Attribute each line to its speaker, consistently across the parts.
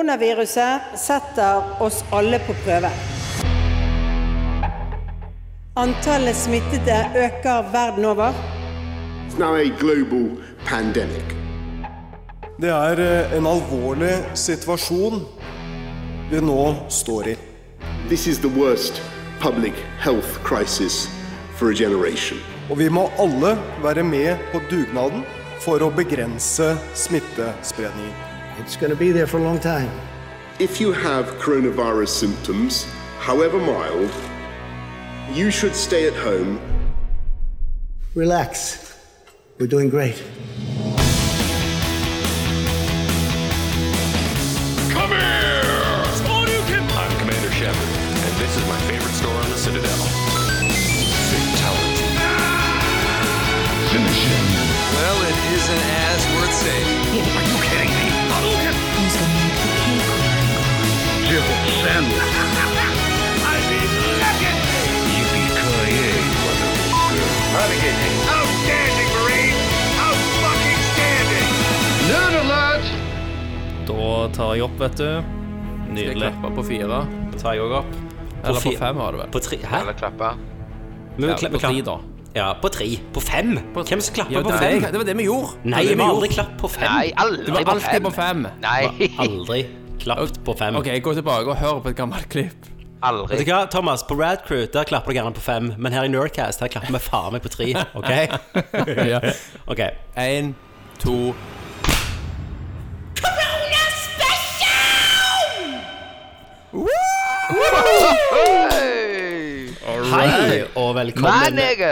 Speaker 1: Koronaviruset setter oss alle på prøve. Antallet smittede øker verden over.
Speaker 2: It's now a global pandemic.
Speaker 3: Det er eh, en alvorlig situasjon vi nå står i.
Speaker 2: This is the worst public health crisis for a generation.
Speaker 3: Og vi må alle være med på dugnaden for å begrense smittespredningen.
Speaker 4: It's going to be there for a long time.
Speaker 2: If you have coronavirus symptoms, however mild, you should stay at home.
Speaker 4: Relax. We're doing great.
Speaker 5: Come here! It's all you can. I'm Commander Shepard, and this is my favorite store on the Citadel. Fatality. Finish him.
Speaker 6: Well, it isn't as worth saying.
Speaker 5: Are you kidding me? Hadouken! Jill Sen. I mean, legacy! Yippee-ki-yay, motherfucker. Renegade. Outstanding, Marine! Out-fucking standing! Nerd alert!
Speaker 7: Da tar jeg opp, vet du.
Speaker 8: Jeg
Speaker 7: Nydelig.
Speaker 8: klappa på fire.
Speaker 7: tar jeg òg opp.
Speaker 8: Eller på
Speaker 6: fi-
Speaker 8: fem, var det vel.
Speaker 6: På tre Hæ?
Speaker 8: Eller klappa.
Speaker 6: Men vi
Speaker 8: Ja,
Speaker 6: klapp-
Speaker 8: på
Speaker 6: klapp-
Speaker 8: tre, da.
Speaker 6: Ja, på tre. På fem?
Speaker 8: På-
Speaker 6: Hvem som klapper
Speaker 8: Ja,
Speaker 6: på
Speaker 8: det var
Speaker 6: fem?
Speaker 8: det- Det var det vi gjorde.
Speaker 6: Nei,
Speaker 8: det
Speaker 6: vi har
Speaker 8: gjorde.
Speaker 6: aldri klappet på fem.
Speaker 9: Nei, aldri
Speaker 8: Det var alltid på fem.
Speaker 9: Nei,
Speaker 6: Aldri klappet på fem.
Speaker 8: OK, gå tilbake og hør på et gammelt klipp.
Speaker 6: Vet
Speaker 9: aldri.
Speaker 6: du hva, Thomas, på Rad Crew der klapper du gjerne på fem, men her i Nerdcast her klapper vi faen meg på tre. OK?
Speaker 8: Ja.
Speaker 6: Ok.
Speaker 8: En, to
Speaker 6: Hei og velkommen.
Speaker 9: Men jeg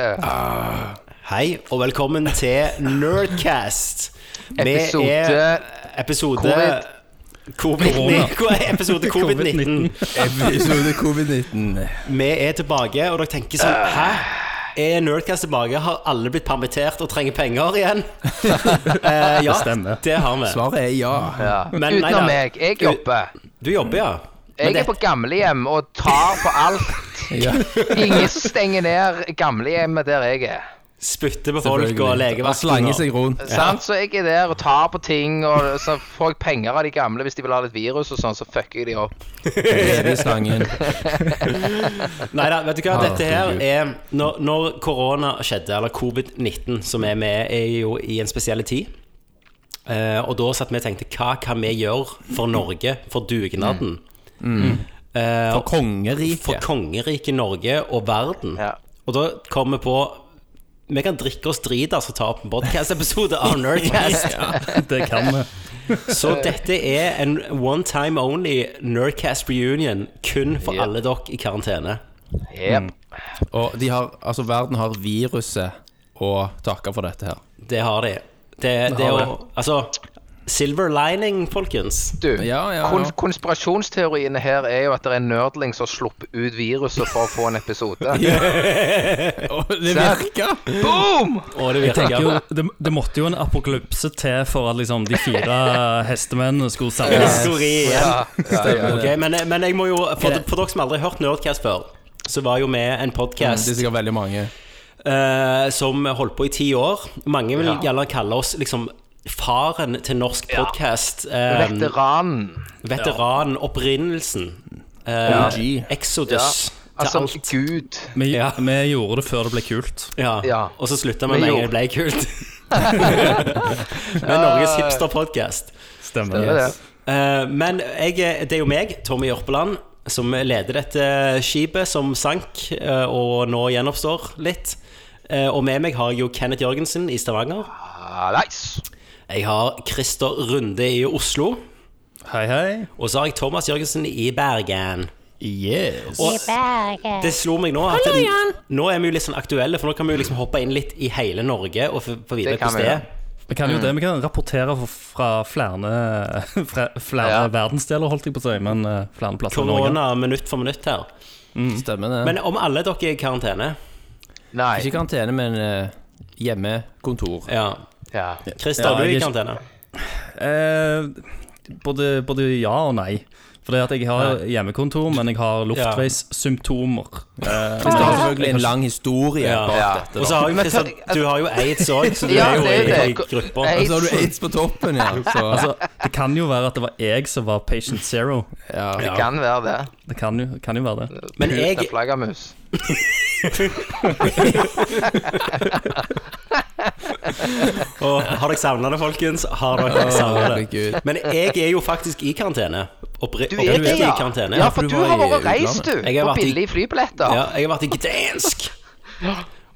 Speaker 6: Hei og velkommen til Nerdcast. Vi
Speaker 9: Episode-
Speaker 6: er episode
Speaker 9: Covid.
Speaker 6: Covid-19. Episode covid-19.
Speaker 8: Episode covid-19.
Speaker 6: Vi er tilbake, og dere tenker sånn
Speaker 8: Øh.
Speaker 6: Hæ? Er Nerdcast tilbake? Har alle blitt permittert og trenger penger igjen? Eh, ja, det
Speaker 7: stemmer.
Speaker 6: Det har vi.
Speaker 8: Svaret er ja.
Speaker 9: ja.
Speaker 6: Men nei da.
Speaker 9: Utenom meg. Jeg jobber.
Speaker 6: Du jobber, ja. Men
Speaker 9: Jeg er
Speaker 6: det-
Speaker 9: på gamlehjem og tar på alt.
Speaker 8: ja.
Speaker 9: Ingen stenger ned gamlehjemmet der jeg er.
Speaker 6: spytter på folk og
Speaker 8: Slange
Speaker 6: legevakten.
Speaker 8: seg rundt.
Speaker 9: Sant? Så jeg er der og tar på ting, og så får jeg penger av de gamle hvis de vil ha litt virus og sånn, så fucker jeg de opp.
Speaker 8: Nede i slangen.
Speaker 6: Nei da, vet du hva. Dette her
Speaker 8: Herregud.
Speaker 6: er Når, når korona skjedde, eller covid-19, som er med, er jo i en spesiell tid. Eh, og da satt vi og tenkte hva kan vi gjøre for Norge, for dugnaden? Eh,
Speaker 8: For kongeriket.
Speaker 6: for kongeriket Norge og verden.
Speaker 9: Ja.
Speaker 6: Og da kom vi på Vi kan drikke oss dritas og ta opp en podcast-episode av Nerdcast.
Speaker 7: Det kan vi.
Speaker 6: Så dette er en one time only Nerdcast reunion kun for
Speaker 9: Ja.
Speaker 6: alle dere i karantene. Mm.
Speaker 9: Yep.
Speaker 8: Og de har, altså verden har viruset å takke for dette her.
Speaker 6: Det har de. Det, det er
Speaker 8: har
Speaker 6: jo Altså, silver lining, folkens.
Speaker 9: Du,
Speaker 8: Ja, ja,
Speaker 9: kon
Speaker 8: ja.
Speaker 9: konspirasjonsteoriene her er jo at det er en nerdling som har sluppet ut viruset for å få en episode.
Speaker 8: Og det virka!
Speaker 9: Boom!
Speaker 6: Og det
Speaker 7: Jeg tenker
Speaker 6: virker.
Speaker 7: jo, det, det måtte jo en apokalypse til for at liksom, de fire hestemennene skulle samles.
Speaker 6: Historie igjen.
Speaker 9: Ja, ja, ja.
Speaker 6: Ok, men, eh, men jeg må jo for, for dere som aldri har hørt Nerdcast før, så var jo vi en
Speaker 8: Det er
Speaker 6: podkast
Speaker 8: sikkert veldig mange.
Speaker 6: eh, som holdt på i ti år. Mange vil gjerne kalle oss liksom faren til norsk podkast. eh,
Speaker 9: Veteranen.
Speaker 6: veteran, opprinnelsen. eh,
Speaker 8: OG.
Speaker 6: Exodus. til
Speaker 9: Altså,
Speaker 6: alt.
Speaker 9: gud.
Speaker 7: Vi,
Speaker 6: Ja.
Speaker 7: vi gjorde det før det ble kult.
Speaker 6: Ja.
Speaker 9: Ja.
Speaker 6: Og så slutta vi
Speaker 9: Men
Speaker 6: med en
Speaker 9: jo.
Speaker 6: gang det ble kult. Med Norges hipster-podkast.
Speaker 7: Stemmer.
Speaker 9: Det er det.
Speaker 6: Eh, men jeg, det er jo meg, Tommy Jørpeland, som leder dette skipet som sank eh, og nå gjenoppstår litt. Eh, og med meg har jeg jo Kenneth Jørgensen i Stavanger.
Speaker 9: Ah, nice.
Speaker 6: Jeg har Christer Runde i Oslo.
Speaker 7: Hei, hei.
Speaker 6: Og så har jeg Thomas Jørgensen i Bergen.
Speaker 8: Yes.
Speaker 6: Og det slo meg nå at Nå er vi jo litt sånn aktuelle, for nå kan vi jo liksom hoppe inn litt i hele Norge og få få vite
Speaker 9: Det kan
Speaker 6: hvordan
Speaker 9: vi
Speaker 6: det
Speaker 9: gjøre.
Speaker 6: er.
Speaker 7: Vi kan jo det, vi kan rapportere fra- fra flere, fra flere
Speaker 9: Ja.
Speaker 7: verdensdeler, holdt jeg på å si, men eh, flere plasser i Norge.
Speaker 6: Korona minutt for minutt her.
Speaker 8: Stemmer det.
Speaker 6: Men om alle dere er i karantene
Speaker 8: Ikke
Speaker 9: Nei.
Speaker 8: karantene, men eh, hjemmekontor.
Speaker 6: Ja.
Speaker 9: Ja.
Speaker 6: Christer,
Speaker 7: Ja,
Speaker 6: du er
Speaker 7: jeg
Speaker 6: i
Speaker 7: er-
Speaker 6: karantene.
Speaker 7: Eh, både, både ja og nei. For det at jeg har hjemmekontor, men jeg har luftveissymptomer. Eh,
Speaker 8: Det er selvfølgelig en lang historie
Speaker 6: Ja.
Speaker 8: bak
Speaker 9: Ja.
Speaker 8: dette.
Speaker 6: Og så
Speaker 8: Da.
Speaker 6: har jo Kristian, du har jo aids òg, så du
Speaker 9: Ja,
Speaker 6: er jo
Speaker 9: det er
Speaker 6: i, i
Speaker 9: det.
Speaker 6: gruppa.
Speaker 8: Og
Speaker 9: Aids.
Speaker 8: så har du aids på toppen, ja. Så,
Speaker 7: altså, det kan jo være at det var jeg som var patient zero.
Speaker 8: ja.
Speaker 9: Det kan være det.
Speaker 7: Det kan jo, kan jo være det.
Speaker 6: Men jeg,
Speaker 9: Det er flaggermus.
Speaker 6: og, har dere savna det, folkens? Har dere savna det?
Speaker 8: herregud.
Speaker 6: Men jeg er jo faktisk i karantene. Oppri-
Speaker 9: Du er
Speaker 6: Oppriktig
Speaker 9: det, ja.
Speaker 6: i karantene.
Speaker 9: Ja, for du har vært
Speaker 8: i
Speaker 9: reist, du.
Speaker 6: Jeg har
Speaker 9: På
Speaker 6: vært i-
Speaker 9: billige flybilletter.
Speaker 6: Ja, jeg har vært i Gdansk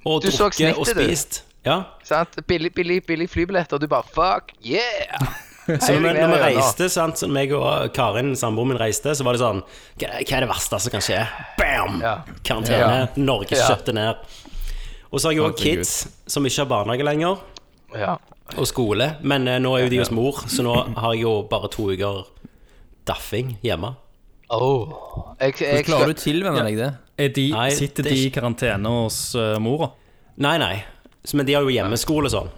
Speaker 6: og
Speaker 9: Du så
Speaker 6: drukket og
Speaker 9: snittet, du.
Speaker 6: spist. Ja.
Speaker 9: Sant? Billig, billig, billig flybilletter. Du bare fuck yeah!
Speaker 6: Så når, når vi
Speaker 9: Ja, ja, ja.
Speaker 6: reiste, sant, så meg og eh, Karin, samboeren min, reiste, så var det sånn Hva hva er det verste som kan skje? Bam!
Speaker 9: Ja.
Speaker 6: Karantene. Norge
Speaker 9: Ja.
Speaker 6: skjøtter ned. Og så har jeg òg
Speaker 8: Herregud.
Speaker 6: kids som ikke har barnehage lenger,
Speaker 9: Ja.
Speaker 6: og skole. Men eh, nå er jo de hos mor, så nå har jeg jo bare to uker daffing hjemme.
Speaker 9: Oh. Jeg, jeg,
Speaker 8: Så klarer du å tilvenne deg det?
Speaker 7: Er de,
Speaker 6: Nei,
Speaker 7: sitter
Speaker 6: det er
Speaker 7: de i
Speaker 6: ikke-
Speaker 7: karantene hos eh, mora?
Speaker 6: Nei, nei. Så, men de har jo hjemmeskole og sånn.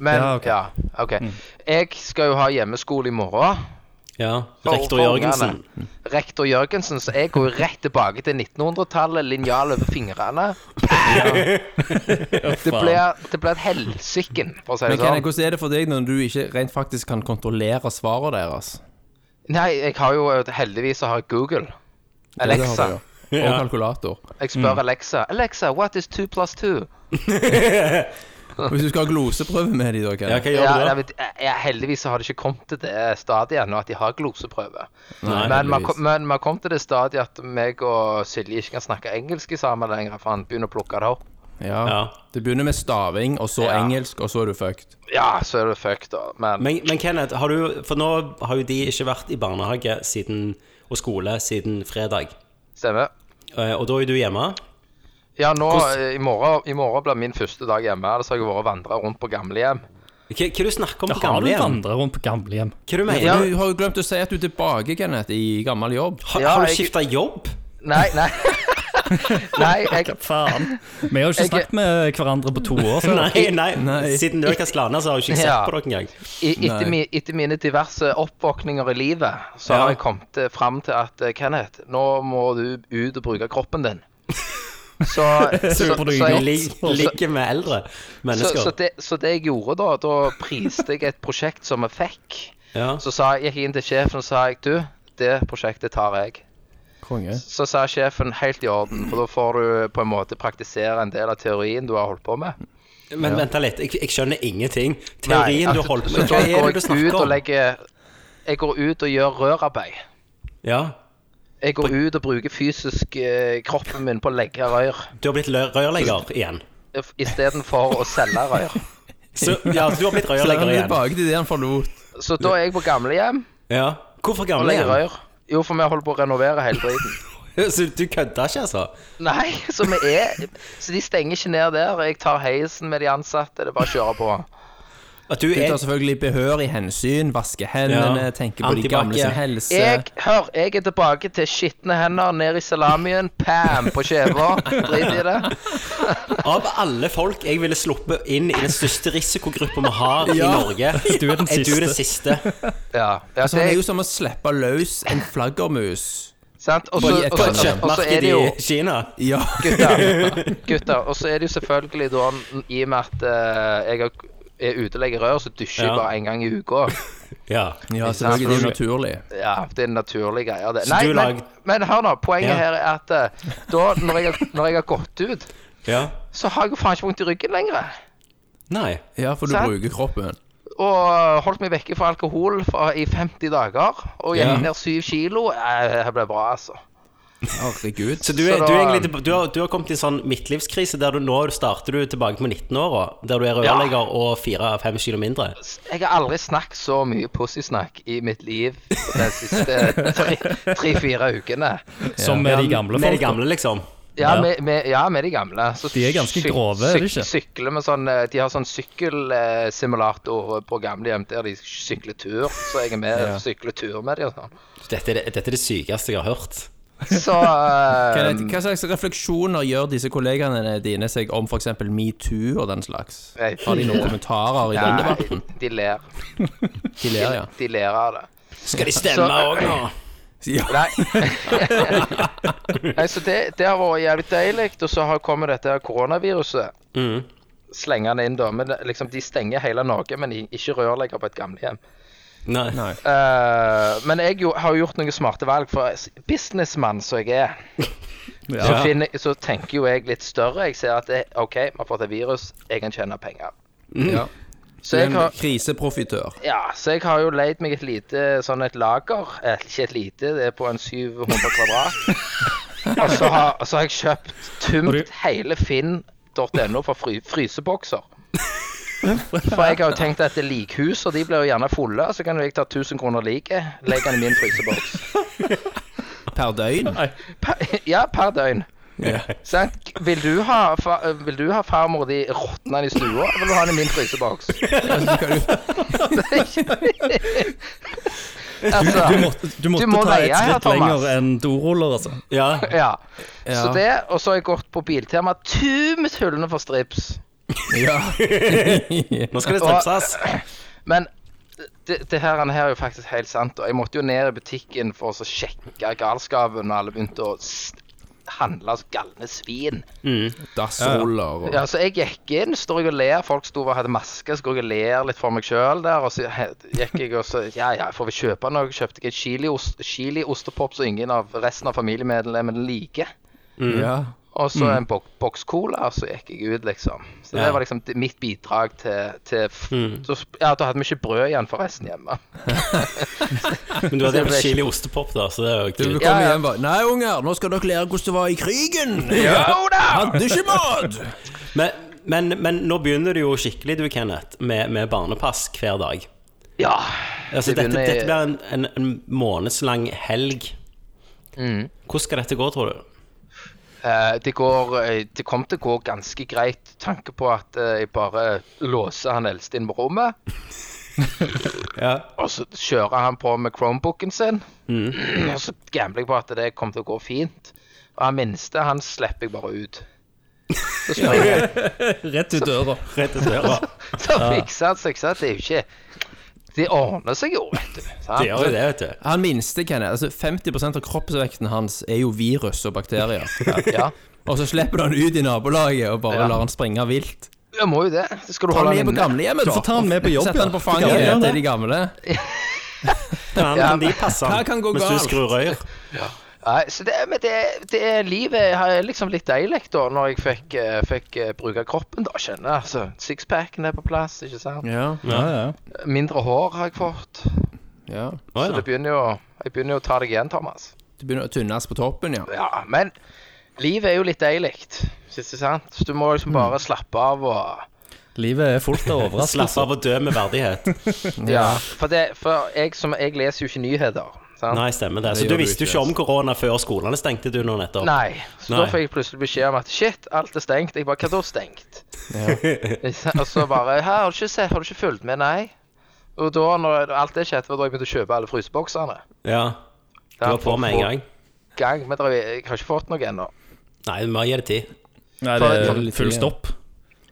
Speaker 9: Men, ja,
Speaker 7: Ja,
Speaker 9: ok.
Speaker 7: ok.
Speaker 8: Mm.
Speaker 9: Jeg skal jo ha hjemmeskole i morgen.
Speaker 6: Ja.
Speaker 9: for-
Speaker 6: Rektor
Speaker 9: for
Speaker 6: Jørgensen.
Speaker 9: ungene. Mm. Rektor Jørgensen, så jeg går jo rett tilbake til 1900-tallet, linjal over fingrene. det, blir, det blir et helsiken, for å si det
Speaker 8: Men Kenneth,
Speaker 9: sånn.
Speaker 8: hvordan er det for deg når du ikke rent faktisk kan kontrollere svarene deres?
Speaker 9: Nei, jeg har jo heldigvis så har jeg Google.
Speaker 8: Ja, Mm. det har
Speaker 9: Alexa.
Speaker 8: du jo. Og kalkulator.
Speaker 9: Jeg spør Alexa. Alexa, what is two plus two?
Speaker 8: Og Hvis du skal ha gloseprøve med de da,
Speaker 6: Ja,
Speaker 8: Kenneth.
Speaker 6: hva gjør
Speaker 9: Ja,
Speaker 6: du
Speaker 9: jeg
Speaker 6: da?
Speaker 9: vet, jeg, heldigvis så har det ikke kommet til det stadiet ennå at de har gloseprøve.
Speaker 8: Nei,
Speaker 9: men vi har
Speaker 8: heldigvis.
Speaker 9: kom- men vi har kommet til det stadiet at meg og Silje ikke kan snakke engelsk i sammen lenger, for han begynner å plukke det opp.
Speaker 8: Ja.
Speaker 6: Ja.
Speaker 8: Det begynner med staving, og så
Speaker 9: Ja.
Speaker 8: engelsk, og så er du fucked.
Speaker 9: Ja, så er det fucked, da. Men,
Speaker 6: Men, men Kenneth, har du, for nå har jo de ikke vært i barnehage siden, og skole siden fredag.
Speaker 9: stemmer.
Speaker 6: Eh, Og da er du hjemme.
Speaker 9: Ja, nå, eh, i, morgen, I morgen blir min første dag hjemme. Ellers har jeg vært og vandra rundt på gamlehjem.
Speaker 6: Hva, hva du snakker om
Speaker 7: Da
Speaker 6: på
Speaker 7: har du
Speaker 6: gamlehjem?
Speaker 7: vandret rundt på gamlehjem.
Speaker 6: Hva du mener
Speaker 9: Ja.
Speaker 8: Du har jo glemt å si at du er tilbake, Kenneth, i gammel jobb.
Speaker 6: Har,
Speaker 9: Ja,
Speaker 6: har du
Speaker 9: jeg-
Speaker 6: skifta jobb?
Speaker 9: Nei, nei. nei, jeg
Speaker 7: Faen. Vi har jo ikke
Speaker 9: Jeg-
Speaker 7: snakket med hverandre på to år. Så.
Speaker 6: Nei, nei.
Speaker 8: Nei.
Speaker 6: Siden du er Kaslana, så har jeg ikke sett
Speaker 9: Ja.
Speaker 6: på dere engang.
Speaker 9: I, etter, mi, etter mine diverse oppvåkninger i livet, så
Speaker 6: Ja.
Speaker 9: har jeg kommet eh, fram til at eh, Kenneth, nå må du ut og bruke kroppen din. Så, så, så,
Speaker 7: Super duper.
Speaker 9: jeg-
Speaker 6: Lig- Ligger med eldre
Speaker 9: så, så,
Speaker 6: mennesker.
Speaker 9: det, så det jeg gjorde da, da priste jeg et prosjekt som vi fikk.
Speaker 6: Ja.
Speaker 9: Så sa jeg, gikk jeg inn til sjefen og sa jeg, du, det prosjektet tar jeg.
Speaker 8: Konge.
Speaker 9: Så sa sjefen helt i orden, for da får du på en måte praktisere en del av teorien du har holdt på med.
Speaker 6: Men vent da litt, jeg, jeg skjønner ingenting. Teorien
Speaker 9: Nei,
Speaker 6: du
Speaker 9: at-
Speaker 6: holder på
Speaker 9: altså,
Speaker 6: med,
Speaker 9: så
Speaker 6: hva er
Speaker 9: da går
Speaker 6: det du
Speaker 9: jeg ut
Speaker 6: snakker
Speaker 9: og
Speaker 6: om?
Speaker 9: legger- Jeg går ut og gjør rørarbeid.
Speaker 6: Ja,
Speaker 9: Jeg går ut og bruker fysisk eh, kroppen min på å legge rør
Speaker 6: Du har blitt lø- rørlegger igjen.
Speaker 9: f- istedenfor å selge rør.
Speaker 6: Så, ja, du har blitt
Speaker 8: Så er
Speaker 6: rørlegger
Speaker 8: han
Speaker 6: igjen.
Speaker 8: tilbake til det han forlot.
Speaker 9: Så da er jeg på gamlehjem
Speaker 6: Ja. Hvorfor
Speaker 9: og
Speaker 6: gamle
Speaker 9: legger
Speaker 6: igjen?
Speaker 9: rør. Jo, for vi holder på å renovere hele driten.
Speaker 6: Så du kødda ikke, altså?
Speaker 9: Nei, så vi er Så de stenger ikke ned der. Jeg tar heisen med de ansatte. Det er bare å kjøre på.
Speaker 6: At du
Speaker 8: Du
Speaker 6: er
Speaker 8: tar
Speaker 9: altså
Speaker 8: selvfølgelig behørig hensyn, vasker hendene,
Speaker 6: Ja.
Speaker 8: tenker på de gamle sin
Speaker 6: Antibac.
Speaker 8: helse.
Speaker 9: Jeg, hør, jeg er tilbake til skitne hender ned i salamien. Pam! På kjeva. Drit i det.
Speaker 6: Av alle folk jeg ville sluppet inn i den største risikogruppa vi har i Norge,
Speaker 7: Du er den
Speaker 6: er du
Speaker 7: siste.
Speaker 6: den siste.
Speaker 9: Ja. ja
Speaker 8: Altså,
Speaker 9: så
Speaker 8: han er
Speaker 9: jeg,
Speaker 8: jo som å slippe løs en flaggermus.
Speaker 9: sant? Og så-
Speaker 8: På et
Speaker 9: og så- og- og så er
Speaker 6: Kjøttmarked
Speaker 9: det
Speaker 6: i
Speaker 9: jo
Speaker 6: Kina.
Speaker 8: Ja.
Speaker 9: gutter, gutter. Og så er det jo selvfølgelig da, n- i og med at eh, jeg er- er utelegger rør, så dusjer jeg
Speaker 6: Ja.
Speaker 9: bare én gang i uka.
Speaker 6: Ja.
Speaker 8: Ja, selvfølgelig. Det er jo naturlig.
Speaker 9: Ja, det er en naturlig greie. Det.
Speaker 6: Så
Speaker 9: Nei,
Speaker 6: du
Speaker 9: men,
Speaker 6: lag-
Speaker 9: men hør nå. Poenget
Speaker 6: Ja.
Speaker 9: her er at eh, da, når jeg, har- når jeg har gått ut,
Speaker 6: ja.
Speaker 9: så har jeg jo faen ikke vondt i ryggen lenger.
Speaker 6: Nei.
Speaker 8: Ja, for du
Speaker 9: Sant?
Speaker 8: bruker kroppen.
Speaker 9: Og holdt meg vekke fra alkohol fra, i 50 dager. Og gikk
Speaker 6: Ja.
Speaker 9: ned syv kilo. Eh, Det ble bra, altså.
Speaker 8: Herregud.
Speaker 6: Så du, er,
Speaker 9: Så da-
Speaker 6: du, er egentlig, tilba- du, har, du har kommet i en sånn midtlivskrise der du nå starter du tilbake på 19-åra, der du er
Speaker 9: Ja.
Speaker 6: rørlegger og fire-fem kilo mindre.
Speaker 9: Jeg har aldri snakket så mye pussysnakk i mitt liv de siste tre- tre-fire ukene.
Speaker 7: Som med de gamle
Speaker 6: Med de
Speaker 7: folka.
Speaker 6: gamle, liksom.
Speaker 9: Ja,
Speaker 7: Ja.
Speaker 9: Med, med, ja, med de gamle. Så
Speaker 7: De er ganske
Speaker 9: syk-
Speaker 7: grove, er de
Speaker 9: syk-
Speaker 7: ikke?
Speaker 9: Sykler med sånn eh, De har sånn sykkelsimulator på gamlehjem der de sykler tur. Så jeg er med og sykler tur med de og sånn.
Speaker 6: Dette er, det- dette er det sykeste jeg har hørt.
Speaker 9: Så eh,
Speaker 8: Kenneth, hva slags refleksjoner gjør disse kollegaene dine seg om f.eks. metoo og den slags?
Speaker 9: Nei,
Speaker 8: Har de noen kommentarer i den
Speaker 9: Nei,
Speaker 8: debatten?
Speaker 9: de ler.
Speaker 8: De ler, ja.
Speaker 9: De ler av det.
Speaker 6: Skal de stemme òg nå?
Speaker 9: Nei. Nei, så det, det har vært jævlig deilig. Og så har kommet dette her koronaviruset.
Speaker 8: Mm.
Speaker 9: Slenger det inn, da. Men det- liksom, de stenger hele Norge, men i- ikke rørlegger på et gamlehjem.
Speaker 6: Nei. Nei.
Speaker 9: Eh, men jeg jo, har jo gjort noen smarte valg, for s- businessmann som jeg er, så, finner, så tenker jo jeg litt større. Jeg ser at det, OK, vi har fått et virus, jeg kan tjene penger.
Speaker 8: Ja.
Speaker 9: Så jeg
Speaker 8: en
Speaker 9: har,
Speaker 8: kriseprofitør.
Speaker 9: ja, så jeg har jo leid meg et lite sånn et lager. Eh, Ikke et lite, det er på en 700 kvadrat. Og så har, og så har jeg kjøpt tømt hele finn.no for fry, frysebokser. For jeg har jo tenkt at det er likhus, og de blir jo gjerne fulle. Så kan jo jeg ta 1000 kroner liket, legge den i min fryseboks.
Speaker 8: Per døgn.
Speaker 9: Per, ja, per døgn. Sant? Vil, du ha, fa, eh, vil du ha farmor di råtna i stua, eller vil du ha den i min fryseboks? altså,
Speaker 7: Du måtte, du måtte
Speaker 9: må
Speaker 7: ta et
Speaker 9: veie her,
Speaker 7: skritt
Speaker 9: Thomas.
Speaker 7: lenger enn doruller, altså.
Speaker 6: Ja.
Speaker 9: ja. Så
Speaker 8: Ja.
Speaker 9: det, og så har jeg gått på Biltema. Tumet hullene for strips.
Speaker 8: Ja.
Speaker 6: Nå skal det stripses.
Speaker 9: Men det, det her, han her er jo faktisk helt sant. Og jeg måtte jo ned i butikken for å så sjekke galskapen, og alle begynte å s- handle som galne svin.
Speaker 8: Dassruller og
Speaker 9: Ja, så jeg gikk inn, står jeg og ler, folk sto og hadde maske, så går jeg og ler litt for meg sjøl der, og så he- gikk jeg og så Ja, ja, får vi kjøpe noe? Kjøpte jeg en chiliost, chiliostepop som ingen av resten av familiemedlemmene liker.
Speaker 6: Mm.
Speaker 8: ja.
Speaker 9: Og så en bok boks cola, og så gikk jeg ut, liksom. Så det var liksom det- mitt bidrag til, til f
Speaker 6: Mm.
Speaker 9: så, sp- Ja, da hadde vi ikke brød igjen for resten hjemme.
Speaker 6: Men du hadde vel chili ostepop, da, så det er jo
Speaker 8: Du kom
Speaker 6: kult.
Speaker 9: Ja, ja.
Speaker 8: igjen bare Nei, unger, nå skal dere lære hvordan det var i krigen!
Speaker 9: Jo da!
Speaker 8: Hadde ikke mat!
Speaker 6: Men, men, men nå begynner du jo skikkelig, du, Kenneth, med, med barnepass hver dag.
Speaker 9: Ja.
Speaker 6: Altså,
Speaker 9: Det
Speaker 6: dette,
Speaker 9: begynner-
Speaker 6: dette blir en, en, en månedslang helg.
Speaker 8: Mm.
Speaker 6: Hvordan skal dette gå, tror du?
Speaker 9: Eh, det, går, eh, det kom til å gå ganske greit, tanke på at eh, jeg bare låser han eldste inn på rommet. Og så kjører han på med Chromebooken sin.
Speaker 6: Mm.
Speaker 9: Og så gambler jeg på at det kommer til å gå fint. Og han minste, han slipper jeg bare ut. Så springer jeg
Speaker 7: Rett ut døra.
Speaker 6: Rett og slett.
Speaker 9: Så fikser han seg, sant? Det er jo ikke Det ordner seg jo, vet du. sant?
Speaker 6: Det gjør jo det, vet du.
Speaker 8: Han minste, Kenneth. Altså, 50 av kroppsvekten hans er jo virus og bakterier.
Speaker 9: Ja.
Speaker 8: Og så slipper du han ut i nabolaget og bare
Speaker 9: Ja.
Speaker 8: lar han springe vilt.
Speaker 9: Jeg må jo det. Det Skal du
Speaker 8: Ta
Speaker 9: holde
Speaker 8: han med
Speaker 9: han
Speaker 8: på
Speaker 9: inne?
Speaker 8: gamlehjemmet, da.
Speaker 7: får ta han med på jobb,
Speaker 8: Sett han
Speaker 7: ja.
Speaker 8: på fanget
Speaker 7: Ja, ja,
Speaker 8: til
Speaker 7: det.
Speaker 8: de gamle.
Speaker 6: Kan,
Speaker 9: Ja.
Speaker 6: kan de passe
Speaker 8: Hva kan
Speaker 6: han
Speaker 8: gå
Speaker 6: hvis du
Speaker 8: galt?
Speaker 6: skrur røyr?
Speaker 9: Nei, så det, men det, det er livet er liksom litt deilig, da, når jeg fikk, eh, fikk eh, bruke kroppen, da, kjenner jeg. Altså, Sixpacken er på plass, ikke sant.
Speaker 8: Ja,
Speaker 7: Ja, ja.
Speaker 9: Mindre hår har jeg fått.
Speaker 8: ja.
Speaker 6: Å,
Speaker 9: Så det
Speaker 6: ja.
Speaker 9: begynner jo Jeg begynner jo å ta deg igjen, Thomas.
Speaker 8: Du begynner å tynnes på toppen, ja.
Speaker 9: Ja, men livet er jo litt deilig, ikke sant. Så du må liksom
Speaker 8: Mm.
Speaker 9: bare slappe av og
Speaker 7: Livet er fullt av
Speaker 6: Slapp
Speaker 7: overraskelser.
Speaker 6: av og dø med verdighet.
Speaker 9: Ja. For, det, for jeg, som, jeg leser jo ikke nyheter. Sant?
Speaker 6: Nei, stemmer det. Så
Speaker 8: Det
Speaker 6: du
Speaker 8: gjør du
Speaker 6: visste jo
Speaker 8: ikke,
Speaker 6: ikke om korona før skolene stengte, du nå nettopp?
Speaker 9: Nei. Så da
Speaker 6: Nei.
Speaker 9: fikk jeg plutselig beskjed om at shit, alt er stengt. Jeg bare hva da stengt? og så bare her, har du ikke sett, har du ikke fulgt med? Nei. Og da, når alt det skjedde, var da jeg begynte å kjøpe alle fryseboksene.
Speaker 6: Ja, du var på med en gang.
Speaker 9: gang men det er- jeg har ikke fått noe ennå.
Speaker 6: Nei, vi må gi det tid.
Speaker 7: Nei, det er full stopp.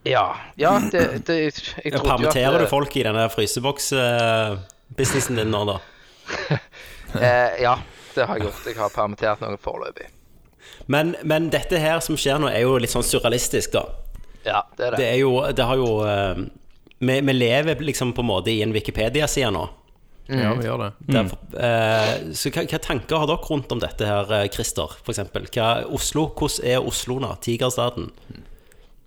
Speaker 9: Ja. ja det, det, jeg
Speaker 6: Ja,
Speaker 9: trodde jo at eh,
Speaker 6: Permitterer du
Speaker 9: det-
Speaker 6: folk i denne fryseboks-businessen din nå, da?
Speaker 9: Eh, ja, det har jeg gjort. Jeg har permittert noen foreløpig.
Speaker 6: Men, men dette her som skjer nå, er jo litt sånn surrealistisk, da.
Speaker 9: Ja, det er det.
Speaker 6: Det er jo Det har jo eh, vi, vi lever liksom på en måte i en Wikipedia-side nå.
Speaker 8: Ja, vi gjør det.
Speaker 6: Derfor, eh, så hva, hva tanker har dere rundt om dette her, eh, Christer, f.eks.? Oslo, hvordan er Oslo nå? Tigerstaden?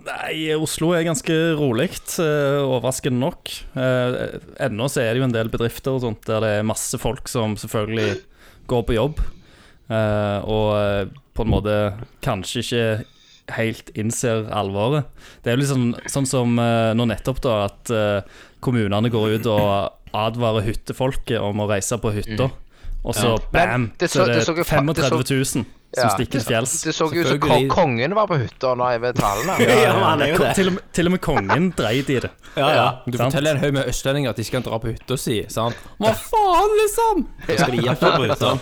Speaker 7: Nei, Oslo er ganske rolig, eh, overraskende nok. Eh, Ennå så er det jo en del bedrifter og sånt der det er masse folk som selvfølgelig går på jobb. eh, og eh, på en måte kanskje ikke helt innser alvoret. Det er jo liksom sånn som eh, nå nettopp, da, at eh, kommunene går ut og advarer hyttefolket om å reise på hytta. Og så bam,
Speaker 9: Mm. Men det
Speaker 7: så
Speaker 9: så-
Speaker 7: er
Speaker 9: det så
Speaker 7: det
Speaker 9: ikke fa-
Speaker 7: 35
Speaker 9: det så-
Speaker 7: 000 som
Speaker 9: Ja.
Speaker 7: stikker til fjells.
Speaker 9: Det så jo ut som
Speaker 8: Selvfølgelig.
Speaker 9: ko- kongen var på hytta nå ved tallene.
Speaker 6: Ja, men han er jo
Speaker 7: Ko-
Speaker 6: det.
Speaker 7: Til og med, til og med kongen dreit i det.
Speaker 6: Ja, ja.
Speaker 8: Du
Speaker 7: Sant.
Speaker 8: forteller en haug med østlendinger at de ikke kan dra på hytta si, sant? Hva faen, liksom?
Speaker 6: Da skal de hjelpe på hytta.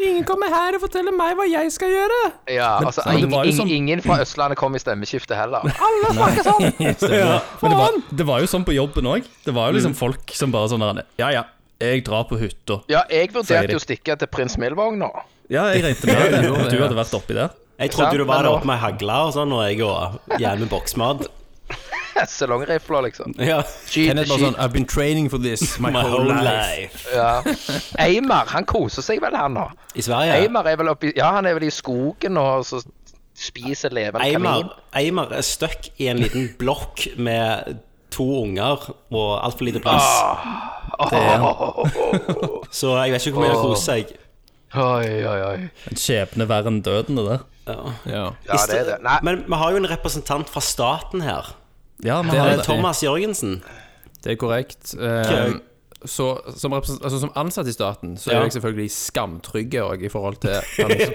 Speaker 8: Ingen kommer her og forteller meg hva jeg skal gjøre.
Speaker 9: Ja, altså,
Speaker 7: men det var jo
Speaker 9: ing-
Speaker 7: sånn-
Speaker 9: Ingen fra Østlandet kom i stemmeskiftet heller.
Speaker 8: Alle snakker sånn. Mm.
Speaker 7: Men det var, det var jo sånn på jobben òg. Det var jo liksom folk som bare sånn der, Ja ja, jeg drar på hytta.
Speaker 9: Ja,
Speaker 7: Sier
Speaker 9: jeg
Speaker 7: de.
Speaker 9: vurderte jo å stikke til Prins Milvogn nå.
Speaker 7: Ja, jeg regnet med
Speaker 8: Ja,
Speaker 7: det.
Speaker 8: du gjorde det,
Speaker 7: Du
Speaker 8: ja.
Speaker 7: hadde vært oppi der.
Speaker 6: Jeg trodde
Speaker 9: Sant,
Speaker 6: du var
Speaker 9: men
Speaker 6: der
Speaker 9: nå-
Speaker 6: oppe med hagle og sånn, og jeg og gjerne med boksmat.
Speaker 9: Salongrifler, liksom.
Speaker 6: Ja.
Speaker 9: Skyt,
Speaker 8: Kenneth bare
Speaker 9: skyt.
Speaker 8: sånn I've been training for this my,
Speaker 6: My whole life.
Speaker 9: Ja. Eimar, han koser seg vel, han nå.
Speaker 6: I Sverige.
Speaker 9: Eimar er vel oppi Ja, han er vel i skogen og så spiser levende kanin.
Speaker 6: Eimar, Eimar er stuck i en liten blokk med to unger og altfor lite plass.
Speaker 8: Ah.
Speaker 6: Så jeg vet ikke hvor mye det koser seg.
Speaker 9: Oi, oi, oi.
Speaker 7: En skjebne verre enn døden, det der.
Speaker 8: Ja.
Speaker 9: Ja, det er det. Nei,
Speaker 6: Men vi har jo en representant fra staten her.
Speaker 7: Ja, men
Speaker 8: Det
Speaker 7: han,
Speaker 8: er
Speaker 6: Eh, Thomas Jørgensen.
Speaker 8: Det er korrekt. Eh, så som, represent- altså, som ansatt i staten så
Speaker 6: Ja.
Speaker 8: er jeg selvfølgelig skamtrygg også i forhold til
Speaker 6: Permitteringer.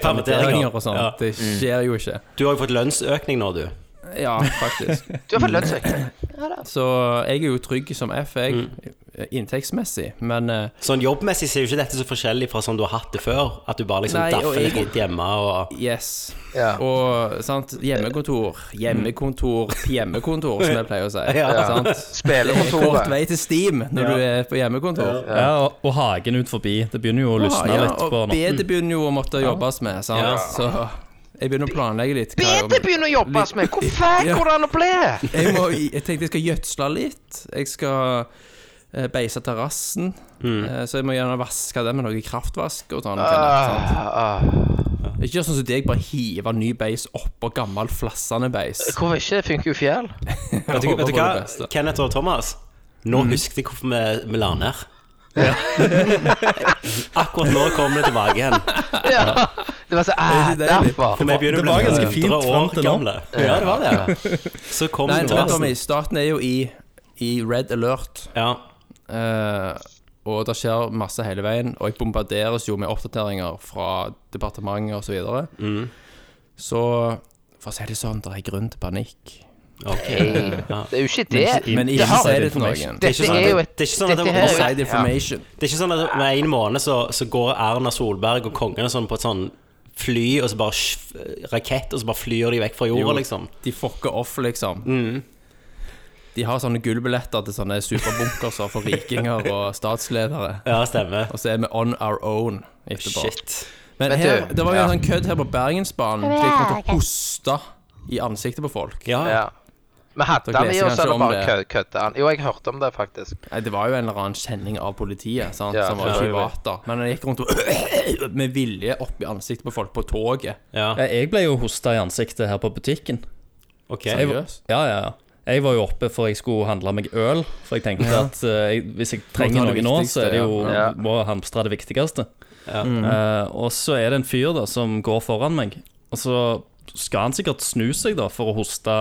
Speaker 8: permis- permitteringer og sånn.
Speaker 6: Ja.
Speaker 8: Det skjer jo ikke.
Speaker 6: Du har jo fått lønnsøkning nå, du.
Speaker 8: Ja, faktisk.
Speaker 9: du har fått lønnsøkning.
Speaker 8: Så jeg er jo trygg som F,
Speaker 7: Mm.
Speaker 8: jeg. Inntektsmessig. Men eh,
Speaker 6: Sånn jobbmessig ser jo ikke dette så forskjellig fra sånn du har hatt det før. At du bare liksom
Speaker 8: Nei, og
Speaker 6: daffer litt
Speaker 8: jeg-
Speaker 6: rundt hjemme og
Speaker 8: yes.
Speaker 9: Ja.
Speaker 8: Og sant, hjemmekontor, hjemmekontor, hjemmekontor, som jeg pleier å si.
Speaker 6: Ja.
Speaker 8: Sant? Kort
Speaker 9: Spillekontoret.
Speaker 8: vei til Steam når du er på hjemmekontor.
Speaker 7: ja, og, og hagen ut forbi. Det begynner jo å lysne
Speaker 8: Ja,
Speaker 7: litt på
Speaker 8: og
Speaker 7: nå.
Speaker 8: bedet begynner jo å måtte jobbes med, sant?
Speaker 6: Ja.
Speaker 8: så jeg begynner å planlegge litt. hva jeg-
Speaker 9: Bete begynner å jobbes med! Hvor fæl
Speaker 8: Ja.
Speaker 9: går det an å bli?
Speaker 8: Jeg, må, jeg tenkte jeg skal gjødsle litt. Jeg skal eh, beise terrassen. Eh, så jeg må gjerne vaske den med noe kraftvask og sånn. Kenneth, sant?
Speaker 9: Ah,
Speaker 8: Ikke gjør sånn som deg, bare hive ny beis oppå gammel flassende beis.
Speaker 9: Hvorfor ikke? Det funker jo fjell.
Speaker 6: Vet du,
Speaker 8: håper
Speaker 6: vet du
Speaker 8: på
Speaker 6: hva,
Speaker 8: det beste.
Speaker 6: Kenneth og Thomas? Nå husket jeg hvorfor vi, vi la ned. Akkurat nå kommer det tilbake igjen.
Speaker 9: Ja. Det var så æh,
Speaker 8: Det er litt
Speaker 9: derfor.
Speaker 6: For vi begynner
Speaker 7: Det var
Speaker 6: å
Speaker 7: ganske
Speaker 6: bli
Speaker 7: fint
Speaker 6: 100
Speaker 7: frem
Speaker 6: år
Speaker 7: til nå.
Speaker 6: gamle. Ja, det var det. Så kom
Speaker 8: Nei, nå,
Speaker 6: terrassen.
Speaker 8: Tommy, staten er jo i, i red alert.
Speaker 6: Ja.
Speaker 8: eh, og det skjer masse hele veien. Og jeg bombarderes jo med oppdateringer fra departementet osv. Så, videre. så for å si det sånn, det er grunn til panikk.
Speaker 6: Ok. Ja.
Speaker 9: Det er jo ikke det.
Speaker 8: Men
Speaker 9: Det
Speaker 8: ikke
Speaker 9: har-
Speaker 8: si det til noen.
Speaker 6: Det er ikke
Speaker 9: Dette
Speaker 6: sånn
Speaker 9: er jo
Speaker 6: at,
Speaker 9: et
Speaker 6: det er ikke sånn at
Speaker 9: dette
Speaker 6: det,
Speaker 9: her er jo-
Speaker 8: Inside information.
Speaker 6: det er ikke sånn at med en måned så, så går Erna Solberg og kongen og sånn på et sånn fly, og så bare sj- rakett, og så bare flyr de vekk fra jorda,
Speaker 8: Jo.
Speaker 6: liksom.
Speaker 8: De fucker off, liksom. De har sånne gullbilletter til sånne superbunkerser for rikinger og statsledere.
Speaker 6: Ja, stemmer.
Speaker 8: Og så er vi on our own etterpå.
Speaker 6: Shit.
Speaker 8: Men
Speaker 9: Vet
Speaker 8: her,
Speaker 9: du,
Speaker 8: det var jo
Speaker 9: ja.
Speaker 8: en sånn kødd her på Bergensbanen. De kom til å hoste i ansiktet på folk.
Speaker 6: Ja.
Speaker 9: Ja. Men hadde
Speaker 8: Dere
Speaker 9: han i
Speaker 8: leser
Speaker 9: oss,
Speaker 8: kanskje
Speaker 9: eller
Speaker 8: om
Speaker 9: bare
Speaker 8: det.
Speaker 9: kø- kødde han? Jo, jeg hørte om det, faktisk.
Speaker 8: Nei, Det var jo en eller annen kjenning av politiet, sant,
Speaker 9: Ja,
Speaker 8: som var
Speaker 9: ja, jeg
Speaker 8: privat, da. Men han gikk rundt og med vilje opp i ansiktet på folk på toget.
Speaker 6: ja.
Speaker 7: Ja, Jeg ble jo hosta i ansiktet her på butikken.
Speaker 6: Ok.
Speaker 7: Jeg, var-
Speaker 8: Seriøst?
Speaker 7: ja, ja, ja. Jeg var jo oppe for jeg skulle handle meg øl, for jeg tenkte at eh, jeg, hvis jeg trenger
Speaker 8: ta
Speaker 7: noe
Speaker 8: det
Speaker 7: nå,
Speaker 8: viktigste,
Speaker 7: så er det jo
Speaker 8: ja.
Speaker 7: må jeg hamstre det viktigste. Eh, og så er det en fyr da som går foran meg, og så skal han sikkert snu seg da for å hoste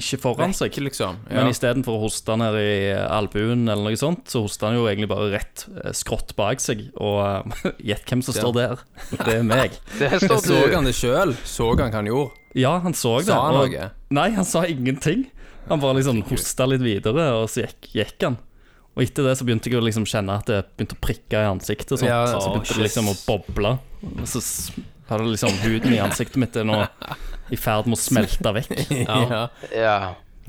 Speaker 7: ikke foran seg,
Speaker 8: Vekk, liksom. Ja.
Speaker 7: men istedenfor å hoste ned i albuen eller noe sånt, så hoster han jo egentlig bare rett eh, skrått bak seg, og eh, gjett hvem som står der. Det er meg.
Speaker 9: Det
Speaker 8: Jeg
Speaker 9: står
Speaker 8: så
Speaker 9: du.
Speaker 8: han det sjøl. Så han hva han gjorde.
Speaker 7: Ja, han så det.
Speaker 8: Sa han
Speaker 7: og-
Speaker 8: noe?
Speaker 7: Nei, han sa ingenting. Han bare liksom hosta litt videre, og så gikk, gikk han. Og etter det så begynte jeg å liksom kjenne at det begynte å prikke i ansiktet. og Sånt.
Speaker 8: Ja,
Speaker 7: så
Speaker 8: å,
Speaker 7: begynte det liksom å boble. Og så s- hadde liksom huden i ansiktet mitt er nå i ferd med å smelte vekk.
Speaker 8: Ja.
Speaker 9: Ja.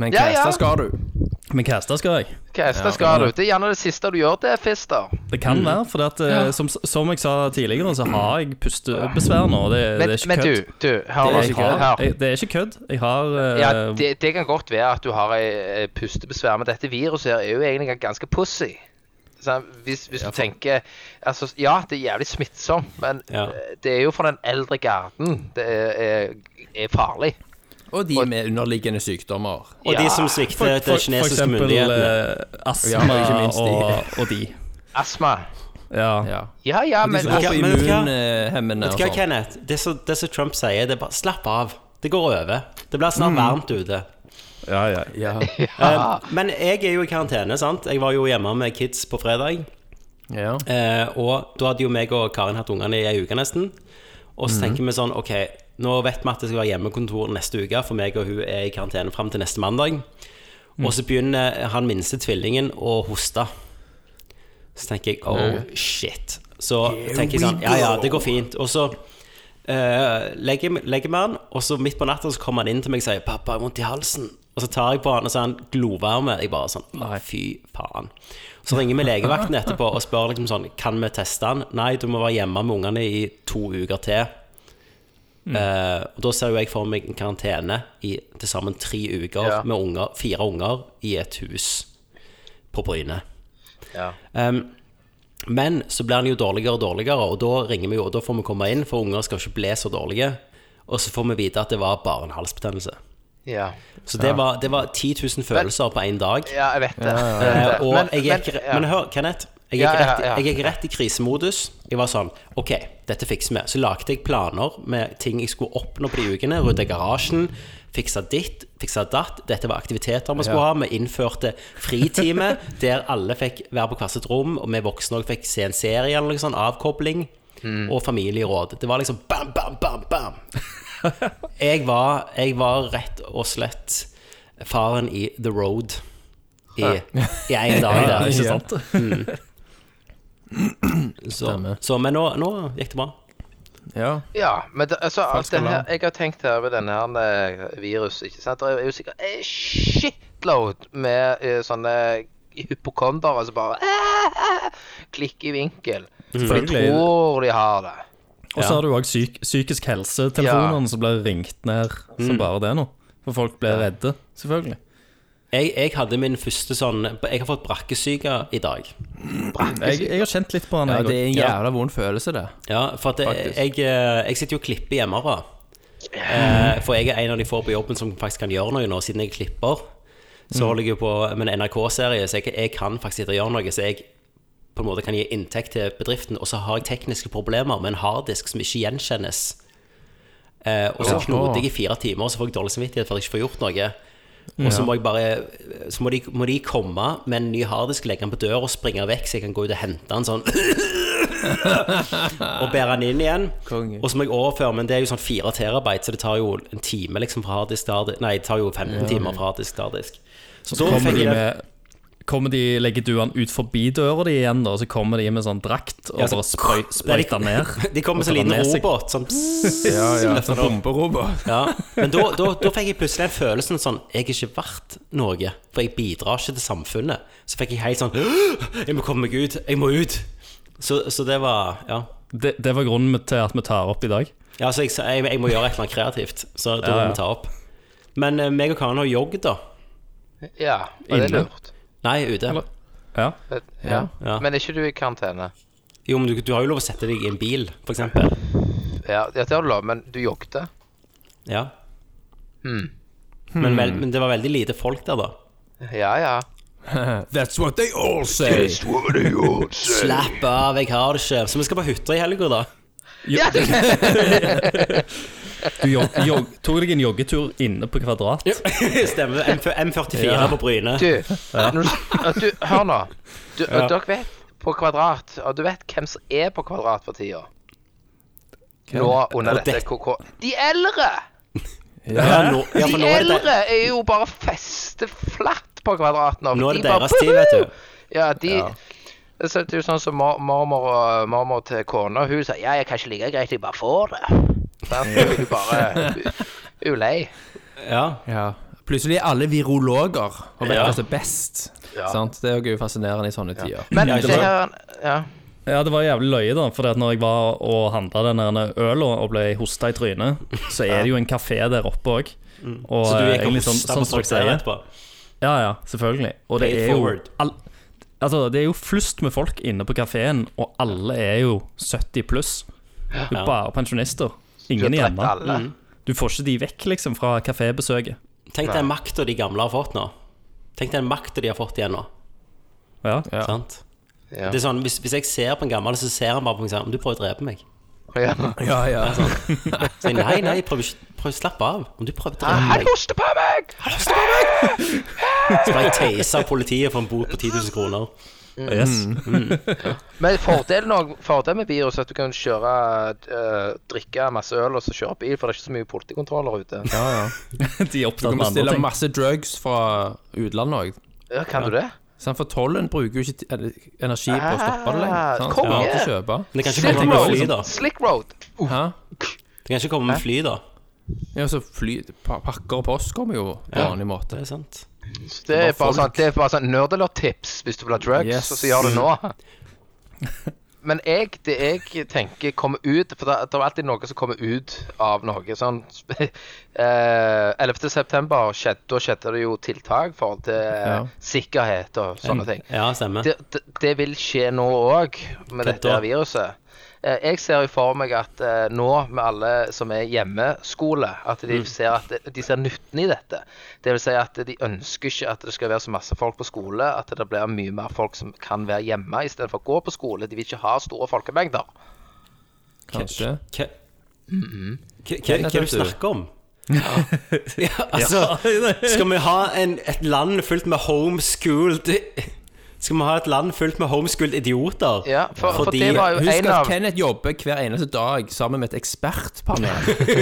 Speaker 8: Men
Speaker 9: Ja,
Speaker 8: hva
Speaker 9: ja.
Speaker 8: skal du?
Speaker 7: Men hva skal jeg?
Speaker 9: Kesta skal du. Det er gjerne det siste du gjør, det, Fister.
Speaker 7: Det kan
Speaker 9: Mm.
Speaker 7: være, for at, eh, som, som jeg sa tidligere, så har jeg pustebesvær nå. Det,
Speaker 9: Men,
Speaker 7: det er ikke
Speaker 9: men du,
Speaker 7: kødd.
Speaker 9: du, hør nå.
Speaker 7: Jeg har,
Speaker 9: Hør.
Speaker 7: jeg, det er ikke kødd. Jeg har
Speaker 9: Ja,
Speaker 7: eh,
Speaker 9: det, det kan godt være at du har ei- ei pustebesvær, men dette viruset her er jo egentlig ganske pussig. Sånn, hvis hvis du tenker altså, Ja, det er jævlig smittsomt, men
Speaker 6: Ja.
Speaker 9: eh, det er jo for den eldre garden. Det er, er, er farlig.
Speaker 8: Og de med underliggende sykdommer.
Speaker 6: Og de
Speaker 9: Ja,
Speaker 6: som svikter til kinesiske myndighetene.
Speaker 7: eh, astma
Speaker 8: Ja, ikke minst de.
Speaker 7: og, og de.
Speaker 9: Astma.
Speaker 7: Ja.
Speaker 8: Ja.
Speaker 9: Ja, ja,
Speaker 8: De
Speaker 9: men
Speaker 8: som
Speaker 9: altså,
Speaker 8: går på
Speaker 6: men vet du hva?
Speaker 8: immunhemmende
Speaker 6: Vet
Speaker 8: og
Speaker 6: du hva,
Speaker 8: sånn.
Speaker 6: Kenneth? Det som det som Trump sier, det er bare slapp av. Det går over. Det blir snart
Speaker 8: Mm.
Speaker 6: varmt ute.
Speaker 7: Ja, ja.
Speaker 8: Ja.
Speaker 6: Eh, men jeg er jo i karantene, sant. Jeg var jo hjemme med kids på fredag.
Speaker 8: Ja.
Speaker 6: Eh, og da hadde jo meg og Karin hatt ungene i ei uke nesten. Og
Speaker 8: Mm.
Speaker 6: så tenker vi sånn, ok, nå vet vi at det skal være hjemmekontor neste uke, for meg og hun er i karantene fram til neste mandag. Og så begynner han minste tvillingen å hoste. Så tenker jeg oh shit. Så tenker jeg sånn, ja ja, det går fint. Og så eh, legger legger vi han, og så midt på natta så kommer han inn til meg og sier 'pappa, jeg har vondt i halsen'. Og Og så tar jeg på han, og så er han glovarme. Jeg bare sånn Å, fy faen. Så ringer vi legevakten etterpå og spør liksom sånn Kan vi teste han? Nei, du må være hjemme med ungene i to uker til. Eh, og da ser jo jeg for meg en karantene i til sammen tre uker
Speaker 9: Ja.
Speaker 6: med unger, fire unger i et hus på Bryne.
Speaker 9: Ja.
Speaker 6: Ehm, men så blir han jo dårligere og dårligere, og da ringer vi jo, og da får vi komme inn, for unger skal ikke bli så dårlige. Og så får vi vite at det var bare en halsbetennelse.
Speaker 9: ja.
Speaker 6: Så det var, det var 10 000 følelser på én dag.
Speaker 9: Ja, jeg vet det.
Speaker 6: Eh, og
Speaker 9: Men-
Speaker 6: jeg gikk,
Speaker 9: men-
Speaker 6: men,
Speaker 9: ja.
Speaker 6: hør, Kenneth. Jeg
Speaker 9: Ja,
Speaker 6: gikk,
Speaker 9: ja,
Speaker 6: rett,
Speaker 9: ja.
Speaker 6: jeg gikk rett i krisemodus. Jeg var sånn Ok, dette fikser vi. Så lagde jeg planer med ting jeg skulle oppnå på de ukene. Rydda garasjen, fiksa ditt, fiksa datt. Dette var aktiviteter vi skulle ha. Vi innførte fritime der alle fikk være på hvert sitt rom, og vi voksne òg fikk se en serie eller noe sånn avkobling.
Speaker 9: Mm.
Speaker 6: Og familieråd. Det var liksom bam, bam, bam, bam. Jeg var, jeg var rett og slett faren i The Road i, i en dag.
Speaker 7: Ja,
Speaker 6: Der.
Speaker 7: ikke sant?
Speaker 6: Så, så, men nå, nå gikk det bra.
Speaker 8: Ja.
Speaker 9: Ja, men det, altså, alt
Speaker 8: Falsk
Speaker 9: den her,
Speaker 8: alarm.
Speaker 9: jeg har tenkt her ved denne her eh, virus, ikke sant? Det er jo sikkert en shitload med eh, sånne hypokondere som bare eh, eh, klikker i
Speaker 6: Mm.
Speaker 9: vinkel. For de
Speaker 7: Selvfølgelig.
Speaker 9: tror de har det.
Speaker 7: Og så har du òg psyk psykisk helse-telefonene som blir ringt ned
Speaker 8: Mm.
Speaker 7: som bare det nå. For folk blir redde, selvfølgelig.
Speaker 6: Jeg, jeg hadde min første sånn Jeg har fått brakkesyke i dag.
Speaker 7: Jeg, jeg har kjent litt på han.
Speaker 8: ja,
Speaker 7: jeg
Speaker 8: det er en
Speaker 7: også.
Speaker 8: jævla vond følelse, det.
Speaker 6: Ja, for at jeg,
Speaker 8: Faktisk.
Speaker 6: jeg, eh, jeg sitter jo og klipper hjemmefra.
Speaker 7: Mm.
Speaker 6: Eh, for jeg er en av de få på jobben som faktisk kan gjøre noe nå, siden jeg klipper.
Speaker 7: Mm.
Speaker 6: Så holder jeg jo på med en NRK-serie, så jeg, jeg kan faktisk sitte og gjøre noe. Så jeg på en måte kan gi inntekt til bedriften. Og så har jeg tekniske problemer med en harddisk som ikke gjenkjennes. Eh, og så knoter jeg i fire timer, og så får jeg dårlig samvittighet for at jeg ikke får gjort noe. Og så må jeg bare Så må de, må de komme med en ny harddisk, legge den på døra og springe vekk, så jeg kan gå ut og hente den sånn og bære den inn igjen.
Speaker 8: Konge.
Speaker 6: Og så må jeg overføre, men det er jo sånn fire terabyte, så det tar jo en time liksom fra harddisk til harddisk Nei, det tar jo 15 timer fra harddisk til harddisk. Så, da
Speaker 7: Kommer
Speaker 6: fikk
Speaker 7: de
Speaker 6: jeg det.
Speaker 7: med Kommer de, Legger du han ut forbi døra di igjen, da, og så kommer de med sånn drakt og
Speaker 6: Ja, så-
Speaker 7: bare sprøy, sprøyter
Speaker 6: Nei,
Speaker 7: ned?
Speaker 6: De kom med
Speaker 7: Og
Speaker 6: sånn liten
Speaker 7: tar med seg-
Speaker 6: robot som
Speaker 8: Ja, ja. Sånn bomberobot.
Speaker 6: Ja, men da, da, da fikk jeg plutselig den følelsen sånn Jeg er ikke verdt noe, for jeg bidrar ikke til samfunnet. Så fikk jeg helt sånn Jeg må komme meg ut! Jeg må ut! Så, så det var Ja.
Speaker 7: Det, det var grunnen til at vi tar opp i dag.
Speaker 6: ja så jeg, sa, jeg, jeg må gjøre et eller annet kreativt, så da må vi ta opp. Men eh, meg og Karen har jogg, da.
Speaker 9: Ja, og det er
Speaker 7: Inne.
Speaker 9: lurt.
Speaker 6: Nei, ute.
Speaker 7: Ja.
Speaker 9: Det- Ja.
Speaker 6: Ja.
Speaker 9: Men er ikke du i karantene?
Speaker 6: Jo, men du, du har jo lov å sette deg i en bil, for eksempel.
Speaker 9: Ja, ja, det har du lov, men du jogget.
Speaker 6: Ja. Men, vel, men det var veldig lite folk der, da.
Speaker 9: Ja, ja.
Speaker 8: That's what they all say.
Speaker 6: Slapp av, jeg har det ikke. Så vi skal på hytta i helga, da.
Speaker 9: Ja, det
Speaker 7: Du jog, jog, tok deg en joggetur inne på Kvadrat.
Speaker 6: Stemmer. M M44 på Bryne.
Speaker 9: Du, når du, du hør nå. Du, Dere vet på kvadrat, og du vet hvem som er på kvadrat for tida. Nå under
Speaker 6: Og
Speaker 9: dette
Speaker 6: det-
Speaker 9: KK. De eldre!
Speaker 6: Ja, nå, ja,
Speaker 9: De
Speaker 6: for nå er det
Speaker 9: eldre er jo bare festeflatt på kvadrat nå.
Speaker 6: Nå er
Speaker 9: De
Speaker 6: det
Speaker 9: bare,
Speaker 6: deres tid, vet du.
Speaker 9: Ja, de... Så det er jo sånn som mor- mormor, og- mormor til kona, hun sa ja, jeg kan ikke like greit, jeg bare får det. Sånn, Sant? Hun er jo bare hun er jo lei.
Speaker 6: Ja.
Speaker 8: Ja. Plutselig er alle virologer og vet
Speaker 6: Ja.
Speaker 8: hva som er best.
Speaker 9: Ja.
Speaker 8: Sant? Det er jo fascinerende i sånne tider.
Speaker 9: Men
Speaker 6: Ja, det
Speaker 9: se
Speaker 6: var-
Speaker 9: her ja.
Speaker 7: Ja, det var jævlig løye, da. For når jeg var og handla den der øla og ble hosta i trynet, så er det jo en kafé der oppe òg. Og
Speaker 6: Mm. Så du
Speaker 7: eh,
Speaker 6: gikk og
Speaker 7: egentlig sånn,
Speaker 6: hosta på
Speaker 7: sånn som dere
Speaker 6: folk der
Speaker 7: sier
Speaker 6: etterpå?
Speaker 7: Ja, ja, selvfølgelig. Og det
Speaker 6: Pay it
Speaker 7: er jo
Speaker 6: forward.
Speaker 7: all, Altså, det er jo flust med folk inne på kafeen, og alle er jo 70 pluss. Det er
Speaker 6: Ja.
Speaker 7: bare pensjonister.
Speaker 9: Du har
Speaker 7: Ingen er hjemme.
Speaker 9: drept
Speaker 7: Mm.
Speaker 9: alle.
Speaker 6: Mm.
Speaker 7: Du får ikke de vekk, liksom, fra kafébesøket.
Speaker 6: Tenk den makta de gamle har fått nå. Tenk den makta de har fått igjen nå.
Speaker 7: Ja.
Speaker 6: Sant?
Speaker 9: Ja.
Speaker 6: Det er sånn, hvis, hvis jeg ser på en gammel, så ser han bare på meg og sier 'Om du prøver å drepe meg'.
Speaker 9: Ja.
Speaker 8: Ja, ja.
Speaker 6: Så jeg, nei, nei, prøv ikke prøv, slapp av. Om du prøver å drepe
Speaker 9: Han
Speaker 6: meg,
Speaker 9: hoster på meg!
Speaker 6: så blir jeg tasa av politiet for en bot på 10 000 kroner.
Speaker 7: Yes.
Speaker 8: Mm.
Speaker 9: Men fordelen, og, fordelen med virus er at du kan kjøre, eh, drikke masse øl og så kjøre bil, for det er ikke så mye politikontroller ute. Ja,
Speaker 7: De er
Speaker 8: Du
Speaker 7: opptatt
Speaker 8: kan
Speaker 7: med andre
Speaker 8: bestille
Speaker 7: ting.
Speaker 8: masse drugs fra utlandet òg.
Speaker 9: kan du det?
Speaker 8: For tollen bruker jo ikke en- energi på å stoppe det lenger. Sant?
Speaker 9: Ah, Konge!
Speaker 8: Bare til å kjøpe.
Speaker 6: Men det kan ikke
Speaker 9: Slick
Speaker 6: komme med fly, da.
Speaker 9: road! Slick road!
Speaker 8: Hæ?
Speaker 6: Det kan ikke komme med fly, da.
Speaker 7: Ja, så fly, pa, pakker og post kommer jo på
Speaker 6: Ja.
Speaker 7: vanlig måte.
Speaker 6: Det er sant.
Speaker 9: Så Det er bare sånn, det er bare sånn nerdelort-tips hvis du vil ha drugs,
Speaker 7: Yes.
Speaker 9: og så gjør det nå. Men jeg, det jeg tenker kommer ut For det, det er alltid noe som kommer ut av noe. Sånn eh, 11.9. Skjedde, da skjedde det jo tiltak i forhold til eh, sikkerhet og sånne ting.
Speaker 6: Ja, stemmer.
Speaker 9: Det, det, det vil skje nå òg,
Speaker 6: Kødder.
Speaker 9: med dette her viruset. Eh, Jeg ser jo for meg at eh, nå, med alle som er hjemmeskole, at
Speaker 7: Mm.
Speaker 9: de ser, at det- de ser nytten i dette. Det vil si at de ønsker ikke at det skal være så masse folk på skole, at det blir mye mer folk som kan være hjemme istedenfor å gå på skole. De vil ikke ha store folkemengder.
Speaker 7: Kanskje.
Speaker 6: Hva Hva- hva- hva er det du snakker om? Ja, altså Skal vi ha en, et land fullt med homeschooled Skal vi ha et land fullt med homeschooled idioter?
Speaker 9: Ja, for, for det var jo
Speaker 7: Husk
Speaker 9: en
Speaker 7: at
Speaker 9: av
Speaker 7: Kenneth jobber hver eneste dag sammen med et ekspertpanel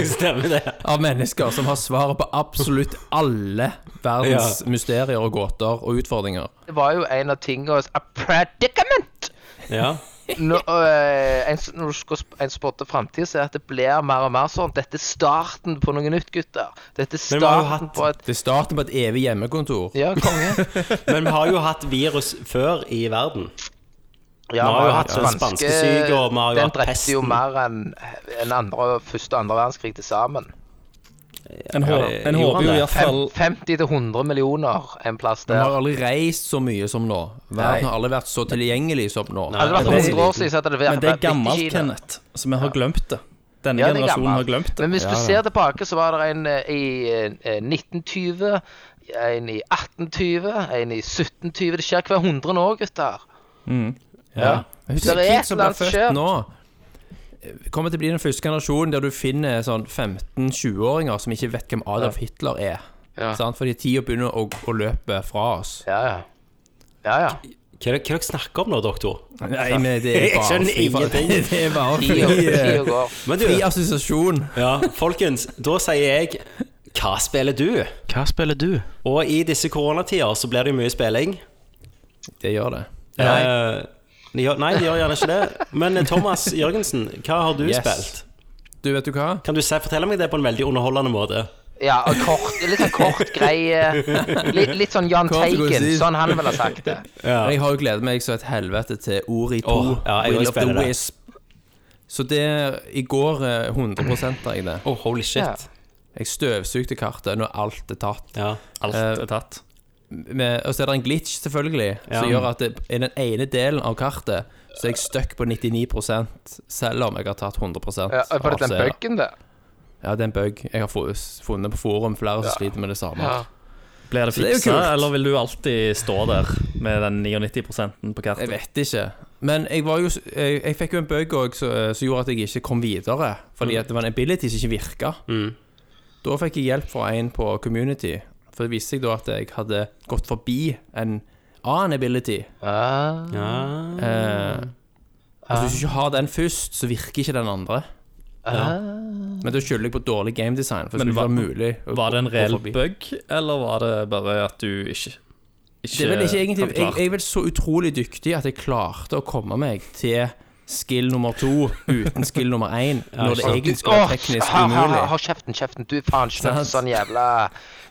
Speaker 6: Stemmer det.
Speaker 7: av mennesker som har svaret på absolutt alle verdens mysterier og gåter og utfordringer.
Speaker 9: Det var jo en av tingene A predicament!
Speaker 6: Ja.
Speaker 9: Når, øh, en, s- når du skal sp- en spotte framtida, så er at det blir mer og mer sånn. Dette er starten på noe nytt, gutter. Dette er
Speaker 6: Men vi har jo
Speaker 9: starten
Speaker 6: hatt-
Speaker 9: på et
Speaker 7: Det er starten på et evig hjemmekontor.
Speaker 9: Ja, konge.
Speaker 6: Men vi har jo hatt virus før i verden.
Speaker 9: Ja,
Speaker 6: Vi har jo hatt sånn spanskesyke, og vi har jo
Speaker 9: Den
Speaker 6: hatt
Speaker 9: drepte jo
Speaker 6: pesten.
Speaker 9: mer enn enn andre, første og andre verdenskrig til sammen.
Speaker 10: En, hå
Speaker 6: det-
Speaker 10: en
Speaker 6: gjorde
Speaker 10: håper
Speaker 6: han
Speaker 10: jo
Speaker 6: det?
Speaker 10: iallfall
Speaker 9: 50 til 100 millioner en plass
Speaker 7: Vi har
Speaker 9: der.
Speaker 7: aldri reist så mye som nå. Verden
Speaker 9: Nei.
Speaker 7: har aldri vært så tilgjengelig som nå.
Speaker 9: Hadde det vært 100 år siden, så hadde det vært
Speaker 10: Men det er
Speaker 9: vært midt i
Speaker 10: gammelt,
Speaker 9: Kina.
Speaker 10: Kenneth, så vi har glemt det. Denne
Speaker 9: Ja, det er
Speaker 10: generasjonen har
Speaker 9: gammelt.
Speaker 10: glemt det.
Speaker 9: Men hvis du ser tilbake, så var det en eh, i eh, 1920, en i 1820, en i 1720. Det skjer hver hundre år, gutter.
Speaker 10: Mm.
Speaker 7: Ja. Jeg husker
Speaker 9: Det er
Speaker 7: Kid
Speaker 9: et
Speaker 7: som
Speaker 9: eller
Speaker 7: ble
Speaker 9: annet som skjer.
Speaker 7: født nå. Kommer til å bli den første generasjonen der du finner sånn 15-20-åringer som ikke vet hvem Adolf Hitler er.
Speaker 9: Ja.
Speaker 7: Sant? Fordi tida begynner å, å løpe fra oss.
Speaker 9: Ja, ja. Ja, ja.
Speaker 6: Hva er det hva er det dere snakker om nå, doktor?
Speaker 7: Nei, men det er
Speaker 6: Jeg
Speaker 7: bare
Speaker 6: skjønner
Speaker 7: fri-
Speaker 6: ingenting.
Speaker 7: Det er bare fri, eh,
Speaker 9: Tida tida går.
Speaker 6: Men du,
Speaker 7: fri assosiasjon.
Speaker 6: ja, folkens, da sier jeg Hva spiller du?
Speaker 11: Hva spiller du?
Speaker 6: Og i disse koronatider så blir det jo mye spilling.
Speaker 7: Det gjør det.
Speaker 6: Nei. de gjør, nei, de gjør gjerne ikke det. Men eh, Thomas Jørgensen, hva har du
Speaker 7: Yes.
Speaker 6: spilt?
Speaker 7: Du, vet du hva?
Speaker 6: Kan du si, fortelle meg det på en veldig underholdende måte?
Speaker 9: Ja, og kort, litt sånn kort greie. Litt, litt sånn Jahn
Speaker 7: Kort og
Speaker 9: Teigen,
Speaker 7: konsist.
Speaker 9: sånn han ville ha sagt det.
Speaker 7: Jeg har jo gledet meg så et helvete til Ori 2,
Speaker 6: Åh, ja, jeg
Speaker 7: Will
Speaker 6: også
Speaker 7: of the
Speaker 6: spiller det.
Speaker 7: Wisp. Så det I går eh, 100 av jeg det.
Speaker 6: Oh, holy shit.
Speaker 9: Ja.
Speaker 7: Jeg støvsugde kartet når alt er tatt.
Speaker 6: Ja.
Speaker 10: Alt er tatt.
Speaker 7: Eh, Med, og så er det en glitch, selvfølgelig, som
Speaker 6: Ja.
Speaker 7: gjør at det, i den ene delen av kartet så er jeg stuck på 99 selv om jeg har tatt 100
Speaker 9: Ja, var det
Speaker 7: av
Speaker 9: den
Speaker 7: seere.
Speaker 9: buggen, det?
Speaker 7: Ja, det er en bug. Jeg har fu- funnet på forum flere som sliter med det samme.
Speaker 9: Ja.
Speaker 10: Blir det
Speaker 7: det er jo
Speaker 10: fiksa,
Speaker 7: kult.
Speaker 10: eller vil du alltid stå der med den 99 på
Speaker 7: Jeg
Speaker 10: kartet?
Speaker 7: vet ikke. Men jeg, var jo, s- jeg, jeg fikk jo en bug òg eh, som som gjorde at jeg ikke kom videre. Fordi
Speaker 10: Mm.
Speaker 7: at det var en ability som ikke virka. Da fikk jeg hjelp fra en på community. For det viste seg da at jeg hadde gått forbi en annen ability.
Speaker 9: Ah,
Speaker 6: Ja.
Speaker 7: Eh, altså Hvis du ikke har den først, så virker ikke den andre.
Speaker 9: ah.
Speaker 7: Men da skylder jeg på dårlig gamedesign. For det
Speaker 10: Men
Speaker 7: skulle
Speaker 10: var-
Speaker 7: ikke være mulig å
Speaker 10: Var det en
Speaker 7: gå- gå
Speaker 10: reell
Speaker 7: forbi.
Speaker 10: bug, eller var det bare at du ikke, ikke
Speaker 7: Det er vel ikke egentlig
Speaker 10: hadde
Speaker 7: jeg,
Speaker 10: klart?
Speaker 7: jeg er vel så utrolig dyktig at jeg klarte å komme meg til skill nummer to uten skill nummer én, når det
Speaker 6: sant.
Speaker 7: egentlig skal være
Speaker 9: Åh,
Speaker 7: teknisk
Speaker 9: ha, ha, ha,
Speaker 7: umulig.
Speaker 9: ha kjeften, kjeften. Du er faen ikke noe
Speaker 7: Sant.
Speaker 9: sånn jævla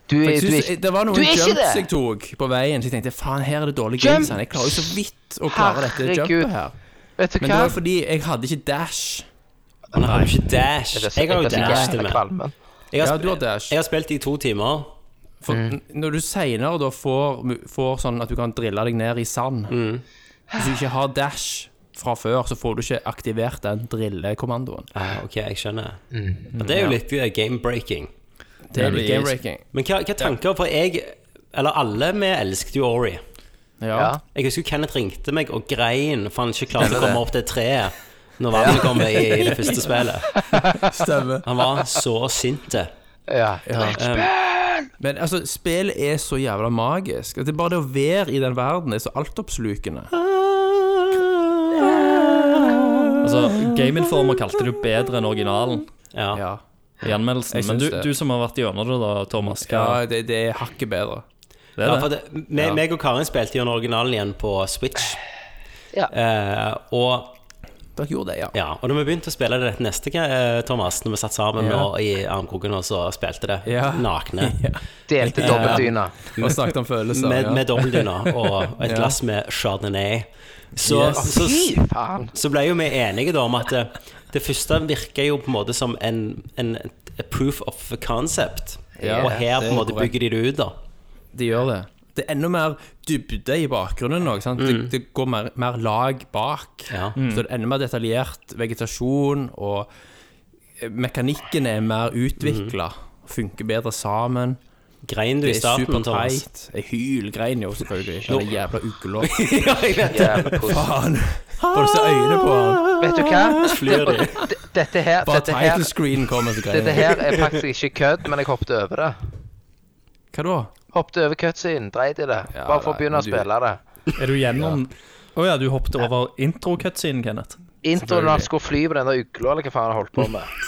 Speaker 9: Du
Speaker 7: For
Speaker 9: er,
Speaker 7: Jeg
Speaker 9: du er
Speaker 7: synes,
Speaker 9: ikke
Speaker 7: det var
Speaker 9: Du
Speaker 7: noen
Speaker 9: er ikke
Speaker 7: jumps
Speaker 9: det!
Speaker 7: jeg tok på veien, så jeg tenkte faen, her er det dårlig
Speaker 9: Jump!
Speaker 7: gamesen. Jeg klarer jo så vidt å klare dette jumpet
Speaker 9: Herregud.
Speaker 7: her.
Speaker 9: Vet du
Speaker 7: Men det
Speaker 9: hva?
Speaker 7: var fordi jeg hadde ikke dash.
Speaker 6: Han har jo ikke dash.
Speaker 9: Jeg blir så-
Speaker 6: Jeg har jo
Speaker 9: jeg blir så
Speaker 6: dash til
Speaker 9: jævla
Speaker 6: meg.
Speaker 9: kvalm.
Speaker 6: Jeg
Speaker 7: Ja,
Speaker 6: har,
Speaker 7: du har dash.
Speaker 6: jeg har spilt i to timer.
Speaker 7: For
Speaker 8: Mm.
Speaker 7: n- når du senere da får, mu- får sånn at du kan drille deg ned i sand
Speaker 10: Mm.
Speaker 7: Hvis du ikke har dash fra før, så får du ikke aktivert den drillekommandoen.
Speaker 6: Ah, ok, jeg skjønner. Og det er jo litt eh, game-breaking.
Speaker 7: Det er
Speaker 10: blir-
Speaker 7: litt game-breaking.
Speaker 6: Men hva, hva tanker For jeg, eller alle, vi elsket jo Ori.
Speaker 7: ja.
Speaker 9: Ja.
Speaker 6: Jeg husker Kenneth ringte meg og grein for han ikke klarte å
Speaker 7: Stemmer det.
Speaker 6: komme opp til treet når vannet kom i det første spillet.
Speaker 7: Stemmer.
Speaker 6: Han var så sint.
Speaker 9: Ja.
Speaker 7: Men altså, spill er så jævla magisk. At Det er bare det å være i den verden er så altoppslukende.
Speaker 10: Altså, Game Informer kalte det jo bedre enn originalen
Speaker 6: Ja.
Speaker 7: Ja,
Speaker 10: i anmeldelsen.
Speaker 7: Jeg
Speaker 10: Men
Speaker 7: syns
Speaker 10: du,
Speaker 7: det.
Speaker 10: du som har vært gjennom det, da, Thomas.
Speaker 7: ja
Speaker 10: Hva,
Speaker 7: det, det er hakket bedre.
Speaker 10: det er
Speaker 6: Ja,
Speaker 10: det?
Speaker 6: for det, me, meg og Karin spilte gjennom originalen igjen på Switch.
Speaker 9: Ja.
Speaker 6: Eh, og
Speaker 8: Dere gjorde det, ja.
Speaker 6: Ja, og når vi begynte å spille det neste, eh, Thomas, når vi satt sammen
Speaker 7: Ja.
Speaker 6: og, i armkroken og så spilte det
Speaker 8: Ja.
Speaker 6: nakne
Speaker 9: Delte dobbeltdyna.
Speaker 8: Og snakket om følelser.
Speaker 6: med,
Speaker 8: ja.
Speaker 6: med dobbeltdyna og et glass med chardonnay, så,
Speaker 8: Yes.
Speaker 6: så,
Speaker 9: Fy faen.
Speaker 6: så ble jo vi enige da om at eh, det første virker jo på en måte som en, en a proof of concept,
Speaker 8: Ja,
Speaker 6: og
Speaker 8: det
Speaker 6: her på
Speaker 8: er
Speaker 6: en måte
Speaker 8: korrekt.
Speaker 6: bygger de det ut, da.
Speaker 8: De gjør det. Det er enda mer dybde i bakgrunnen nå. ikke Sant? Det, det går mer, mer lag bak.
Speaker 6: Ja.
Speaker 8: Så det er enda mer detaljert vegetasjon, og eh, mekanikken er mer utvikla. Funker bedre sammen.
Speaker 6: Grein du
Speaker 8: Det
Speaker 6: i
Speaker 8: er
Speaker 6: starten, Thomas?
Speaker 8: superteit. Jeg hylgrein jo, selvfølgelig. Det er jævla ukelov.
Speaker 6: ja, jeg vet det.
Speaker 9: Jævla kos.
Speaker 8: Faen. Bare se øynene på han.
Speaker 9: Vet du hva?
Speaker 6: Flyr de.
Speaker 9: D- Dette her,
Speaker 8: Bare
Speaker 9: dette her,
Speaker 8: title screen kommer, så greier
Speaker 9: dette
Speaker 8: jeg.
Speaker 9: her er faktisk ikke kødd, men jeg hoppet over det.
Speaker 8: Hva da?
Speaker 9: Hoppet over cutscene, dreit i det.
Speaker 8: Ja,
Speaker 9: Bare for å
Speaker 8: nei,
Speaker 9: begynne
Speaker 8: men
Speaker 9: å
Speaker 8: du-
Speaker 9: spille det.
Speaker 7: Er du gjennom Å ja, du hoppet over intro-cutscene, Kenneth.
Speaker 9: Introen når han skulle fly på den der ugla, eller hva faen han holdt på med.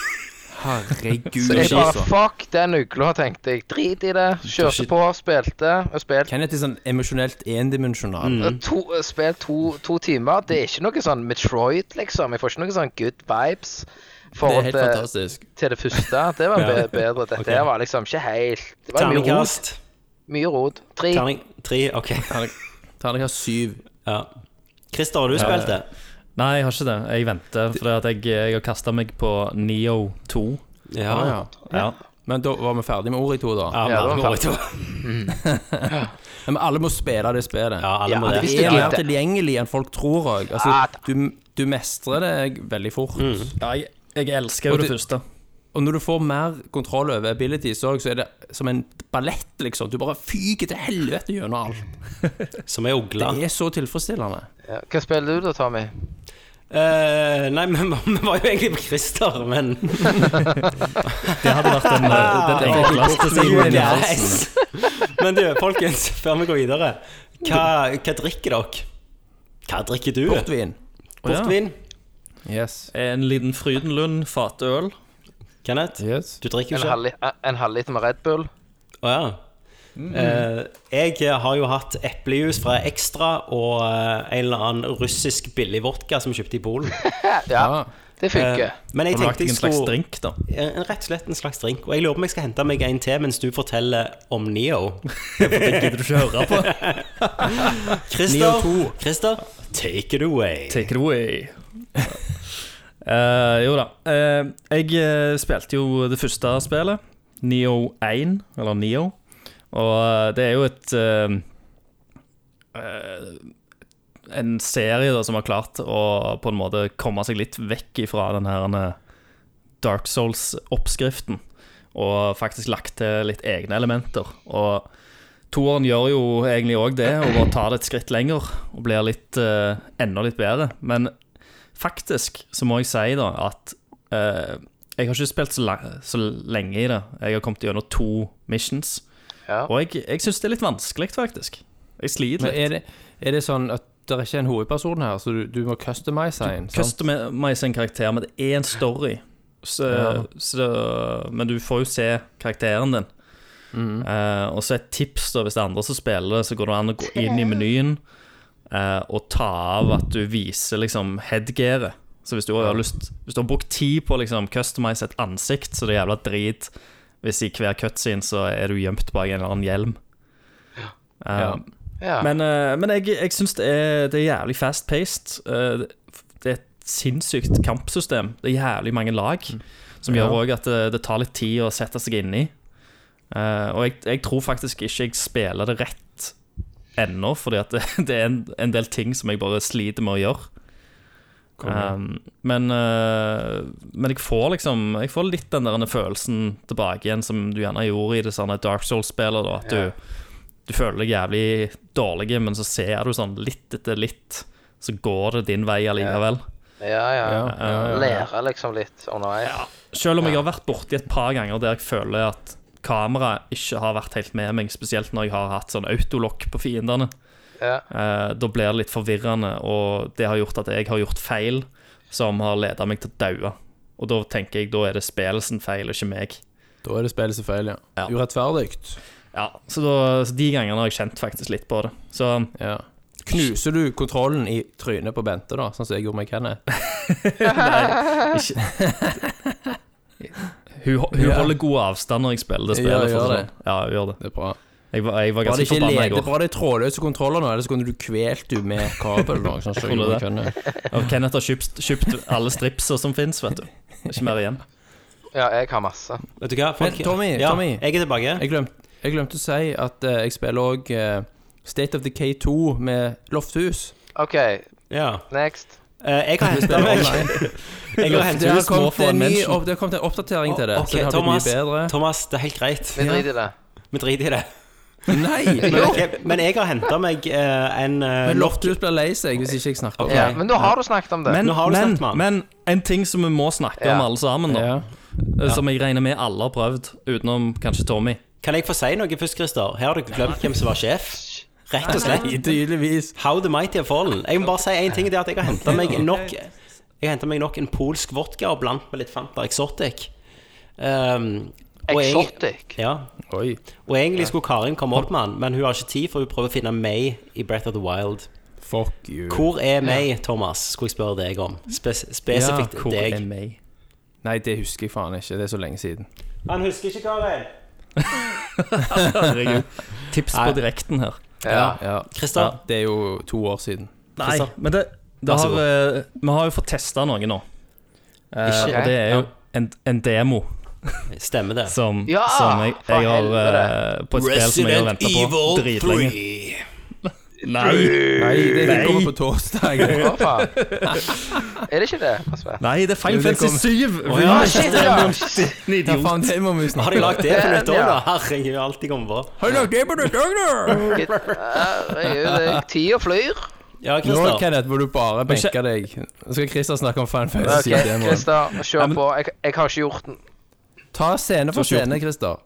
Speaker 8: Herregud,
Speaker 9: Så jeg bare
Speaker 8: altså.
Speaker 9: fuck den ugla, tenkte jeg. Drit i det. Kjørte på, spilte. Og spilte
Speaker 8: Kenneth er sånn emosjonelt endimensjonal.
Speaker 7: Mm.
Speaker 9: to, spilt to, to timer. Det er ikke noe sånn Metroid, liksom. Jeg får ikke noe sånn good vibes.
Speaker 8: Det er
Speaker 9: Forhold
Speaker 8: helt
Speaker 7: eh,
Speaker 9: til,
Speaker 8: fantastisk.
Speaker 9: til det første. Det var be- bedre. Dette her var liksom ikke helt Det var mye rot.
Speaker 6: Terningkast.
Speaker 9: Mye rot. Tre.
Speaker 6: Terning tre, ok.
Speaker 8: Terningkast syv.
Speaker 6: Ja. Christer, har du spilt det?
Speaker 7: Nei, jeg har ikke det. Jeg venter, for at jeg, jeg har kasta meg på Neo 2.
Speaker 6: Ja.
Speaker 8: Ah,
Speaker 6: ja.
Speaker 8: ja.
Speaker 7: Ja.
Speaker 8: Men da var vi ferdige med ordet i to, da.
Speaker 6: ja,
Speaker 9: Ja, det var
Speaker 6: vi har to.
Speaker 8: Men alle må spille det spillet.
Speaker 6: ja alle
Speaker 9: Ja,
Speaker 6: må
Speaker 9: det
Speaker 6: det.
Speaker 9: visste
Speaker 8: det er
Speaker 9: jeg
Speaker 8: mer
Speaker 9: ikke.
Speaker 8: tilgjengelig enn folk tror òg.
Speaker 9: Ah,
Speaker 8: Altså, du, du mestrer det veldig fort.
Speaker 7: Mm. Ja, jeg, jeg elsker
Speaker 8: Og
Speaker 7: jo det
Speaker 8: det-
Speaker 7: første.
Speaker 8: Og når du får mer kontroll over abilities òg, så er det som en ballett, liksom. Du bare fyker til helvete gjennom alt.
Speaker 6: Som er ugla.
Speaker 8: Det er så tilfredsstillende.
Speaker 9: Ja. Hva spiller du da, Tommy?
Speaker 6: Eh, nei, men vi var jo egentlig på Christer, men
Speaker 7: Det hadde vært den,
Speaker 6: Ah.
Speaker 7: eh, den enkleste siden.
Speaker 6: Yes. Men du, folkens, før vi går videre, hva, hva drikker dere? Hva drikker du?
Speaker 8: Portvin.
Speaker 6: Portvin?
Speaker 8: Yes.
Speaker 7: En liten Frydenlund fatøl.
Speaker 6: Kenneth?
Speaker 8: Yes.
Speaker 6: Du drikker
Speaker 9: En
Speaker 6: jo ikke?
Speaker 9: halvli- En halvliter med Red Bull?
Speaker 6: Å ja. Eh, jeg har jo hatt eplejus fra Extra og eh, en eller annen russisk billig vodka som jeg kjøpte i Polen.
Speaker 9: Ja, det
Speaker 6: Eh,
Speaker 9: funker.
Speaker 6: men jeg
Speaker 7: Har du
Speaker 6: tenkte
Speaker 7: lagt deg
Speaker 6: jeg
Speaker 7: en slags
Speaker 6: skulle
Speaker 7: drink, da?
Speaker 6: eh, en, en- Rett og slett en slags drink. Og jeg lurer på om jeg skal hente meg en til mens du forteller om Neo.
Speaker 7: Gidder du ikke høre på?
Speaker 6: Christer, Christer, take it away.
Speaker 7: Take it away. Eh, jo da. Eh, jeg eh, spilte jo det første spillet, Neo 1, eller Neo. Og eh, det er jo et eh, eh, En serie da, som har klart å på en måte komme seg litt vekk ifra den her eh, Dark Souls-oppskriften. Og faktisk lagt til litt egne elementer. Og Toeren gjør jo egentlig òg det, og bare tar det et skritt lenger og blir litt, eh, enda litt bedre. Men faktisk så må jeg si da at eh, jeg har ikke spilt så, la- så lenge i det. Jeg har kommet gjennom to missions,
Speaker 9: Ja.
Speaker 7: og jeg, jeg syns det er litt vanskelig, faktisk. Jeg sliter
Speaker 8: Men
Speaker 7: litt.
Speaker 8: er det, er det sånn at det er ikke en hovedperson her, så du, du må customize en? sant?
Speaker 7: Customize en karakter, men det er en story. Så,
Speaker 8: Ja.
Speaker 7: så, men du får jo se karakteren din.
Speaker 8: Mm.
Speaker 7: Eh, og så et tips, da, hvis det er andre som spiller det, så går det an å gå inn i menyen eh, og ta av at du viser liksom headgearet. Så hvis du har lyst Hvis du har brukt tid på å liksom, customize et ansikt, så det er jævla drit hvis i hver cutscene så er du gjemt bak en eller annen hjelm. Eh,
Speaker 8: Ja.
Speaker 9: Ja.
Speaker 7: men, eh, men jeg, jeg syns det, er- det er jævlig fast-paced. Eh, det- det er et sinnssykt kampsystem. Det er jævlig mange lag, som gjør òg at eh, det, det tar litt tid å sette seg inn i. Eh, og jeg, jeg tror faktisk ikke jeg spiller det rett ennå, fordi at det, det er en, en del ting som jeg bare sliter med å gjøre. Um, men, eh, men jeg får liksom Jeg får litt den der denne følelsen tilbake igjen som du gjerne gjorde i det sånne Dark Souls-spillet. da, At du, du føler deg jævlig dårlig, men så ser du sånn litt etter litt, så går det din vei allikevel.
Speaker 9: Ja, ja.
Speaker 7: ja,
Speaker 9: Lære liksom litt underveis.
Speaker 7: Selv om jeg har vært borti et par ganger der jeg føler at kameraet ikke har vært helt med meg, spesielt når jeg har hatt sånn autolokk på fiendene.
Speaker 9: Ja.
Speaker 7: Eh, da blir det litt forvirrende, og det har gjort at jeg har gjort feil som har leda meg til å daue. Og da tenker jeg da er det spillet sin feil, og ikke meg.
Speaker 8: Da er det spillet som feil, ja.
Speaker 7: Ja.
Speaker 8: Urettferdig.
Speaker 7: Ja, så, da, så de gangene har jeg kjent faktisk litt på det. Så
Speaker 8: Ja. Knuser du kontrollen i trynet på Bente, da, sånn som jeg gjorde med Kenneth?
Speaker 7: Hun, hun
Speaker 8: Ja.
Speaker 7: holder god avstand når jeg spiller
Speaker 8: Ja,
Speaker 7: det spillet. for
Speaker 8: gjør
Speaker 7: å si
Speaker 8: det.
Speaker 7: sånn. Ja, hun gjør det.
Speaker 8: Det er bra.
Speaker 7: Jeg var, jeg var
Speaker 8: Bra det
Speaker 7: ganske
Speaker 8: ikke
Speaker 7: forbanna i
Speaker 8: leder,
Speaker 7: går.
Speaker 8: bra det er trådløse kontroller nå, ellers kunne du kvelt du med kabel. Noe, sånn, som jeg
Speaker 7: Tror du
Speaker 8: gjorde med Kenneth.
Speaker 7: Og Kenneth har kjøpt, kjøpt alle stripser som fins, vet du. Det er Ikke mer igjen.
Speaker 9: Ja, jeg har masse.
Speaker 6: Vet du hva, folk
Speaker 8: Men Tommy,
Speaker 6: ja,
Speaker 8: Tommy.
Speaker 6: Jeg er tilbake.
Speaker 8: jeg, glemte, jeg glemte å si at eh, jeg spiller òg State of the K2 med Eh, Lofthus.
Speaker 9: OK,
Speaker 6: Ja.
Speaker 9: next.
Speaker 6: Eh, jeg har henta
Speaker 8: Spiller
Speaker 6: meg
Speaker 8: online.
Speaker 6: Jeg har hentet
Speaker 8: Det har
Speaker 7: Lofthus må
Speaker 8: kommet
Speaker 7: få en
Speaker 8: en ny
Speaker 7: mention.
Speaker 8: opp- det har kommet en oppdatering til det,
Speaker 6: Ok,
Speaker 8: så det har
Speaker 6: Thomas,
Speaker 8: blitt mye bedre.
Speaker 6: Thomas, det er helt greit.
Speaker 9: Vi driter i det.
Speaker 6: Vi driter i det.
Speaker 8: Nei!
Speaker 6: Men, ok, men jeg har henta meg eh, en eh,
Speaker 8: Men
Speaker 6: loft...
Speaker 8: Lofthus blir lei seg hvis ikke jeg snakker om
Speaker 9: Ja,
Speaker 8: det.
Speaker 9: men da har du snakket om det.
Speaker 7: Men,
Speaker 6: Nå har du
Speaker 7: men,
Speaker 6: snakket med han.
Speaker 7: men en ting som vi må snakke om
Speaker 9: Ja.
Speaker 7: alle sammen, da.
Speaker 8: Ja.
Speaker 7: Som jeg regner med alle har prøvd, utenom kanskje Tommy.
Speaker 6: Kan jeg få si noe først, Christer? Her har du glemt hvem som var sjef. Rett og slett.
Speaker 8: Nei, tydeligvis.
Speaker 6: How the mighty have fallen. Jeg må bare si en ting. Det er at jeg har henta meg nok Jeg har hentet meg nok en polsk vodka og blandt med litt Fanta Exotic. Um, og jeg-
Speaker 9: Exotic.
Speaker 6: Ja.
Speaker 8: Oi.
Speaker 6: Og egentlig skulle Karin komme opp med den, men hun har ikke tid, for hun prøver å finne May i Breath of the Wild.
Speaker 8: Fuck you.
Speaker 6: Hvor er May, Thomas? Skulle jeg spørre deg om. Spes spesifikt
Speaker 7: Hvor er
Speaker 6: deg.
Speaker 7: meg?
Speaker 8: Nei, det husker jeg faen ikke. Det er så lenge siden.
Speaker 6: Han husker ikke, Karin.
Speaker 7: Herregud. Tips på
Speaker 6: Nei.
Speaker 7: direkten her.
Speaker 9: Ja.
Speaker 8: Ja.
Speaker 6: Christer?
Speaker 8: Ja, det er jo to år siden.
Speaker 7: Nei,
Speaker 6: Kristian.
Speaker 7: men det, det
Speaker 6: Vær så
Speaker 7: har, eh, Vi har jo fått testa noe nå. Eh,
Speaker 9: Ikke
Speaker 7: og det er jo
Speaker 9: jeg.
Speaker 7: en, en demo
Speaker 6: Stemmer det.
Speaker 7: som,
Speaker 9: Ja,
Speaker 7: som jeg,
Speaker 9: for
Speaker 7: jeg har
Speaker 9: helvete.
Speaker 7: eh, På et spill som jeg har venta på dritlenge. Nei.
Speaker 8: Nei, det, det
Speaker 7: Nei.
Speaker 8: kommer på torsdag.
Speaker 9: Hva faen? Er det ikke det? Asper?
Speaker 7: Nei, det er Final
Speaker 8: Jo, det
Speaker 7: Fantasy 7!
Speaker 9: Ja, shit, ja.
Speaker 8: Ja, faen, det må vi
Speaker 6: Har
Speaker 8: snakke
Speaker 6: de lagd det på nytt òg,
Speaker 9: Ja.
Speaker 6: da? Herregud, alltid kommet på.
Speaker 8: Har du lagt det på nytt òg, da?
Speaker 9: Herregud, tida flyr.
Speaker 6: Ja,
Speaker 8: Nå,
Speaker 6: Christer.
Speaker 8: Kenneth, må du bare benke deg. Nå skal Christer snakke om Final Fantasy
Speaker 9: OK,
Speaker 8: Demoen.
Speaker 9: Christer, kjør på. Jeg, jeg har ikke gjort den.
Speaker 8: Ta scene for
Speaker 7: Så kjort.
Speaker 8: scene, Christer.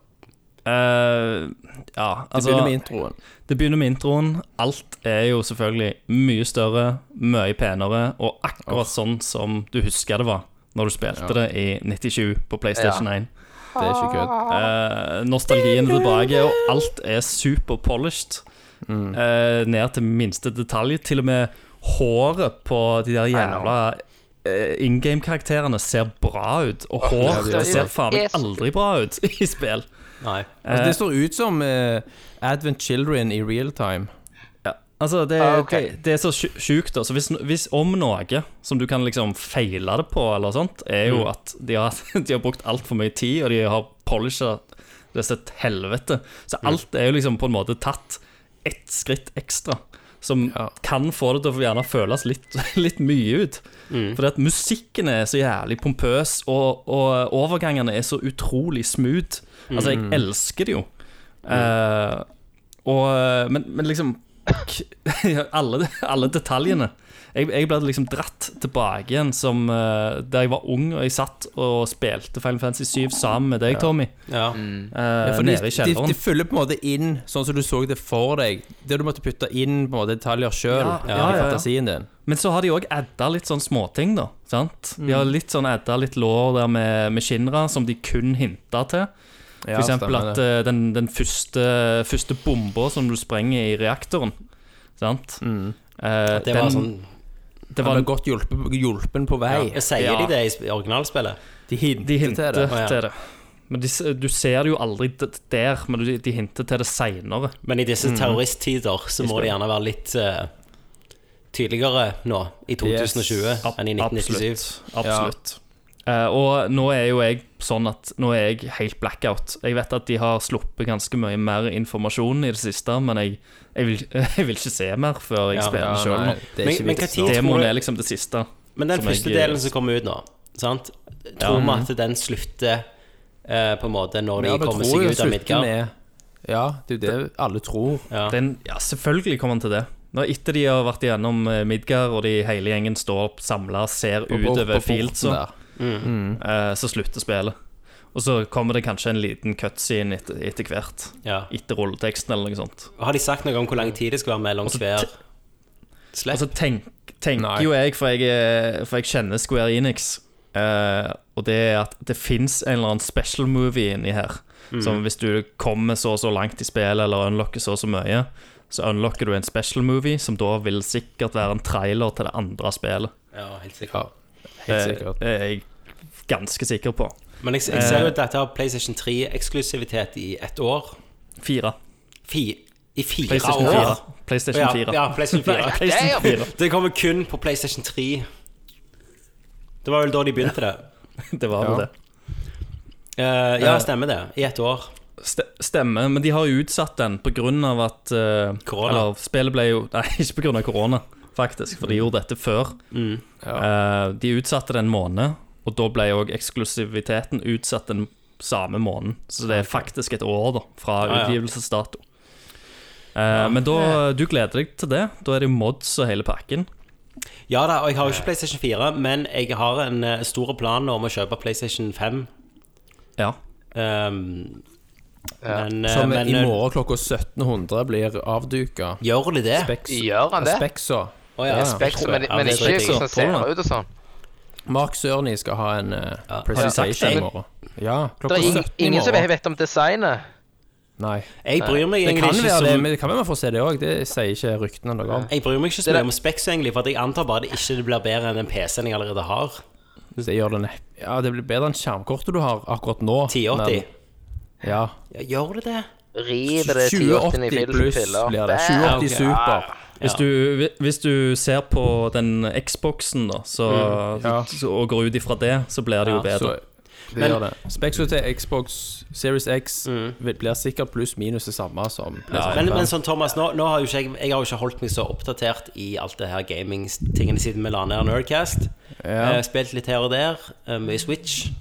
Speaker 7: Eh, ja,
Speaker 8: Det
Speaker 7: altså
Speaker 8: begynner med introen.
Speaker 7: Det begynner med introen. Alt er jo selvfølgelig mye større, mye penere, og akkurat sånn som du husker det var når du spilte det i 97 på PlayStation 1.
Speaker 8: Det er ikke kødd.
Speaker 7: Eh, nostalgien er tilbake, og alt er superpolished. Eh, ned til minste detalj. Til og med håret på de der jævla eh, in game-karakterene ser bra ut. Og hår
Speaker 9: det er
Speaker 7: ser
Speaker 9: jo-
Speaker 7: faen meg
Speaker 9: Yes.
Speaker 7: aldri bra ut i spill.
Speaker 6: Nei.
Speaker 8: Altså, det står ut som eh, Advent Children i real time.
Speaker 7: Altså, det,
Speaker 9: Ah, ok.
Speaker 7: det, det er så sju- sjukt, altså. Hvis, hvis om noe som du kan liksom feile det på, eller sånt, er
Speaker 8: Mm.
Speaker 7: jo at de har, de har brukt altfor mye tid, og de har polisha det til et helvete. Så alt er jo liksom på en måte tatt ett skritt ekstra, som
Speaker 8: Ja.
Speaker 7: kan få det til å gjerne føles litt, litt mye ut. Fordi at musikken er så jævlig pompøs, og, og overgangene er så utrolig smooth. Altså, jeg elsker det jo. Eh, og, men, men liksom k- alle, alle detaljene. Jeg, jeg ble liksom dratt tilbake igjen som eh, der jeg var ung og jeg satt og spilte Final Fantasy 7 sammen med deg, Tommy.
Speaker 6: Ja.
Speaker 7: eh,
Speaker 8: For de,
Speaker 7: nede i
Speaker 8: de,
Speaker 7: kjelleren.
Speaker 8: de fyller på en måte inn sånn som du så det for deg. Det du måtte putte inn på en måte detaljer sjøl
Speaker 7: Ja, ja,
Speaker 8: i
Speaker 7: ja, ja.
Speaker 8: fantasien din.
Speaker 7: Men så har de òg adda litt sånn småting, da. Sant? De har litt sånn adda litt lår der med, med Shinra som de kun hinta til. For eksempel at eh, den, den første, første bomba som du sprenger i reaktoren, sant Eh,
Speaker 6: Det var
Speaker 7: den-
Speaker 6: sånn
Speaker 7: det
Speaker 8: Han
Speaker 7: var
Speaker 8: ble godt hjulpet, hjulpen på vei.
Speaker 6: Sier
Speaker 7: Ja.
Speaker 6: de det i sp- originalspillet?
Speaker 8: De hinter
Speaker 7: De hinter
Speaker 8: til det.
Speaker 6: Å, ja.
Speaker 7: til det. Men de, s- du ser det jo aldri d- der, men de, de hinter til det seinere.
Speaker 6: Men i
Speaker 8: Mm.
Speaker 6: disse terroristtider så må det gjerne være litt eh, tydeligere nå, i 2020, enn i 1997.
Speaker 7: Absolutt. Absolutt. Eh, og nå er jo jeg sånn at nå er jeg helt blackout. Jeg vet at de har sluppet ganske mye mer informasjon i det siste, men jeg, jeg, vil, jeg vil ikke se mer før jeg
Speaker 6: Ja,
Speaker 7: spiller
Speaker 8: Ja,
Speaker 7: det sjøl
Speaker 8: nei, det
Speaker 7: nå.
Speaker 8: er
Speaker 6: Men-
Speaker 8: ikke
Speaker 6: men
Speaker 8: vits
Speaker 6: hva tid-
Speaker 8: nå.
Speaker 6: tror
Speaker 7: Demoen
Speaker 6: du-
Speaker 7: er liksom det siste.
Speaker 6: Men den
Speaker 7: Som
Speaker 6: første
Speaker 7: jeg-
Speaker 6: delen som kommer ut nå, sant? tror vi at den slutter eh, på en måte når de
Speaker 8: Ja, vi tror
Speaker 6: kommer seg
Speaker 8: jo
Speaker 6: ut av
Speaker 8: slutten
Speaker 6: Midgard?
Speaker 8: er- Ja, det er jo det alle tror.
Speaker 6: Ja.
Speaker 7: Den, ja, selvfølgelig kommer han til det. Når etter de har vært igjennom eh, Midgard, og de hele gjengen står samla og ser
Speaker 8: På- på- på
Speaker 7: utover
Speaker 8: porten
Speaker 7: Fieldsa,
Speaker 8: der. Mm.
Speaker 6: Mm.
Speaker 7: eh, så slutter spillet. Og så kommer det kanskje en liten cutscene etter, etter hvert.
Speaker 6: Ja.
Speaker 7: Etter rulleteksten eller noe sånt.
Speaker 6: Har de sagt noe om hvor lang tid det skal være mellom
Speaker 8: Altså,
Speaker 7: så
Speaker 6: hver
Speaker 7: te-
Speaker 6: slipp?
Speaker 7: Og så Altså, tenk,
Speaker 8: Nei.
Speaker 7: tenker jo jeg, for jeg, er- for jeg kjenner Square Enix, eh, og det er at det fins en eller annen special movie inni her. Som hvis du kommer så og så langt i spillet eller unlocker så og så mye, så unlocker du en special movie, som da vil sikkert være en trailer til det andre spillet.
Speaker 6: Ja, helt sikkert. Eh,
Speaker 8: Helt sikkert.
Speaker 7: Det er jeg ganske sikker på.
Speaker 6: Men jeg, jeg ser jo at dette har PlayStation 3-eksklusivitet i ett år.
Speaker 7: Fire.
Speaker 6: Fi, I fire
Speaker 7: PlayStation 4.
Speaker 6: år.
Speaker 7: PlayStation
Speaker 6: Ja,
Speaker 7: 4.
Speaker 6: ja, PlayStation 4.
Speaker 7: Nei, PlayStation 4.
Speaker 6: Det kommer kun på PlayStation 3. Det var vel da de begynte det.
Speaker 7: Det var vel det.
Speaker 6: Eh, ja, stemmer det. I ett år.
Speaker 7: Ste- Stemmer, men de har jo utsatt den pga. at eh,
Speaker 6: Korona.
Speaker 7: Eller spillet ble jo Nei, ikke pga. korona, faktisk, for de gjorde dette før. Eh, de utsatte det en måned, og da ble òg eksklusiviteten utsatt den samme måneden. Så det er faktisk et år da fra
Speaker 6: ja.
Speaker 7: utgivelsesdato. Eh, Men da, du gleder deg til det. Da er det jo mods og hele pakken.
Speaker 6: Ja da, og jeg har jo
Speaker 9: Eh.
Speaker 6: ikke PlayStation 4, men jeg har en eh, stor plan om å kjøpe PlayStation 5.
Speaker 7: Ja.
Speaker 6: Um, men, eh,
Speaker 8: Som
Speaker 6: men,
Speaker 8: i
Speaker 6: eh,
Speaker 8: morgen klokka 1700 blir avduka.
Speaker 6: Gjør de det?
Speaker 8: Speks.
Speaker 9: Gjør han det?
Speaker 8: Speksa.
Speaker 6: Å, ja.
Speaker 9: Speks, men,
Speaker 6: Ja,
Speaker 9: men
Speaker 6: det
Speaker 9: ikke
Speaker 6: driter jeg i.
Speaker 9: hvordan det ser ut og sånn.
Speaker 8: Mark Sørny skal ha en eh,
Speaker 6: Ja.
Speaker 8: presentation
Speaker 6: Ja.
Speaker 8: i morgen. Ja,
Speaker 9: Det
Speaker 8: klokka 17 i
Speaker 9: er ing-
Speaker 8: morgen.
Speaker 9: ingen som vet om designet.
Speaker 8: Nei.
Speaker 6: Jeg bryr meg
Speaker 8: Det
Speaker 6: egentlig
Speaker 8: kan
Speaker 6: ikke
Speaker 8: være
Speaker 6: så
Speaker 8: det, men det kan være man får se det òg. Det sier ikke ryktene noe om.
Speaker 6: Jeg bryr meg ikke så
Speaker 9: Det
Speaker 6: mye
Speaker 9: der-
Speaker 6: om Specs, egentlig, for at jeg antar bare det ikke blir bedre enn den PC-en jeg allerede har.
Speaker 8: Det gjør det nepp. Ja, det blir bedre enn skjermkortet du har akkurat nå.
Speaker 6: 1080.
Speaker 8: men- Ja.
Speaker 6: Ja, gjør det det?
Speaker 9: River det 1080 i
Speaker 8: 2080
Speaker 9: fil-
Speaker 8: pluss
Speaker 9: filler.
Speaker 8: blir det.
Speaker 9: Bam!
Speaker 8: 2080 super.
Speaker 6: Ah,
Speaker 7: Hvis, du, hvi- hvis du ser på den Xboxen da så,
Speaker 8: Mm, Ja.
Speaker 7: så, og går ut ifra det, så blir det jo bedre.
Speaker 8: Så det gjør det. Speksa til Xbox Series X vil- blir sikkert pluss-minus det samme som
Speaker 6: Mm. men, men
Speaker 8: PlayStation 5.
Speaker 6: sånn, Thomas, nå, nå har jo ikke jeg, jeg har jo ikke holdt meg så oppdatert i alt det her gaming-tingene siden vi la ned Nerdcast. Eh, spilt litt her og der, eh, mye Switch.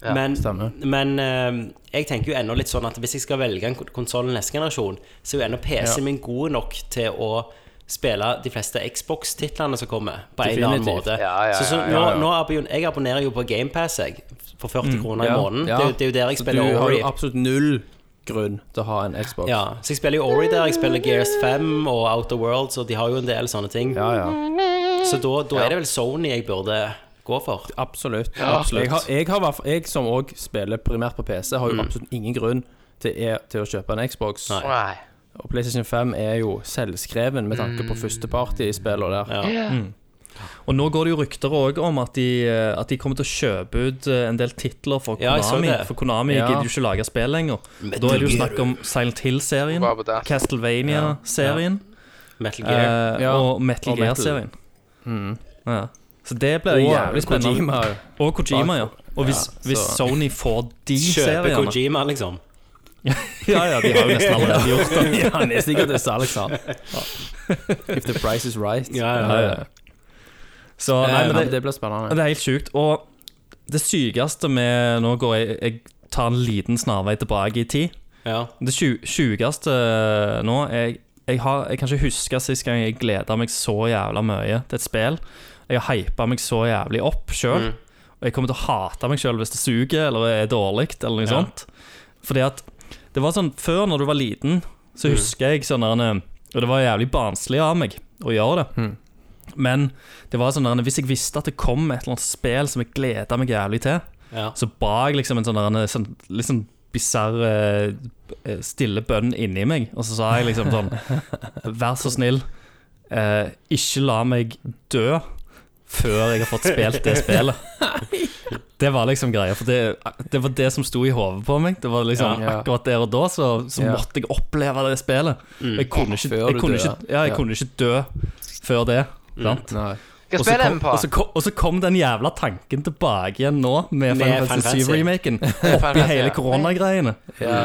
Speaker 6: men
Speaker 8: stemmer.
Speaker 6: men eh, jeg tenker jo ennå litt sånn at hvis jeg skal velge en konsoll neste generasjon, så er jo ennå PC-en min god nok til å spille de fleste Xbox-titlene som kommer, på en eller annen
Speaker 8: Definitivt.
Speaker 6: måte.
Speaker 9: Ja, ja,
Speaker 6: så, så
Speaker 9: ja,
Speaker 6: nå,
Speaker 9: ja, ja.
Speaker 6: nå abonner, jeg abonnerer jo på GamePass, jeg, for 40 kroner i måneden.
Speaker 8: Mm. Ja.
Speaker 6: Det, er jo- det er jo der jeg
Speaker 8: Så
Speaker 6: spiller
Speaker 8: Du har
Speaker 6: Ori.
Speaker 8: jo absolutt null grunn til å ha en Xbox.
Speaker 6: Ja, så jeg spiller jo Ori der, jeg spiller Gears 5 og Outer Worlds, og de har jo en del sånne ting.
Speaker 8: ja, ja.
Speaker 6: Så da, da er det vel Sony jeg burde gå for.
Speaker 8: Absolutt. Jeg, har, jeg, har, hvertfall- jeg som òg spiller primært på PC, har
Speaker 7: Mm.
Speaker 8: jo absolutt ingen grunn til, er, til å kjøpe en Xbox.
Speaker 6: Nei.
Speaker 9: Nei.
Speaker 8: Og PlayStation 5 er jo selvskreven med tanke på førsteparty i spillene der.
Speaker 7: Mm.
Speaker 8: Mm.
Speaker 7: Og nå går det jo rykter òg om at de, eh, at de kommer til å kjøpe ut eh, en del titler for
Speaker 6: Ja, jeg så
Speaker 7: Konami.
Speaker 6: det.
Speaker 7: For Konami
Speaker 8: Ja.
Speaker 7: gidder jo ikke lage spill lenger. Og Da er det jo snakk om Silent Hill-serien,
Speaker 9: Bare på det.
Speaker 7: Castlevania-serien
Speaker 6: Metal Gear.
Speaker 7: eh,
Speaker 8: Ja.
Speaker 7: og Metal
Speaker 8: Og Metal. Mm.
Speaker 7: Gear-serien. Ja. Så det blir jævlig spennende.
Speaker 8: Kojima.
Speaker 7: Og Kojima, ja. Og hvis,
Speaker 8: Ja,
Speaker 7: hvis
Speaker 8: så-
Speaker 7: Sony får de
Speaker 6: Kjøpe
Speaker 7: seriene
Speaker 6: Kojima, liksom.
Speaker 7: Ja, ja, de har jo nesten allerede gjort det.
Speaker 8: Ja, han er sikkert til salgs, han. If the price is right.
Speaker 6: Ja, ja.
Speaker 7: Så nei,
Speaker 8: Nei,
Speaker 7: men det,
Speaker 8: det blir spennende.
Speaker 7: Det er helt sjukt. Og det sykeste med Nå går jeg, jeg tar en liten snarvei tilbake i tid.
Speaker 6: ja.
Speaker 7: Det sju- sjukeste eh, nå jeg, jeg, har, jeg kan ikke huske sist gang jeg gleda meg så jævla mye til et spill. Jeg har hypa meg så jævlig opp sjøl. Og jeg kommer til å hate meg sjøl hvis det suger eller er dårlig. Eller noe
Speaker 6: Ja.
Speaker 7: sånt. Fordi at det var sånn Før, når du var liten, så husker jeg sånn der, Og det var jævlig barnslig av meg å gjøre det. Men det var sånn der, hvis jeg visste at det kom et eller annet spill som jeg gleda meg jævlig til,
Speaker 6: Ja.
Speaker 7: så ba jeg liksom en sånn der, en sånn, litt sånn bisarr eh, stille bønn inni meg. Og så sa jeg liksom sånn Vær så snill, eh, ikke la meg dø før jeg har fått spilt det spillet. Det var liksom greia, for det, det var det som sto i hodet på meg. Det var liksom
Speaker 8: Ja.
Speaker 7: Akkurat der og da så, så
Speaker 8: Ja. Mm.
Speaker 7: måtte jeg oppleve det spillet. Jeg kunne ikke,
Speaker 8: Før du
Speaker 7: jeg kunne
Speaker 8: dør.
Speaker 7: ikke, ja, jeg
Speaker 8: Ja.
Speaker 7: kunne ikke dø før det. Sant?
Speaker 8: Nei.
Speaker 9: Hva
Speaker 7: Og så
Speaker 9: spiller
Speaker 7: kom,
Speaker 9: den på?
Speaker 7: og så kom, og så kom den jævla tanken tilbake igjen nå, med Final
Speaker 6: Med Final
Speaker 7: Fantasy
Speaker 6: Fantasy.
Speaker 7: 7-remaken.
Speaker 9: Fantasy,
Speaker 7: Oppi
Speaker 9: ja.
Speaker 7: hele koronagreiene.
Speaker 8: Ja.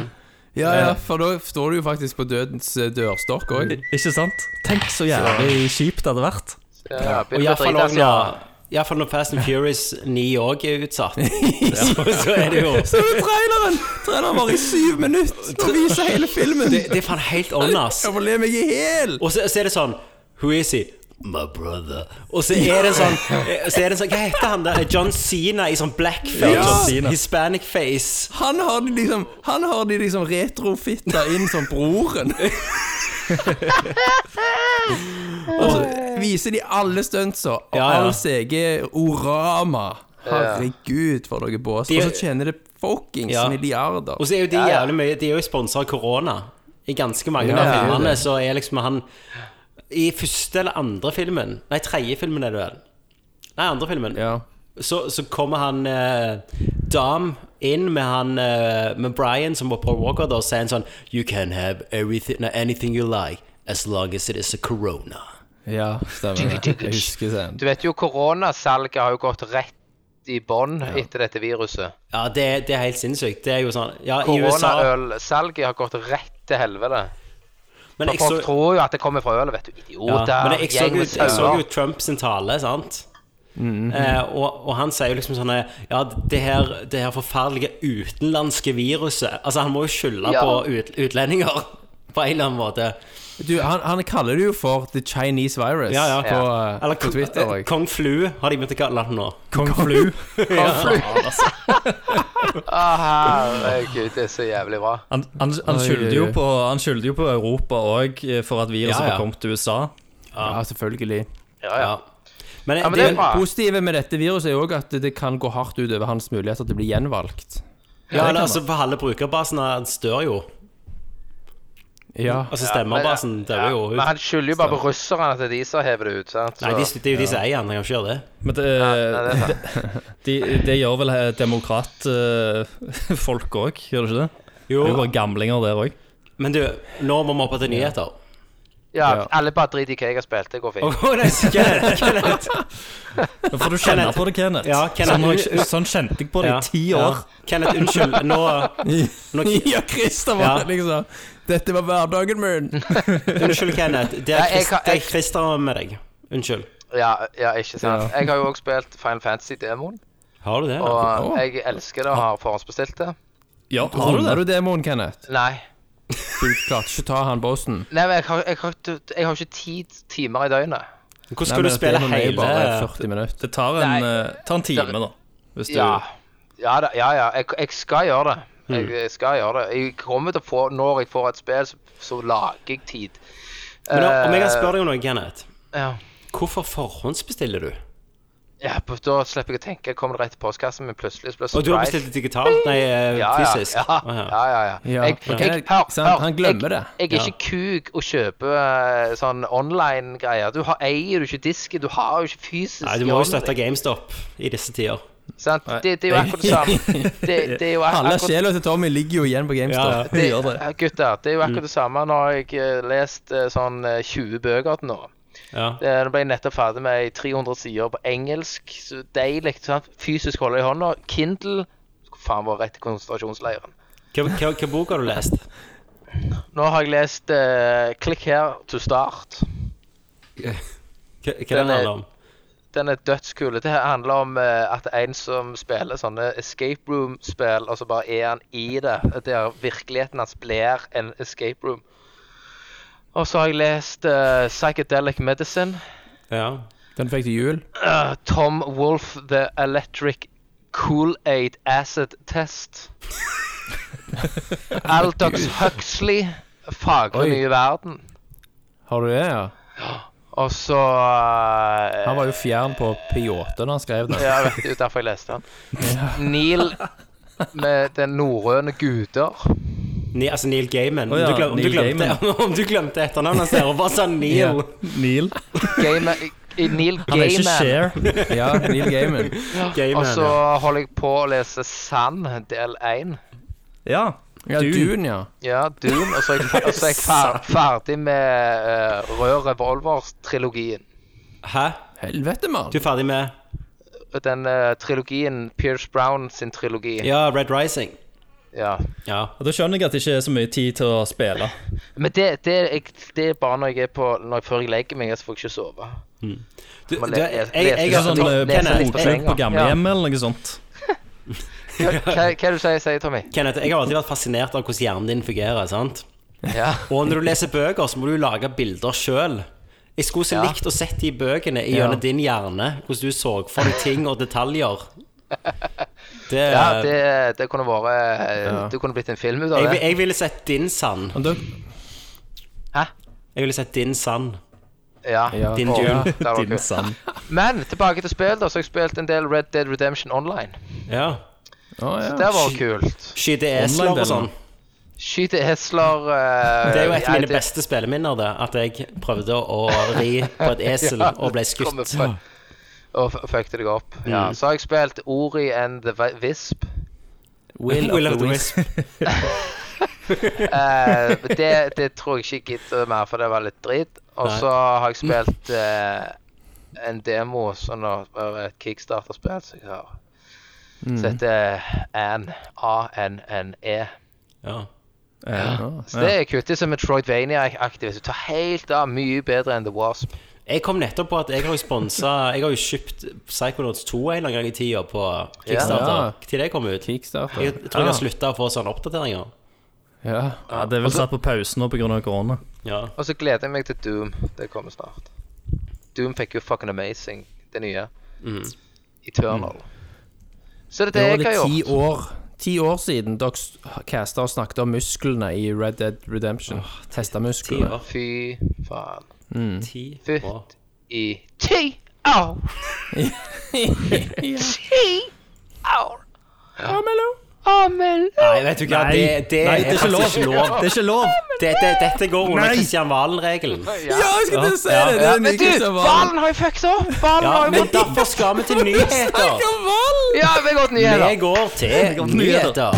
Speaker 8: ja, ja, for da står du jo faktisk på dødens eh, dørstokk òg.
Speaker 7: Ikke sant? Tenk så jævlig kjipt det hadde vært.
Speaker 9: Ja,
Speaker 6: Og
Speaker 9: begynner å
Speaker 6: iallfall
Speaker 9: drite seg, ja.
Speaker 8: altså.
Speaker 6: når Fast and Furious 9 òg er utsatt, så, så er det jo
Speaker 8: Se på traileren! Traileren var i syv minutter og viser hele filmen.
Speaker 6: Det, det er faen helt on, ass.
Speaker 8: Jeg får le meg i hjel!
Speaker 6: Og så, så er det sånn Who is he? My brother. Og så er det sånn, så er det sånn Hva heter han der? John Cena i sånn blackface.
Speaker 8: Ja, John
Speaker 7: Cena.
Speaker 6: Hispanic face.
Speaker 8: Han har de liksom Han har de liksom retrofitta inn som broren. og så viser de alle stuntsa og
Speaker 6: Ja, ja.
Speaker 8: all CG orama. Herregud, for noe bås.
Speaker 6: De-
Speaker 8: Og så tjener det fuckings
Speaker 6: Ja.
Speaker 8: milliarder.
Speaker 6: Og så er jo de
Speaker 9: ja.
Speaker 6: jævlig mye De er jo sponsa av korona. I ganske mange av filmene så er liksom han I første eller andre filmen Nei, tredje filmen er det vel? Nei, andre filmen.
Speaker 8: Ja.
Speaker 6: Så, så kommer han eh, Dam inn med han eh, Med Brian, som var Paul Walker, da, og sier en sånn You can have everything, nei, anything you like as long as it is a corona.
Speaker 8: ja, stemmer det. Jeg husker scenen.
Speaker 9: Du vet jo, koronasalget har jo gått rett i bånn etter dette viruset.
Speaker 6: Ja, det, det er helt sinnssykt. Det er jo sånn Ja, i USA
Speaker 9: Koronaølsalget har gått rett til helvete.
Speaker 6: men
Speaker 9: For
Speaker 6: jeg så-
Speaker 9: folk tror jo at det kommer fra øl, vet du.
Speaker 6: Ja,
Speaker 9: Idioter.
Speaker 6: men jeg, jeg, så
Speaker 9: gjeng
Speaker 6: jo,
Speaker 9: med
Speaker 6: jeg så jo
Speaker 9: sauer.
Speaker 6: Trump sin tale, sant? eh, og, og han sier jo liksom sånn eh, Ja, det her, det her forferdelige utenlandske viruset Altså, han må jo skylde
Speaker 9: Ja.
Speaker 6: på ut, utlendinger på en eller annen måte.
Speaker 8: Du, han, han kaller det jo for The Chinese Virus
Speaker 6: Ja, ja.
Speaker 8: På, eh,
Speaker 6: Eller
Speaker 8: på Twitter.
Speaker 6: eh, Kong Flu har de begynt å kalle han nå.
Speaker 7: Kong Flu.
Speaker 9: Å, herregud, det er så jævlig bra.
Speaker 7: Han, han, han, skylder jo på, han skylder jo på Europa òg for at viruset
Speaker 6: Ja, ja.
Speaker 7: var kommet til USA.
Speaker 8: ja, selvfølgelig.
Speaker 9: Ja, ja.
Speaker 6: Ja. Men,
Speaker 9: Ja, men
Speaker 6: det,
Speaker 9: det er bra.
Speaker 8: Positive med dette viruset er òg at det kan gå hardt utover hans muligheter til å bli gjenvalgt.
Speaker 6: ja, eller, altså, på halve brukerbasen han dør jo.
Speaker 8: Ja,
Speaker 6: Altså
Speaker 9: Men-
Speaker 6: stemmerbasen dør jo.
Speaker 9: Men han skylder jo bare på russerne at det er de som hever det ut. sant? Så-
Speaker 6: Nei, de, det er jo de som eier han, han kan ikke gjøre det.
Speaker 7: Men det,
Speaker 9: Nei, det er sant.
Speaker 7: de, det gjør vel eh, demokratfolk òg, gjør det ikke det?
Speaker 6: Jo,
Speaker 7: Det er jo bare gamlinger der òg.
Speaker 6: Men du, nå må vi opp til nyheter.
Speaker 9: Ja, alle bare driter i hva jeg har spilt. Det går fint.
Speaker 6: Å, nei, Kenneth, Kenneth.
Speaker 7: Nå får du kjenne på det, Kenneth.
Speaker 6: Ja, Kenneth.
Speaker 7: Sånn, har jeg, sånn kjente jeg på det i ti
Speaker 6: ja.
Speaker 7: år.
Speaker 6: Kenneth, unnskyld. Nå, nå
Speaker 8: ja Christer var
Speaker 6: Ja.
Speaker 8: liksom Dette var hverdagen min.
Speaker 6: Unnskyld, Kenneth. Det
Speaker 9: Nei,
Speaker 6: er, Chris,
Speaker 9: jeg kan-
Speaker 6: det er
Speaker 9: jeg-
Speaker 6: Christer med deg. Unnskyld.
Speaker 9: Ja, ja ikke sant. Jeg har jo òg spilt Final Fantasy-demoen,
Speaker 6: Har du det?
Speaker 9: og jeg elsker det og
Speaker 6: Ah.
Speaker 9: har forhåndsbestilt det.
Speaker 7: Ja, har du
Speaker 8: Runder
Speaker 7: det?
Speaker 8: du demoen, Kenneth?
Speaker 9: Nei.
Speaker 8: Du klarte ikke å ta han bossen.
Speaker 9: Nei, men jeg har, jeg har, ikke- jeg har ikke ti timer i døgnet.
Speaker 6: Hvordan
Speaker 8: Nei,
Speaker 6: skal du
Speaker 8: men
Speaker 6: spille
Speaker 8: demoen er jo
Speaker 6: hele
Speaker 8: bare 40 minutter.
Speaker 7: Det tar en, eh, tar en time, da. Hvis du
Speaker 9: Ja. Ja, da, ja, ja. Jeg, jeg skal gjøre det.
Speaker 6: Mm.
Speaker 9: Jeg, jeg skal gjøre det. Jeg kommer til å få Når jeg får et spill, så, så lager jeg tid.
Speaker 6: Men da, om jeg kan
Speaker 9: Eh,
Speaker 6: spørre deg om noe, Kenneth.
Speaker 9: Ja.
Speaker 6: Hvorfor forhåndsbestiller du?
Speaker 9: ja, på- da slipper jeg å tenke. Kommer det rett i postkassen min plutselig, så blir det
Speaker 6: Og du har
Speaker 9: surprise.
Speaker 6: bestilt det digitalt? Nei, eh,
Speaker 9: ja, ja,
Speaker 6: fysisk?
Speaker 9: Ja,
Speaker 6: Å, ja.
Speaker 9: ja, ja. ja.
Speaker 8: Ja,
Speaker 9: Jeg,
Speaker 8: ok.
Speaker 9: jeg, hør,
Speaker 8: Sant,
Speaker 9: hør,
Speaker 8: han glemmer
Speaker 9: jeg,
Speaker 8: det.
Speaker 9: Jeg er ikke kuk og kjøper eh, sånn online-greier. Du har, eier jo ikke disken, du har jo ikke fysisk
Speaker 6: Nei, du må
Speaker 9: i
Speaker 6: jo
Speaker 9: hånden
Speaker 6: støtte
Speaker 9: din,
Speaker 6: GameStop i disse tider.
Speaker 9: sant? Det, det er jo akkurat det samme. Det, det er jo ak-
Speaker 8: Halve
Speaker 9: akkurat
Speaker 8: sjela til Tommy ligger jo igjen på GameStop.
Speaker 9: det,
Speaker 7: gjør det.
Speaker 9: ja, Gutter, det er jo akkurat det samme. Nå har jeg eh, lest eh, sånn eh, 20 bøker til nå.
Speaker 6: Ja.
Speaker 9: Det, nå ble jeg nettopp ferdig med ei 300 sider på engelsk. Så deilig. sant? Fysisk holde i hånda. Kindle Faen, var rett i konsentrasjonsleiren.
Speaker 6: Hva, hva, hva bok har du lest?
Speaker 9: Nå har jeg lest eh, 'Click here to start'.
Speaker 6: Hva, hva den handler om?
Speaker 9: Den er dødskul. Det her handler om eh, at en som spiller sånne escape room-spill, og så bare er han i det. Der virkeligheten hans blir en escape room. Og så har jeg lest eh, 'Psychedelic Medicine'.
Speaker 6: Ja.
Speaker 8: Den fikk til jul.
Speaker 9: eh, Tom Wolf, 'The Electric Cool-Aid Acid Test'. Aldox Huxley, 'Fagre
Speaker 8: Oi.
Speaker 9: nye verden'.
Speaker 8: Har du det, ja?
Speaker 9: Og så eh,
Speaker 8: Han var jo fjern på P8 da han skrev den.
Speaker 9: Ja, jeg vet, det er jo derfor jeg leste den. Neil med den norrøne guder.
Speaker 6: Ni, altså Neil Gaiman.
Speaker 7: Å, ja,
Speaker 6: Om du glem- om, du
Speaker 7: Neil
Speaker 6: glemte, om du glemte etternavnet hans der og bare sa Neil
Speaker 7: Neil.
Speaker 9: Game, i Neil
Speaker 7: Han er ikke
Speaker 9: Gaiman.
Speaker 7: Share.
Speaker 8: Ja, Neil Gaiman.
Speaker 9: Og
Speaker 6: Gaiman.
Speaker 9: så
Speaker 6: ja.
Speaker 9: holder jeg på å lese Sand, del 1.
Speaker 7: Ja.
Speaker 8: Ja,
Speaker 7: Dune.
Speaker 8: Dune, ja.
Speaker 9: Ja, Doom. Og så er jeg, og så er jeg fer, ferdig med uh, Rød Revolver-trilogien.
Speaker 6: Hæ?
Speaker 8: Helvete, mann.
Speaker 6: Du er ferdig med
Speaker 9: Den eh, trilogien Pierce Brown sin trilogi. Ja.
Speaker 6: Ja, Red Rising. Ja.
Speaker 7: Og Da skjønner jeg at det ikke er så mye tid til å spille.
Speaker 9: Men det, det, er- jeg, det er bare når jeg er på når jeg, før jeg legger meg, så får jeg ikke sove.
Speaker 6: Du,
Speaker 9: Man
Speaker 6: du,
Speaker 9: le-
Speaker 6: jeg,
Speaker 9: leser-
Speaker 6: jeg, jeg,
Speaker 9: leser
Speaker 7: Sånn
Speaker 9: litt-
Speaker 7: eh,
Speaker 9: leser litt på
Speaker 7: bokklubb på
Speaker 9: senga.
Speaker 7: gamlehjemmet eller noe sånt.
Speaker 9: Ja. Hva, hva er det du sier, sier Tommy?
Speaker 6: Kenneth, jeg har alltid vært fascinert av hvordan hjernen din fungerer. sant?
Speaker 9: Ja.
Speaker 6: Og når du leser bøker, så må du lage bilder sjøl. Jeg skulle så likt å sett de bøkene i gjennom din hjerne, hvordan du så for deg ting og detaljer. Det,
Speaker 9: Ja, det, det kunne vært eh, Det kunne blitt en film ut av
Speaker 6: jeg,
Speaker 9: det.
Speaker 6: jeg ville sett din sand.
Speaker 8: Men da,
Speaker 9: Hæ?
Speaker 6: Jeg ville sett din sand.
Speaker 9: Ja.
Speaker 8: Ja.
Speaker 6: Din
Speaker 9: Åh,
Speaker 6: Dune.
Speaker 9: det hadde vært
Speaker 7: Din
Speaker 9: kult.
Speaker 7: sand.
Speaker 9: Men tilbake til spill, da. Så har jeg spilt en del Red Dead Redemption online.
Speaker 6: Ja.
Speaker 8: å, ja.
Speaker 9: Det var kult.
Speaker 6: Skyte esler og sånn.
Speaker 9: Skyter esler eh,
Speaker 6: Det er jo et av
Speaker 9: ja,
Speaker 6: mine
Speaker 9: det-
Speaker 6: beste spilleminner, det. At jeg prøvde å ri på et esel
Speaker 9: Ja,
Speaker 6: og ble
Speaker 9: det kommer
Speaker 6: skutt. Mm.
Speaker 9: fra- Og f- fucket deg opp. Ja. Så har jeg spilt Ori and the Vi- Visp.
Speaker 6: Will, of the Wisp.
Speaker 9: Eh, men det, det tror jeg ikke jeg gidder mer, for det var litt dritt. Og
Speaker 6: Nei.
Speaker 9: så har jeg spilt eh, en demo, sånn av- av et kickstarterspill som jeg har.
Speaker 8: Mm.
Speaker 9: Som heter An. A-N-N-E.
Speaker 6: Ja.
Speaker 9: E. Så det er kutt. Det er som Metroidvania-aktig. Hvis du tar helt av, mye bedre enn The Wasp.
Speaker 6: Jeg kom nettopp på at jeg har jo sponsa Jeg har jo kjøpt Psychonauts 2 en eller annen gang i tida på
Speaker 8: Ja.
Speaker 6: Kickstarter. Til det kom ut. Jeg
Speaker 8: Kickstarter.
Speaker 6: jeg tror jeg
Speaker 7: Ah.
Speaker 6: har slutta å få sånne oppdateringer.
Speaker 8: Ja.
Speaker 7: Ja, det er
Speaker 9: Altså-
Speaker 7: vel satt på pause nå pga. korona.
Speaker 6: Ja.
Speaker 9: Og så gleder jeg meg til Doom. Det kommer snart. Doom fikk jo fucking amazing, det nye. Eternal. Så det er
Speaker 8: Mm. Det
Speaker 9: det jeg
Speaker 8: var
Speaker 9: har
Speaker 8: det ti
Speaker 9: gjort.
Speaker 8: år, ti år siden dere s- casta og snakket om musklene i Red Dead Redemption. Testa
Speaker 6: Ti
Speaker 8: musklene.
Speaker 6: år.
Speaker 9: Fy faen.
Speaker 7: Mm.
Speaker 6: Ti år.
Speaker 9: Fytt i ti år! Ti år! Amelo!
Speaker 6: Nei, vet du hva, det, det,
Speaker 7: Nei, det er ikke lov.
Speaker 6: faktisk ikke lov.
Speaker 7: Det er ikke lov.
Speaker 6: Det, det, dette går under Kristian Valen-regelen.
Speaker 8: Ja, jeg skulle til å si det! Det
Speaker 6: Ja,
Speaker 8: er den
Speaker 9: Men du,
Speaker 8: mykeste hvalen.
Speaker 9: hvalen har jo fucket opp! Hvalen
Speaker 6: Ja,
Speaker 9: har jo
Speaker 6: men
Speaker 9: gått
Speaker 6: derfor skal vi til nyheter.
Speaker 9: Ja, vi har gått nye, da.
Speaker 6: Vi går til nyheter.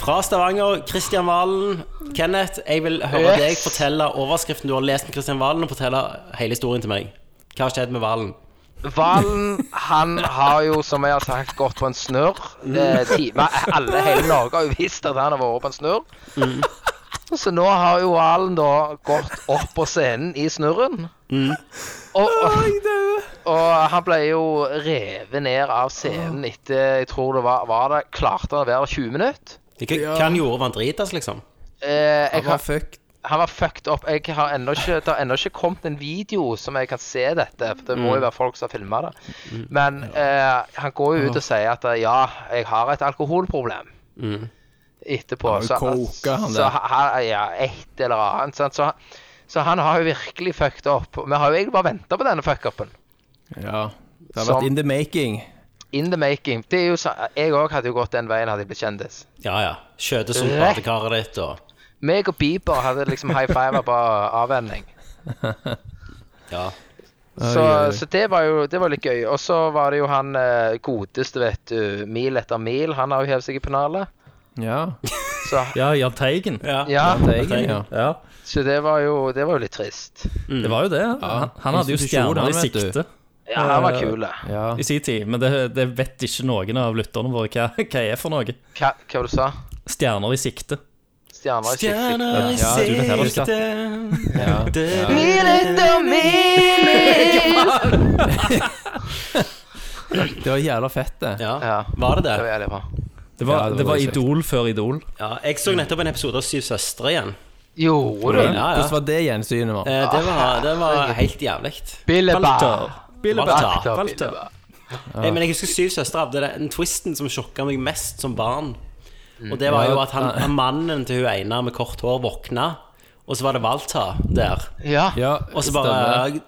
Speaker 6: Fra Stavanger, Kristian Valen. Kenneth, jeg vil høre
Speaker 9: Yes.
Speaker 6: deg fortelle overskriften du har lest med Kristian Valen, og fortelle hele historien til meg. Hva har skjedd med Valen?
Speaker 9: Valen han har jo, som jeg har sagt, gått på en snurr.
Speaker 6: Mm.
Speaker 9: Eh, time. Alle hele Norge har jo visst at han har vært på en snurr.
Speaker 6: Mm.
Speaker 9: Så nå har jo Valen da gått opp på scenen i snurren.
Speaker 6: Mm.
Speaker 9: Og, og, og han ble jo revet ned av scenen etter Jeg tror det var, var det, Klarte han å være der 20 minutter?
Speaker 6: Hva hva han gjorde, var han dritas, liksom?
Speaker 9: Eh, jeg
Speaker 8: Han var
Speaker 9: har,
Speaker 8: fucked.
Speaker 9: han var fucked up. Jeg har ennå ikke, det har ennå ikke kommet en video som jeg kan se dette. For det må jo være folk som har filma det. Men eh, han går jo ut og sier at eh, ja, jeg har et alkoholproblem. Etterpå.
Speaker 8: Han
Speaker 9: Så,
Speaker 8: koker, han
Speaker 9: så
Speaker 8: der.
Speaker 9: han- ja, et eller annet. Sant? Så, så han har jo virkelig fucked up. Vi har jo egentlig bare venta på denne fuck-upen.
Speaker 8: Ja. Det har
Speaker 9: Som-
Speaker 8: vært in the making.
Speaker 9: In the making. Det er jo så, jeg òg hadde jo gått den veien hadde jeg blitt kjendis.
Speaker 6: Ja ja. Skjøte som badekaret ditt og
Speaker 9: Meg og Bieber hadde liksom high fiver på avvenning.
Speaker 6: Ja.
Speaker 9: Så, så det var jo det var litt gøy. Og så var det jo han eh, godeste, vet du, mil etter mil. Han har jo hevet seg i pennalet.
Speaker 8: Ja.
Speaker 9: Så
Speaker 7: Ja, Jahn Teigen.
Speaker 9: ja,
Speaker 8: Det er egentlig, ja.
Speaker 7: Ja.
Speaker 9: så det var jo det var jo litt trist.
Speaker 8: Mm.
Speaker 7: Det var jo det. Han, han hadde jo
Speaker 8: Institusjon,
Speaker 7: stjerner
Speaker 8: han,
Speaker 7: i
Speaker 8: vet du.
Speaker 7: sikte
Speaker 9: Ja, han var kul. da.
Speaker 8: ja.
Speaker 7: i sin tid, men det, det vet ikke noen av lytterne våre hva, hva er for noe.
Speaker 9: Hva, hva du sa du?
Speaker 7: Stjerner i sikte.
Speaker 9: Stjerner i sikte.
Speaker 6: Stjerner i
Speaker 8: Ja, du vet heller ikke.
Speaker 6: sikte
Speaker 9: Mil etter mil!
Speaker 8: Det var jævla fett, det.
Speaker 6: Ja,
Speaker 9: Ja,
Speaker 6: var det det?
Speaker 9: det var jævlig bra.
Speaker 7: Det var,
Speaker 8: Ja, det var
Speaker 7: det var
Speaker 8: sikt.
Speaker 7: Idol før Idol.
Speaker 6: Ja, jeg så nettopp en episode av Syv søstre igjen.
Speaker 9: Gjorde du?
Speaker 6: Ja, ja.
Speaker 8: Hvordan var det Ah, gjensynet? var?
Speaker 6: Eh, Det var, det var helt jævlig.
Speaker 9: Billeba.
Speaker 7: Walter.
Speaker 6: Walter.
Speaker 7: Walter.
Speaker 6: Eh, Men jeg husker Syv søstre hadde den twisten som sjokka meg mest som barn.
Speaker 8: Mm.
Speaker 6: Og det var jo at han, han mannen til hun ene med kort hår våkna, og så var det Walter der.
Speaker 9: Ja.
Speaker 8: Ja,
Speaker 6: Og så
Speaker 8: stemmer.
Speaker 6: bare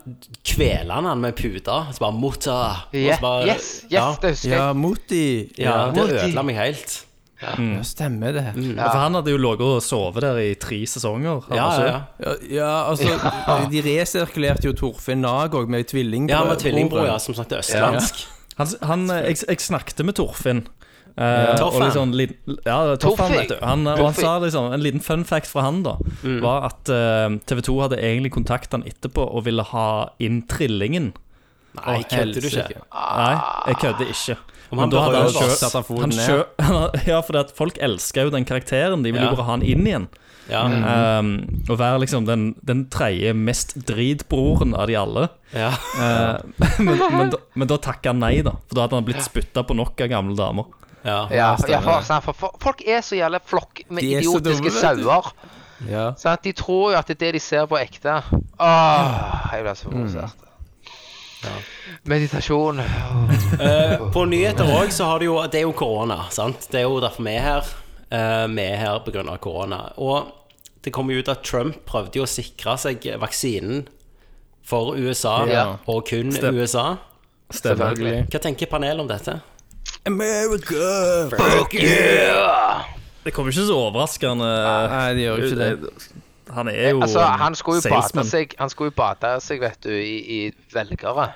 Speaker 6: kveler han han med puta. Og så bare 'Mutta'.
Speaker 9: Yeah. Yes, yes,
Speaker 6: ja,
Speaker 9: det husker
Speaker 8: Ja,
Speaker 9: jeg.
Speaker 8: Moti.
Speaker 6: ja, det ødela meg helt.
Speaker 8: Ja, stemmer det.
Speaker 7: Mm.
Speaker 9: Mm.
Speaker 7: Ja, For han hadde jo ligget og sovet der i tre sesonger. han
Speaker 6: Ja,
Speaker 7: var
Speaker 6: ja,
Speaker 7: så-
Speaker 6: ja.
Speaker 8: Ja, ja altså De resirkulerte jo Torfinn Nag òg med tvillingbrød.
Speaker 6: ja han var tvillingbror, ja, som snakket østlandsk.
Speaker 7: Han, han, eh, jeg, jeg snakket med Torfinn. eh, og
Speaker 6: Torfinn.
Speaker 7: liksom, liten- ja, Torfinn,
Speaker 9: Torfinn.
Speaker 7: vet du. Han, og han
Speaker 9: Torfinn.
Speaker 7: sa liksom, en liten fun fact fra han da
Speaker 6: Mm.
Speaker 7: var at eh, TV 2 hadde egentlig kontaktet han etterpå og ville ha inn trillingen.
Speaker 6: Nei, kødder du ikke?
Speaker 7: Nei, jeg kødder ikke.
Speaker 6: Om han
Speaker 7: Men da hadde han
Speaker 6: berører oss,
Speaker 7: kjørt
Speaker 8: setter han foten
Speaker 7: han
Speaker 8: ned.
Speaker 7: kjø- Ja, for at folk elsker jo den karakteren. De vil jo
Speaker 6: Ja. Mm.
Speaker 7: bare ha han inn igjen.
Speaker 6: Ja.
Speaker 8: Mm.
Speaker 7: Um, og være liksom den, den tredje mest dritbroren av de alle.
Speaker 6: ja.
Speaker 7: Eh, men, men, da, men da takka han nei, da. For da hadde han blitt spytta på nok av gamle damer.
Speaker 6: Ja.
Speaker 9: Ja,
Speaker 8: stemmer
Speaker 9: ja for,
Speaker 8: det.
Speaker 9: sånn, for, for folk er så jævla flokk med
Speaker 8: De er så dumme,
Speaker 9: idiotiske
Speaker 8: vet du.
Speaker 9: sauer.
Speaker 8: Ja.
Speaker 9: Sånn at de tror jo at det er det de ser på ekte. Åh, jeg ble så
Speaker 8: Mm.
Speaker 9: provosert. Meditasjon.
Speaker 6: På nyheter òg så har du jo Det er jo korona, sant. Det er jo derfor vi er her. Eh, vi er her pga. korona. Og det kom jo ut at Trump prøvde jo å sikre seg vaksinen for USA,
Speaker 9: Ja.
Speaker 6: og kun USA.
Speaker 7: Selvfølgelig.
Speaker 6: Hva tenker panelet om dette?
Speaker 7: Det kommer ikke så overraskende.
Speaker 8: Nei, det gjør jo ikke det.
Speaker 7: Han er jo
Speaker 9: Altså, han skulle jo bade
Speaker 7: salesman.
Speaker 9: seg, han skulle jo bade seg, vet du, i, i velgere.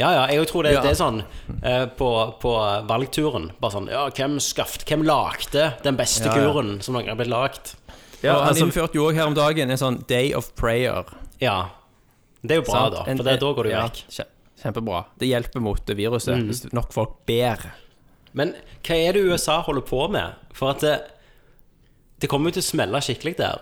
Speaker 6: Ja, ja, jeg tror det, det er sånn eh, på, på valgturen. Bare sånn Ja, hvem skaffet Hvem lagde den beste kuren som noen har blitt lagd?
Speaker 7: Ja,
Speaker 8: Og han
Speaker 7: altså,
Speaker 8: innførte jo også her om dagen en sånn Day of Prayer.
Speaker 6: Ja. Det er jo bra,
Speaker 8: sant?
Speaker 6: da.
Speaker 8: En-
Speaker 6: For det, da går det jo
Speaker 8: ja,
Speaker 6: vekk.
Speaker 8: kje- Kjempebra. Det hjelper mot det viruset
Speaker 7: Mm.
Speaker 8: hvis nok folk ber.
Speaker 6: Men hva er det USA holder på med? For at det, det kommer jo til å smelle skikkelig der.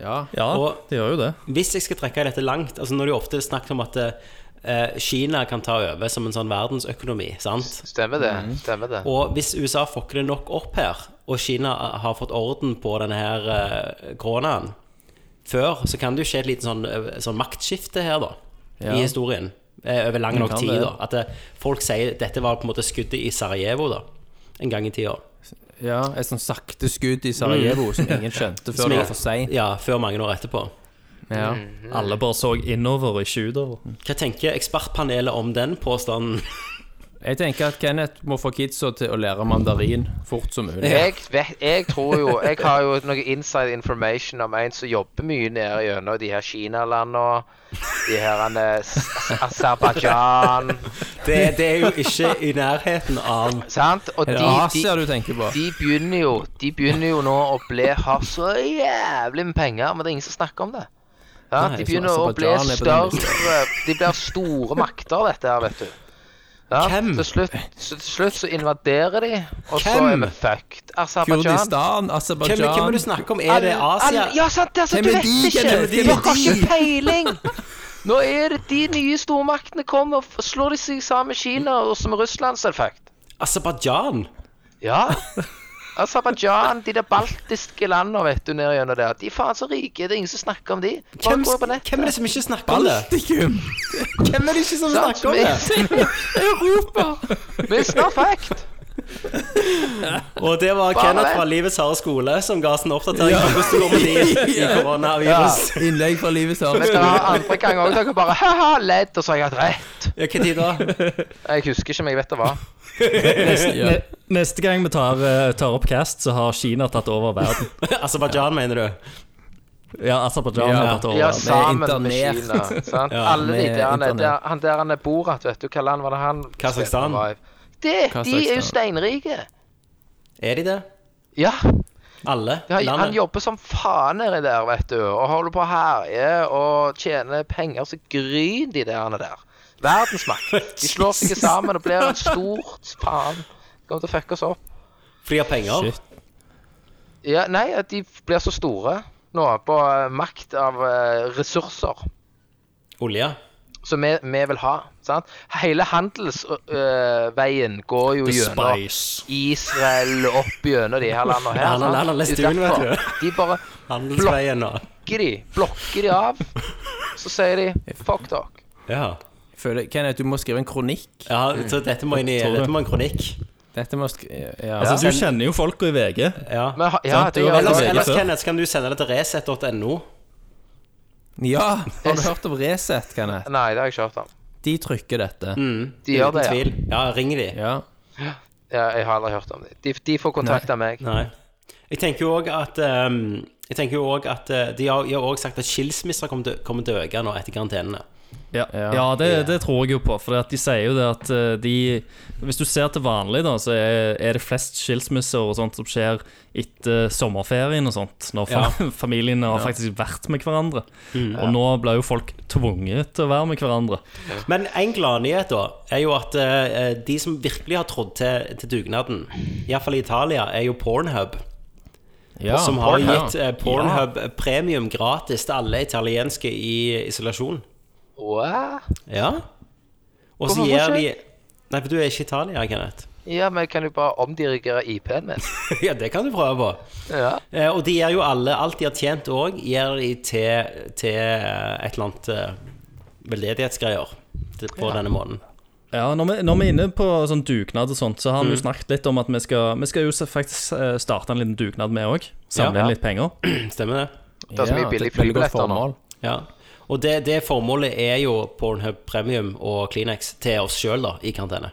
Speaker 8: Ja.
Speaker 7: ja,
Speaker 6: og-
Speaker 7: det gjør jo det.
Speaker 6: Hvis jeg skal trekke dette langt altså Når det jo ofte er snakket om at eh, Kina kan ta over som en sånn verdensøkonomi, sant?
Speaker 9: Stemmer det.
Speaker 8: Mm.
Speaker 9: Stemmer det.
Speaker 6: Og hvis USA fucker det nok opp her, og Kina har fått orden på denne her eh, koronaen før, så kan det jo skje et lite sånn, eh, sånn maktskifte her, da, i historien. eh, Over lang nok
Speaker 8: kan
Speaker 6: tid,
Speaker 8: det.
Speaker 6: da. At eh, folk sier dette var på en måte skuddet i Sarajevo, da. En gang i tida.
Speaker 8: ja. Et sånn sakte skudd i Sarajevo
Speaker 7: Mm.
Speaker 8: som ingen skjønte før
Speaker 6: Som
Speaker 8: det
Speaker 6: jeg-
Speaker 8: var for seint.
Speaker 6: Ja, før mange år etterpå.
Speaker 8: Ja.
Speaker 9: Mm.
Speaker 7: Alle bare så innover og ikke utover.
Speaker 6: Hva tenker ekspertpanelet om den påstanden?
Speaker 8: Jeg tenker at Kenneth må få kidsa til å lære mandarin fort som mulig.
Speaker 9: Jeg, vet, jeg tror jo Jeg har jo noe inside information om en som jobber mye nede gjennom de her Kinalandene. De her han, eh, S- Aserbajdsjan
Speaker 6: Det, det er jo ikke i nærheten av
Speaker 9: Sant? Og de,
Speaker 8: Ja, ser du
Speaker 9: de,
Speaker 8: tenker på.
Speaker 9: de, begynner jo, de begynner jo nå å bli ha så jævlig med penger, men det er ingen som snakker om det. Ja,
Speaker 8: Nei,
Speaker 9: de
Speaker 8: så
Speaker 9: begynner å bli
Speaker 8: Aserbajdsjan er på den
Speaker 9: større eh, De blir store makter, dette her, vet du. Ja,
Speaker 6: Hvem?
Speaker 9: Til slutt, så, til slutt så invaderer de, og så
Speaker 6: Hvem?
Speaker 9: er vi fucked. Aserbajdsjan.
Speaker 8: Kurdistan,
Speaker 6: hvem, hvem er det du
Speaker 8: Aserbajdsjan
Speaker 6: snakker om? Er det Asia?
Speaker 9: Al- Ja, sant, altså,
Speaker 8: Hvem
Speaker 9: du
Speaker 8: er
Speaker 9: vet
Speaker 8: de,
Speaker 9: ikke.
Speaker 8: Kenneth? Hvem
Speaker 9: Dere
Speaker 8: er
Speaker 9: har
Speaker 8: de?
Speaker 9: ikke peiling. Nå er det de nye stormaktene kommer, og f- slår de seg sammen med Kina og som Russland, selvfølgelig.
Speaker 6: Aserbajdsjan?
Speaker 9: Ja. Aserbajdsjan, de der baltiske landene, vet du, nede gjennom der. De er faen så rike, det er ingen som snakker om de. Bare
Speaker 6: Hvem,
Speaker 9: gå på nettet.
Speaker 6: hvem er det som ikke snakker om det? Hvem er det ikke som
Speaker 9: Sant,
Speaker 6: snakker om
Speaker 9: vi-
Speaker 6: det?
Speaker 9: Europa! Vi er snart fucked.
Speaker 6: Og det var
Speaker 9: Bare
Speaker 6: Kenneth
Speaker 9: det.
Speaker 6: fra Livets harde skole som ga oss en oppdatering om hvordan det går med de i koronavirus.
Speaker 8: Innlegg fra livet
Speaker 9: Men
Speaker 8: sitt.
Speaker 9: det var andre gang òg dere bare ha-ha, ledd, og så har jeg hatt rett.
Speaker 6: Ja, hva tid da?
Speaker 9: Jeg husker ikke, men jeg vet det var.
Speaker 7: Ne neste gang vi tar, eh, tar opp Cast, så har Kina tatt over verden.
Speaker 6: Aserbajdsjan, mener du?
Speaker 7: Ja, Aserbajdsjan har
Speaker 8: Ja.
Speaker 7: tatt
Speaker 9: Ja,
Speaker 7: over.
Speaker 9: sammen med
Speaker 8: internert.
Speaker 9: Kina. Sant? Alle de
Speaker 8: med
Speaker 9: der, han er-
Speaker 8: internert.
Speaker 9: der, han der han er Borat, vet du. Hva land var det han
Speaker 6: Kasakhstan.
Speaker 9: var i? Det, de er
Speaker 8: Kasakhstan.
Speaker 9: jo steinrike.
Speaker 6: Er de det?
Speaker 9: Ja.
Speaker 6: Alle?
Speaker 9: Han, han
Speaker 6: Landet?
Speaker 9: jobber som faen nedi der, vet du. Og holder på å herje og tjener penger så gryn de der han er der. Verdensmakt. De slår seg sammen og blir en stort faen. Kommer til å fucke oss opp.
Speaker 6: For de har penger?
Speaker 7: Shit.
Speaker 9: Ja, nei, at de blir så store nå på eh, makt av eh, ressurser.
Speaker 6: Olje?
Speaker 9: som vi, vi vil ha. Sant? Hele handelsveien går jo
Speaker 7: The
Speaker 9: gjennom
Speaker 7: Spice.
Speaker 9: Israel og opp gjennom de her landene her.
Speaker 6: Ja, han-
Speaker 9: sant?
Speaker 6: han har lest
Speaker 9: Det er jo
Speaker 6: Dune, vet
Speaker 9: derfor. De bare
Speaker 6: Handelsveien og
Speaker 9: blokker de, blokker de av. Så sier de fuck dere.
Speaker 6: Ja.
Speaker 8: Føler- Kenneth, du må skrive en kronikk.
Speaker 6: ja så dette må inn i
Speaker 7: Tror du?
Speaker 6: Dette må en kronikk.
Speaker 8: Dette må sk ja.
Speaker 7: Altså, du kjenner jo folka i VG.
Speaker 6: Ja.
Speaker 9: Men, ha- ja,
Speaker 7: Sant,
Speaker 9: det
Speaker 7: du
Speaker 9: gjør
Speaker 7: har
Speaker 6: Ellers,
Speaker 7: Ja,
Speaker 9: jeg.
Speaker 7: lest-
Speaker 6: ellers
Speaker 7: før.
Speaker 6: Kenneth, så kan du sende det til resett.no.
Speaker 8: ja! Har du hørt om Resett, Kenneth?
Speaker 9: Nei, det har jeg ikke hørt om.
Speaker 8: De trykker dette.
Speaker 9: De gjør det,
Speaker 6: Uten
Speaker 9: ja.
Speaker 6: tvil. Ja, ring de.
Speaker 8: Ja.
Speaker 9: ja. Jeg har aldri hørt om det. De, de får kontakte meg.
Speaker 6: Nei. Jeg tenker jo òg at, ehm, jeg tenker jo også at eh, De har jo òg sagt at skilsmisser kommer til, kommer til å øke nå etter karantenene.
Speaker 7: Ja, ja det, det tror jeg jo på. For at de sier jo det at eh, de Hvis du ser til vanlig, da, så er, er det flest skilsmisser og sånt som skjer etter sommerferien og sånt. Når fa familiene har faktisk vært med hverandre.
Speaker 6: Mm.
Speaker 7: Og nå blir jo folk tvunget til å være med hverandre.
Speaker 6: Men en gladnyhet da er jo at eh, de som virkelig har trådd til, til dugnaden, iallfall i Italia, er jo Pornhub.
Speaker 8: ja.
Speaker 6: som har
Speaker 8: Pornhub.
Speaker 6: gitt eh, Pornhub premium gratis til alle italienske i isolasjon.
Speaker 9: What?
Speaker 6: Ja. Og så
Speaker 9: Hvorfor
Speaker 6: gir de
Speaker 9: ikke?
Speaker 6: Nei, for du er ikke italier, Kenneth.
Speaker 9: Ja, men kan du bare omdirigere IP-en min?
Speaker 6: ja, det kan du prøve på.
Speaker 9: Ja.
Speaker 6: Eh, og de gir jo alle alt de har tjent òg, gir de til, til eh, et eller annet eh, veldedighetsgreier til- på denne måneden.
Speaker 7: Ja, når vi, når vi er inne på sånn dugnad og sånt, så har
Speaker 6: Mm.
Speaker 7: vi jo snakket litt om at vi skal, vi skal jo så faktisk eh, starte en liten dugnad, vi òg. Samle
Speaker 6: Ja.
Speaker 7: inn litt penger.
Speaker 6: Stemmer det?
Speaker 9: Det er så mye
Speaker 8: Ja,
Speaker 9: billige
Speaker 8: et veldig godt
Speaker 9: flybilletter nå.
Speaker 8: formål.
Speaker 6: Ja. Og det, det formålet er jo Pornhub Premium og Kleenex til oss sjøl, da, i karantene.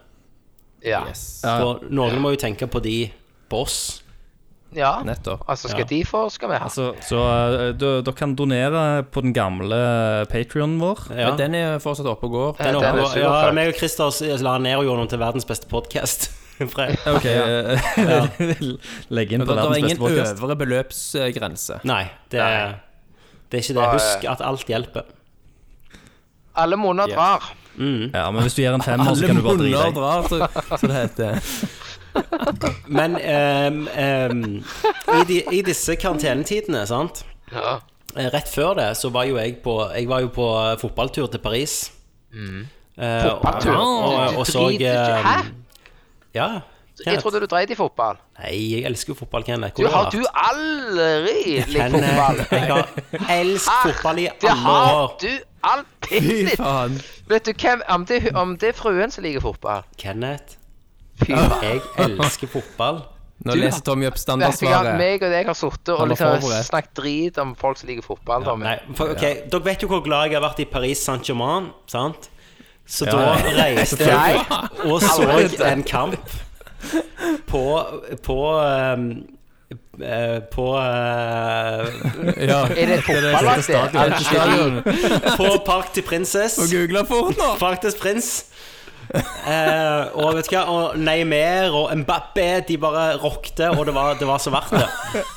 Speaker 9: Ja.
Speaker 6: For noen må jo tenke på de på oss.
Speaker 9: ja.
Speaker 7: Nettopp.
Speaker 9: Altså, skal
Speaker 6: Ja.
Speaker 9: de få, skal vi ha.
Speaker 7: Så, så eh, du- dere kan donere på den gamle Patrionen vår.
Speaker 6: Ja.
Speaker 8: Den er fortsatt oppe og går.
Speaker 9: Ja,
Speaker 6: Den
Speaker 9: den er
Speaker 6: oppgår, ja,
Speaker 9: superfett.
Speaker 6: meg og Christer s- la ned og gjorde den til verdens beste podkast.
Speaker 7: Ok, eh, Legg inn på
Speaker 8: Det er
Speaker 7: verdens
Speaker 8: ingen
Speaker 7: beste podcast
Speaker 8: øvre beløpsgrense.
Speaker 6: Nei, det,
Speaker 9: Nei.
Speaker 6: det er ikke det. Husk at alt hjelper.
Speaker 9: Alle måneder drar.
Speaker 7: Mm. Ja, men hvis du gir en femmer, så
Speaker 8: Alle
Speaker 7: kan du bare
Speaker 8: munner
Speaker 7: drite deg.
Speaker 8: drar, så, så det heter.
Speaker 6: Men ehm, ehm, i, de, i disse karantenetidene, sant
Speaker 9: Ja.
Speaker 6: Eh, Rett før det så var jo jeg på Jeg var jo på fotballtur til Paris. Eh, og-
Speaker 9: Fotballtur?
Speaker 6: Og, og, og så
Speaker 9: Drit-
Speaker 6: eh,
Speaker 9: Hæ?
Speaker 6: Ja.
Speaker 9: Jeg trodde du dreit i fotball.
Speaker 6: Nei, jeg elsker jo fotball, Kenneth.
Speaker 9: Du
Speaker 6: Hvor
Speaker 9: har
Speaker 6: vært?
Speaker 9: du aldri likt
Speaker 6: Men, eh,
Speaker 9: fotball.
Speaker 6: Jeg har elsket fotball i
Speaker 9: Det
Speaker 6: alle
Speaker 9: har
Speaker 6: år.
Speaker 9: du alltid
Speaker 8: Fy
Speaker 9: litt.
Speaker 8: faen.
Speaker 9: Vet du hvem Om det, er hu- om det er fruen som liker fotball
Speaker 6: Kenneth,
Speaker 9: Fy faen.
Speaker 6: jeg elsker fotball.
Speaker 8: Nå leser Tommy opp
Speaker 9: Vet du hva,
Speaker 8: standardsvaret.
Speaker 9: meg og deg har sittet og
Speaker 8: Han var
Speaker 9: liksom
Speaker 8: forberedt.
Speaker 9: snakket drit om folk som liker fotball. Tommy.
Speaker 6: Nei, for, ok, Dere vet jo hvor glad jeg har vært i Paris Saint-Germain, sant? Så da reiste jeg og så en kamp på På eh, eh, På eh,
Speaker 8: Ja.
Speaker 9: Er det et fotballag, det? Algerie.
Speaker 6: På Park til Princess.
Speaker 8: Googla fort nå.
Speaker 6: Faktisk prins. Eh, og vet du hva, og Neymar og Mbappé de bare rockte, og det var, det var så verdt det.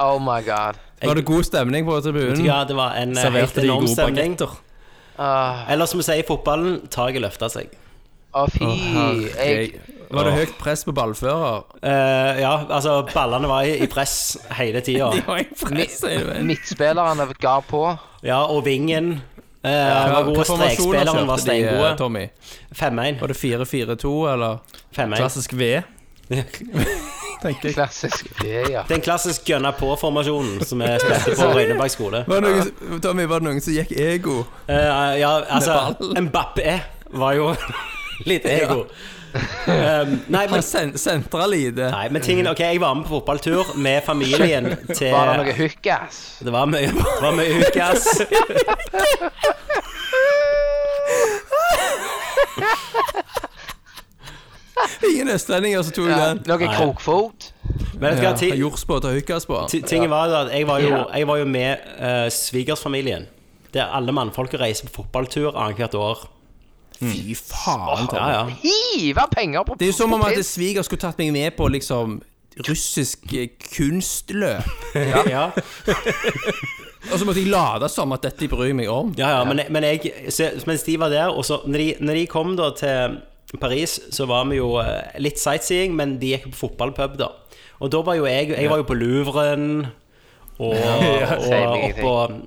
Speaker 9: Oh my god.
Speaker 8: Var det god stemning på
Speaker 6: Vet du
Speaker 8: tribunen?
Speaker 6: hva, det var en eh, helt
Speaker 7: Serverte de
Speaker 6: enorm
Speaker 7: gode
Speaker 6: stemning.
Speaker 7: bagetter.
Speaker 9: Åh,
Speaker 6: Eller som vi sier i fotballen, taket løfta seg.
Speaker 9: Ah, Å, fy. Jeg
Speaker 8: Var det høyt press på ballfører?
Speaker 6: Eh, ja, altså ballene var i, i press hele tida.
Speaker 9: Midtspillerne ga på.
Speaker 6: Ja, og vingen eh, var god. Strekspilleren var
Speaker 9: eh,
Speaker 6: steingod.
Speaker 8: eh, Tommy?
Speaker 6: 5-1.
Speaker 8: Var det 4-4-2, eller?
Speaker 6: 5-1.
Speaker 7: Klassisk V.
Speaker 9: Klassisk. Det, ja.
Speaker 6: Den klassisk gønna på-formasjonen som vi spilte på Røyneberg skole.
Speaker 8: Var det noen, Tommy, var det noen som gikk ego?
Speaker 6: Eh, ja, altså Mbappé var jo litt ego. Um, nei, men,
Speaker 8: Han sen sentra lite.
Speaker 6: nei, men tingen Ok, jeg var med på fotballtur med familien til
Speaker 9: Var det noe hookass?
Speaker 6: Det var mye, det var mye ukas.
Speaker 8: Ingen østlendinger som tok den.
Speaker 9: Noe krokfot?
Speaker 6: Men vet du hva,
Speaker 8: Ja,
Speaker 6: ti-
Speaker 8: Jordsbåt og høykasbå.
Speaker 6: Ti- Tingen var jo at jeg var jo, jeg var jo med eh, svigersfamilien. Der alle mannfolk reiser på fotballtur annethvert år.
Speaker 7: Mm.
Speaker 8: Fy faen.
Speaker 6: Ja, ja.
Speaker 9: Hive penger på
Speaker 8: Det er jo som om
Speaker 9: på
Speaker 8: at
Speaker 9: pins.
Speaker 8: sviger skulle tatt meg med på liksom russisk eh, kunstløp.
Speaker 6: ja. ja,
Speaker 8: Og så måtte jeg late som at dette bryr jeg meg om.
Speaker 6: ja, men, men jeg så, Mens de var der, og så når de, når de kom da til Paris, så var vi jo eh, litt sightseeing, men de gikk på fotballpub, da. Og da var jo jeg Jeg var jo på Louvren, og,
Speaker 9: sier
Speaker 6: og
Speaker 9: meg
Speaker 6: oppå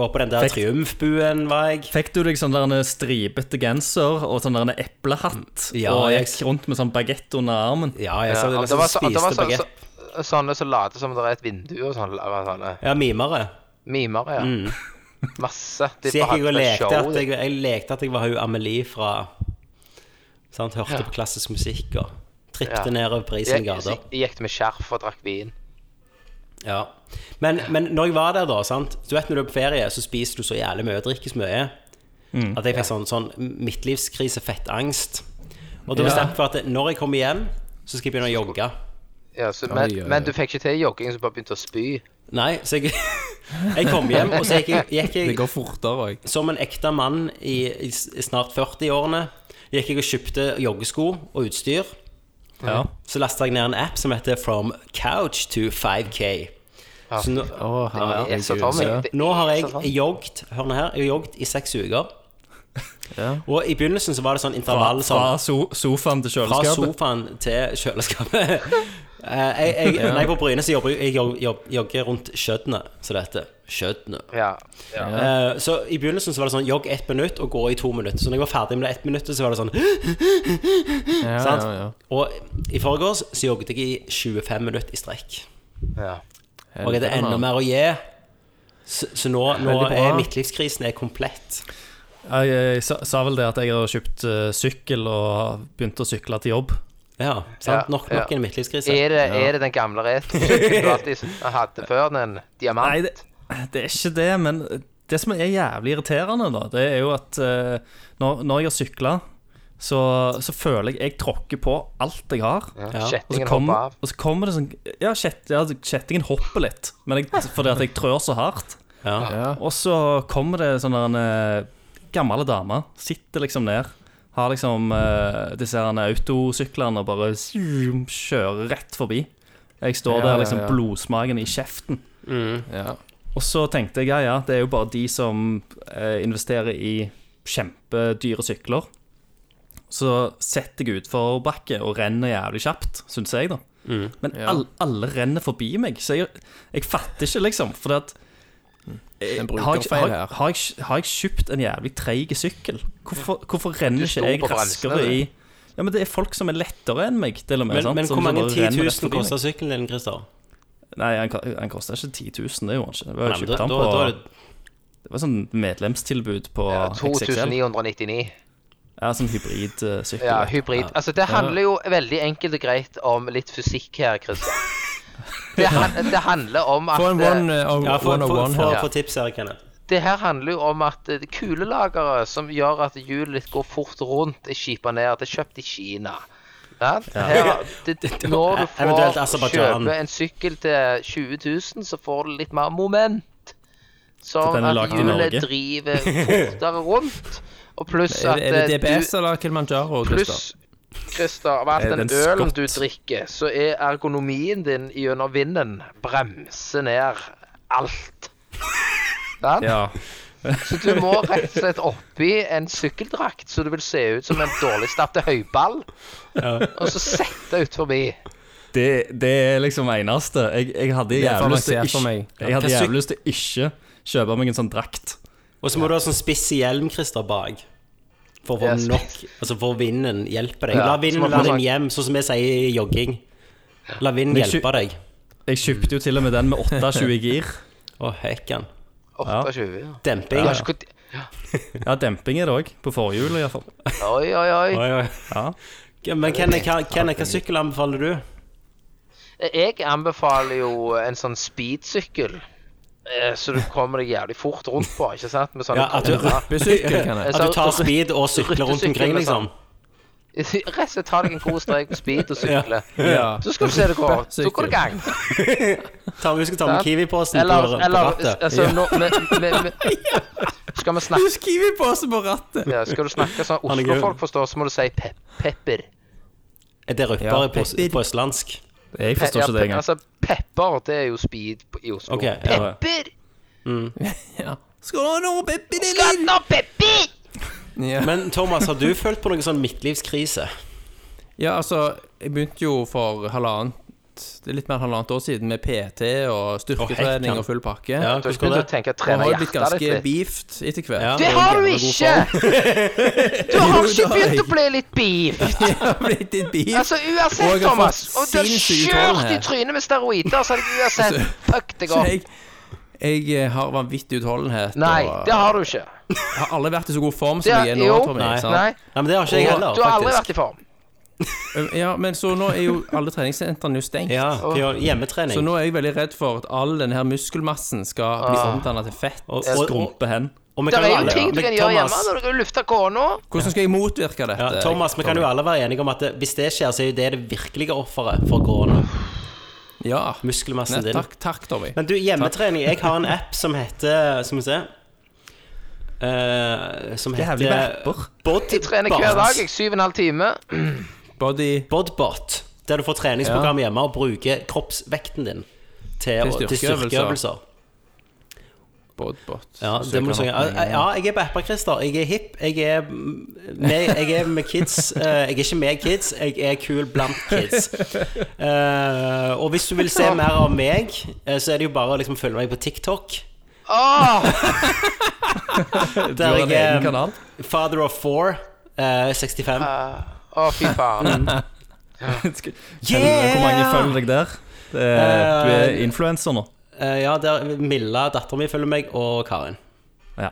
Speaker 6: var på den der
Speaker 7: Fikk-
Speaker 6: triumfbuen, var jeg.
Speaker 7: Fikk du deg sånn der en stripete genser og sånn der en eplehatt
Speaker 6: Ja,
Speaker 7: og
Speaker 6: jeg-
Speaker 7: gikk rundt med sånn bagett under armen?
Speaker 6: Ja, jeg
Speaker 9: Ja,
Speaker 6: så,
Speaker 9: og
Speaker 6: liksom
Speaker 9: det var, så, og det
Speaker 6: spiste
Speaker 9: var så,
Speaker 6: bagett.
Speaker 9: så, sånne som later som det er et vindu, og sånn, sånne, og sånne
Speaker 6: Ja, mimere.
Speaker 9: mimere. Ja. Masse. De
Speaker 6: Mm. Så gikk jeg og
Speaker 9: behandler
Speaker 6: lekte
Speaker 9: show,
Speaker 6: at jeg, jeg lekte at jeg var hun Amelie fra sant, Hørte på klassisk musikk og trippte
Speaker 9: Ja.
Speaker 6: nedover Parisens
Speaker 9: Gikk,
Speaker 6: gater.
Speaker 9: gikk med skjerf og drakk vin.
Speaker 6: Ja. Men, men når jeg var der, da sant? Du vet når du er på ferie, så spiser du så jævlig mye og drikker så mye
Speaker 8: Mm.
Speaker 6: at jeg fikk sånn, sånn midtlivskrise, fettangst. Og da bestemte jeg for at når jeg kommer hjem, så skal jeg begynne å jogge.
Speaker 9: Ja, så, men, men du fikk ikke til jogging, så du bare begynte å spy.
Speaker 6: Nei, så jeg, jeg kom hjem, og så gikk jeg, gikk jeg
Speaker 8: Det går fortere òg.
Speaker 6: Som en ekte mann i, i s- i snart 40-årene gikk jeg og kjøpte joggesko og utstyr.
Speaker 7: Ja.
Speaker 6: Så lasta jeg ned en app som heter From Couch to 5K. Så nå, ja, ja.
Speaker 9: Jeg så Tommy, det-
Speaker 6: nå har
Speaker 9: så Tommy.
Speaker 6: jeg jogget Hør nå her, jeg har jogget i seks uker. Og i begynnelsen så var det sånn
Speaker 7: Fra,
Speaker 6: intervall
Speaker 7: fra
Speaker 6: sånn
Speaker 7: so sofaen til
Speaker 6: fra
Speaker 7: kjøleskapet.
Speaker 6: sofaen til kjøleskapet. Eh, jeg, jeg, Når jeg er på Bryne, så jobber jeg, jeg jog- jog- jogger rundt skjøttene, som det heter. Skjøttene.
Speaker 9: Ja.
Speaker 6: Eh, Så i begynnelsen så var det sånn jogg ett minutt og gå i to minutter. Så når jeg var ferdig med det ett minutt, så var det sånn sant? Og i forgårs så jogget jeg i 25 minutter i strekk.
Speaker 9: ja.
Speaker 6: Og det er enda mer å gi. Så, så nå, nå
Speaker 8: Veldig bra.
Speaker 6: er midtlivskrisen er komplett.
Speaker 7: Jeg, jeg sa, sa vel det at jeg har kjøpt eh, sykkel og begynt å sykle til jobb.
Speaker 6: Ja, sant?
Speaker 9: Ja,
Speaker 6: Nok nok
Speaker 9: ja.
Speaker 6: en midtlivskrise.
Speaker 9: Er, det, er det den gamle retrosykkelen du alltid s- hadde før, den diamant?
Speaker 7: Nei, det, det er ikke det, men Det som er jævlig irriterende, da, det er jo at eh, når, når jeg har sykla, så, så føler jeg jeg tråkker på alt jeg har.
Speaker 6: Ja.
Speaker 7: Og så,
Speaker 9: Kjettingen
Speaker 7: kom,
Speaker 9: hopper av.
Speaker 7: og så kommer det sånn Ja, kjett, ja altså, kjettingen hopper litt, men jeg, fordi at jeg trør så hardt.
Speaker 6: Ja.
Speaker 7: Og så kommer det sånn der en eh, gammel dame, sitter liksom ned, har liksom eh, disse her eh, autosyklene og bare zoom, kjører rett forbi. Jeg står
Speaker 8: Ja,
Speaker 7: der
Speaker 8: ja,
Speaker 7: liksom
Speaker 8: ja.
Speaker 7: blodsmaken i kjeften.
Speaker 8: Ja.
Speaker 7: Og så tenkte jeg ja, ja, det er jo bare de som eh, investerer i kjempedyre sykler. Så setter jeg utforbakke og renner jævlig kjapt, syns jeg, da. Men alle, alle renner forbi meg, så jeg, jeg fatter ikke, liksom. For at
Speaker 8: En
Speaker 7: har jeg,
Speaker 8: brukerfeil
Speaker 7: har,
Speaker 8: her.
Speaker 7: har, jeg, har jeg kjøpt en jævlig treig sykkel? Hvorfor, hvorfor renner
Speaker 9: sto
Speaker 7: ikke jeg
Speaker 9: på bremsene,
Speaker 7: raskere i Ja, men Det er folk som er lettere enn meg. Til og med,
Speaker 6: Men,
Speaker 7: sant?
Speaker 6: men
Speaker 7: som-
Speaker 6: hvor mange
Speaker 7: som bare
Speaker 6: 10
Speaker 7: renner rett
Speaker 6: 000
Speaker 7: forbi meg.
Speaker 6: koster sykkelen din, Christer?
Speaker 7: Nei, han, ka- han koster ikke 10 000, det gjorde han ikke. Det
Speaker 6: Nei,
Speaker 7: var,
Speaker 6: men
Speaker 7: jo kjøpt
Speaker 6: da, da,
Speaker 7: han på,
Speaker 6: da er det
Speaker 7: det var sånn medlemstilbud på
Speaker 9: Ja,
Speaker 7: XXL.
Speaker 9: 2999.
Speaker 7: Ja, sånn hybridsykkel.
Speaker 9: Ja, hybrid. Altså, det handler jo veldig enkelt og greit om litt fysikk her, Christian. Det, han, det handler om at
Speaker 8: Få en
Speaker 9: eh,
Speaker 8: one, eh,
Speaker 6: Ja, få- få-
Speaker 8: 101 her.
Speaker 6: få- få tips her, Kenneth.
Speaker 9: Det her handler jo om at eh, kulelagere som gjør at hjulet ditt går fort rundt, er skipa ned. Det er kjøpt i Kina. Ja. Her, det, når du
Speaker 6: Eventuelt
Speaker 9: får
Speaker 6: Aserbajdsjan.
Speaker 9: kjøpe en sykkel til 20 000, så får du litt mer moment.
Speaker 7: For den
Speaker 9: Sånn
Speaker 7: er
Speaker 9: at
Speaker 7: laget i
Speaker 9: hjulet
Speaker 7: Norge.
Speaker 9: driver fortere rundt. Og pluss
Speaker 8: Er
Speaker 9: at
Speaker 8: det, er
Speaker 9: eh,
Speaker 8: det
Speaker 9: du-
Speaker 8: DBS eller Kilimanjaro? Christer?
Speaker 9: Pluss, Christer, av alt
Speaker 7: Er
Speaker 9: den
Speaker 7: det en
Speaker 9: ølen
Speaker 7: skott?
Speaker 9: du drikker, så er ergonomien din gjennom vinden bremser ned alt. Sant?
Speaker 7: Ja.
Speaker 9: Så du må rett og slett oppi en sykkeldrakt så du vil se ut som en dårlig stappet høyball, og så sette ut forbi.
Speaker 7: Det, det er liksom eneste. Jeg, jeg hadde
Speaker 8: Det er
Speaker 7: jævlig lyst til
Speaker 8: avansert for
Speaker 7: ikke,
Speaker 8: meg.
Speaker 7: jeg hadde
Speaker 6: Hva syk-
Speaker 7: jævlig lyst til ikke kjøpe meg en sånn drakt.
Speaker 6: Og så må du ha sånn spiss hjelm, Christer, bak. For å få
Speaker 9: Yes.
Speaker 6: nok Altså for vinden hjelper deg.
Speaker 9: Ja,
Speaker 6: La
Speaker 9: så må
Speaker 6: vinden være
Speaker 9: du ha-
Speaker 6: din hjem, sånn som vi sier i jogging. La vinden
Speaker 7: Men ikke-
Speaker 6: hjelpe deg.
Speaker 7: Jeg kjøpte jo til og med den med 28 gir.
Speaker 6: Å, hekken.
Speaker 9: 28. Ja.
Speaker 6: Demping.
Speaker 9: Jeg har ikke kont-
Speaker 7: Ja, demping er det òg. På forhjulet, iallfall.
Speaker 9: Oi, oi, oi.
Speaker 6: Oi, oi.
Speaker 7: Ja.
Speaker 6: Men Kenneth, hva- Kenneth, hva sykkel anbefaler du?
Speaker 9: Jeg anbefaler jo en sånn speedsykkel, eh, så du kommer deg jævlig fort rundt på, ikke sant? Med sånne
Speaker 6: Ja, at du,
Speaker 9: kroner.
Speaker 8: Besykkel, kan jeg.
Speaker 6: at du tar speed og sykler rundt omkring,
Speaker 9: Ryttesykkel,
Speaker 6: liksom?
Speaker 9: sånn. Rett og slett ta deg en god strek på speed og sykle.
Speaker 8: Ja.
Speaker 9: Så skal du se det går.
Speaker 8: Sykkel.
Speaker 9: Så går det gang.
Speaker 6: Ta, vi skal ta med
Speaker 9: Sant?
Speaker 6: Kiwi-posen på,
Speaker 9: Eller,
Speaker 6: på
Speaker 9: eller
Speaker 6: rattet.
Speaker 9: altså, nå, med, med, med, Skal vi snakke
Speaker 8: Skriver på oss på rattet.
Speaker 9: ja, Skal du snakke sånn
Speaker 6: Han er gøy.
Speaker 9: Oslo-folk forstår, så må du si pe pepper.
Speaker 6: Er det
Speaker 8: Ja.
Speaker 6: røpere på, på østlandsk?
Speaker 7: Jeg
Speaker 9: Pe
Speaker 7: forstår
Speaker 9: ja,
Speaker 7: ikke det
Speaker 9: pe-
Speaker 7: engang.
Speaker 9: Altså, pepper, det er jo speed på- i Oslo.
Speaker 6: Ok, ja.
Speaker 9: Pepper!
Speaker 8: Skal du ha noe pepper i
Speaker 9: Skal nå pepper!
Speaker 8: Ja.
Speaker 6: Men Thomas, har du følt på noen sånn midtlivskrise?
Speaker 8: ja, altså, jeg begynte jo for halvannet Det er litt mer enn halvannet år siden med PT og
Speaker 6: Å,
Speaker 8: styrketrening
Speaker 6: hekkan.
Speaker 8: og full pakke.
Speaker 6: Ja,
Speaker 9: Du har ikke
Speaker 6: hvordan går
Speaker 9: begynt å
Speaker 6: det?
Speaker 9: tenke å
Speaker 8: Og
Speaker 9: trene
Speaker 8: har jo blitt
Speaker 9: hjertet ditt
Speaker 8: ganske
Speaker 9: litt.
Speaker 8: beeft etter hvert.
Speaker 6: Ja.
Speaker 9: Det har du ikke! Du har ikke begynt å bli litt beef.
Speaker 8: blitt litt beeft.
Speaker 9: Altså
Speaker 8: Og
Speaker 9: uansett,
Speaker 8: jeg har
Speaker 9: Thomas.
Speaker 8: fått
Speaker 9: Og du har
Speaker 8: sinnssyk
Speaker 9: kjørt i
Speaker 8: utholdenhet.
Speaker 9: trynet med steroider, så har jeg uansett fuck
Speaker 8: Altså, Så
Speaker 9: deg opp.
Speaker 8: jeg, jeg eh, har vanvittig utholdenhet.
Speaker 9: Nei,
Speaker 8: og
Speaker 9: det har du ikke.
Speaker 8: jeg har aldri vært i så god form
Speaker 9: Det
Speaker 8: som jeg er nå,
Speaker 9: jo.
Speaker 8: Tommy.
Speaker 6: Nei.
Speaker 8: sant?
Speaker 9: Nei,
Speaker 6: Nei, men det har ikke jeg
Speaker 9: du
Speaker 6: heller,
Speaker 9: har aldri
Speaker 6: faktisk.
Speaker 9: vært i form.
Speaker 8: Um, Ja, men så nå er jo alle treningssentrene jo stengt.
Speaker 6: Ja, hva gjør-
Speaker 8: Så
Speaker 6: hjemmetrening.
Speaker 8: nå er jeg veldig redd for at all denne her muskelmassen skal bli
Speaker 9: Ah.
Speaker 8: omdannet til fett.
Speaker 6: Og, og, og,
Speaker 7: Skrumpe hen.
Speaker 6: og vi
Speaker 9: Det
Speaker 6: kan
Speaker 9: er
Speaker 6: jo
Speaker 9: jo
Speaker 6: alle
Speaker 9: ting du
Speaker 6: men
Speaker 9: kan gjøre
Speaker 6: Thomas-
Speaker 9: hjemme når du kan lufte kona.
Speaker 8: Hvordan skal jeg motvirke dette?
Speaker 6: Ja, Thomas, vi kan jo alle være enige om at det, hvis det skjer, så er jo det det virkelige offeret for korona.
Speaker 8: Ja. Nei,
Speaker 6: Muskelmassen din.
Speaker 8: takk, takk, Tommy.
Speaker 6: Men du, hjemmetrening Jeg har en app som heter Skal vi se eh, Som
Speaker 7: Jævlig med
Speaker 6: heter
Speaker 7: apper.
Speaker 9: Jeg trener hver dag, jeg. Syv og en halv time.
Speaker 8: Body
Speaker 6: Bodbot. Der du får treningsprogram hjemme og bruker kroppsvekten din til,
Speaker 8: Til
Speaker 6: å- til
Speaker 8: styrkeøvelser.
Speaker 6: styrkeøvelser.
Speaker 8: bodbot.
Speaker 6: Ja, det må du si. Ja, ja, jeg er på apper, Christer. Jeg er hip. Jeg er med, jeg er med kids. Eh, Jeg er ikke med kids, jeg er kul blant kids. Eh, og hvis du vil se mer av meg, eh, så er det jo bare å liksom følge meg på TikTok.
Speaker 9: Åh,
Speaker 7: Du har en
Speaker 6: jeg, eh,
Speaker 7: egen kanal.
Speaker 6: Father of four. eh, 65.
Speaker 9: Å, fy
Speaker 6: Mm.
Speaker 9: faen.
Speaker 7: Helvete, Hvor mange følger deg der? Det er, du er
Speaker 6: Eh,
Speaker 7: influenser nå.
Speaker 6: Eh, ja, der Milla, dattera mi, følger meg, og Karin.
Speaker 7: Ja.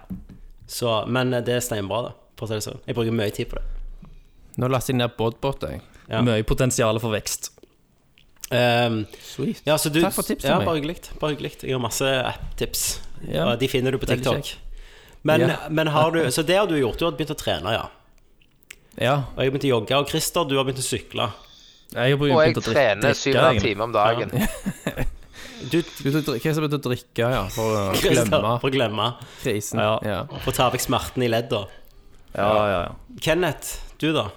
Speaker 6: Så, men det er steinbra, da. For å si det sånn. Jeg bruker mye tid på det.
Speaker 8: Nå laster jeg ned bodbot, jeg.
Speaker 6: Ja.
Speaker 7: Mye potensial for vekst.
Speaker 6: Ehm,
Speaker 8: Sweet.
Speaker 6: ja, så du,
Speaker 8: Takk for tipset,
Speaker 6: Ja,
Speaker 8: meg.
Speaker 6: bare hyggelig. Bare hyggelig. Jeg har masse app-tips.
Speaker 8: Ja.
Speaker 6: Og de finner du på
Speaker 8: Veldig
Speaker 6: TikTok.
Speaker 8: kjekt.
Speaker 6: Men,
Speaker 12: Ja.
Speaker 6: men har du, så det har du gjort. Du har begynt å trene, ja.
Speaker 12: Ja,
Speaker 6: Og jeg har begynt å jogge. Og Christer, du har begynt å sykle.
Speaker 12: jeg har
Speaker 9: Og jeg
Speaker 12: begynt å drikke.
Speaker 9: trener syv og en halv time om dagen.
Speaker 6: Du,
Speaker 7: Du begynte å drikke, så begynte å drikke, ja, for å
Speaker 6: Christer,
Speaker 7: glemme
Speaker 6: for å glemme.
Speaker 7: krisen.
Speaker 12: Ja.
Speaker 7: Ja.
Speaker 6: For å ta vekk smerten i ledda.
Speaker 12: Ja, ja, ja.
Speaker 6: Kenneth, du da?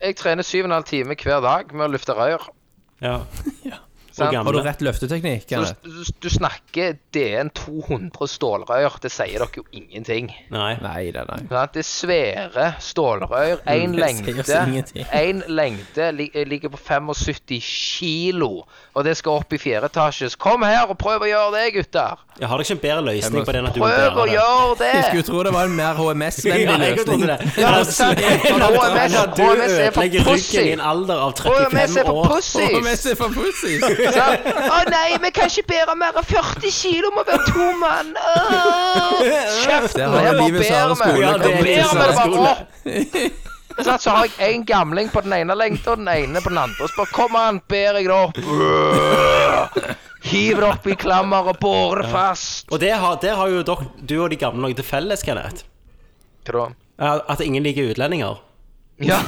Speaker 9: Jeg trener syv og en halv time hver dag med å løfte rør.
Speaker 6: Ja.
Speaker 9: Sant?
Speaker 6: Og gamle.
Speaker 7: Har du rett løfteteknikk?
Speaker 9: Du,
Speaker 7: Kenneth?
Speaker 9: du, du snakker DN 200 stålrør. Det sier dere jo ingenting.
Speaker 6: Nei.
Speaker 7: Nei, det er nei.
Speaker 9: Sant? Sånn Det er svære
Speaker 6: Mm,
Speaker 9: stålrør. Én
Speaker 7: sier oss
Speaker 9: lengde
Speaker 7: ingenting.
Speaker 9: en lengde li ligger på 75 kilo, og det skal opp i fjerde etasje. Så kom her og prøv å gjøre det, gutter.
Speaker 6: Jeg har dere ikke en bedre løsning på det enn at du må
Speaker 9: Prøv å
Speaker 6: bære det?
Speaker 9: gjøre det.
Speaker 7: Jeg skulle tro det var en mer
Speaker 6: Ja,
Speaker 7: HMS-vennlig
Speaker 6: jeg
Speaker 7: løsning.
Speaker 6: trodde det.
Speaker 9: Ja,
Speaker 6: Men
Speaker 9: sant.
Speaker 6: at-
Speaker 9: HMS
Speaker 6: at du
Speaker 9: HMS er for
Speaker 6: ødelegger
Speaker 9: pussy.
Speaker 6: ryggen i en alder av
Speaker 9: HMS
Speaker 6: 35
Speaker 9: er for
Speaker 6: år.
Speaker 9: pussies.
Speaker 7: HMS er for pussy.
Speaker 9: Altså, Å nei, vi kan ikke bære mer enn 40 kilo, må være to mann. Åh,
Speaker 7: Det
Speaker 9: Kjeften,
Speaker 7: har
Speaker 9: jeg bare
Speaker 7: livet Sara
Speaker 9: bærer meg.
Speaker 7: skole.
Speaker 6: Ja,
Speaker 9: Jeg
Speaker 6: det er
Speaker 9: bærer
Speaker 6: livet Sara
Speaker 9: meg bare
Speaker 6: skole.
Speaker 9: opp. Så, så har jeg en gamling på den ene lengta og den ene på den andre. Og spør kom an, bærer jeg det opp. Hiv det opp i klammer og borer fast.
Speaker 6: Og det har, det har jo dere, du og de gamle noe til felles, Kenneth.
Speaker 9: Hva da?
Speaker 6: At at ingen liker utlendinger.
Speaker 9: Ja.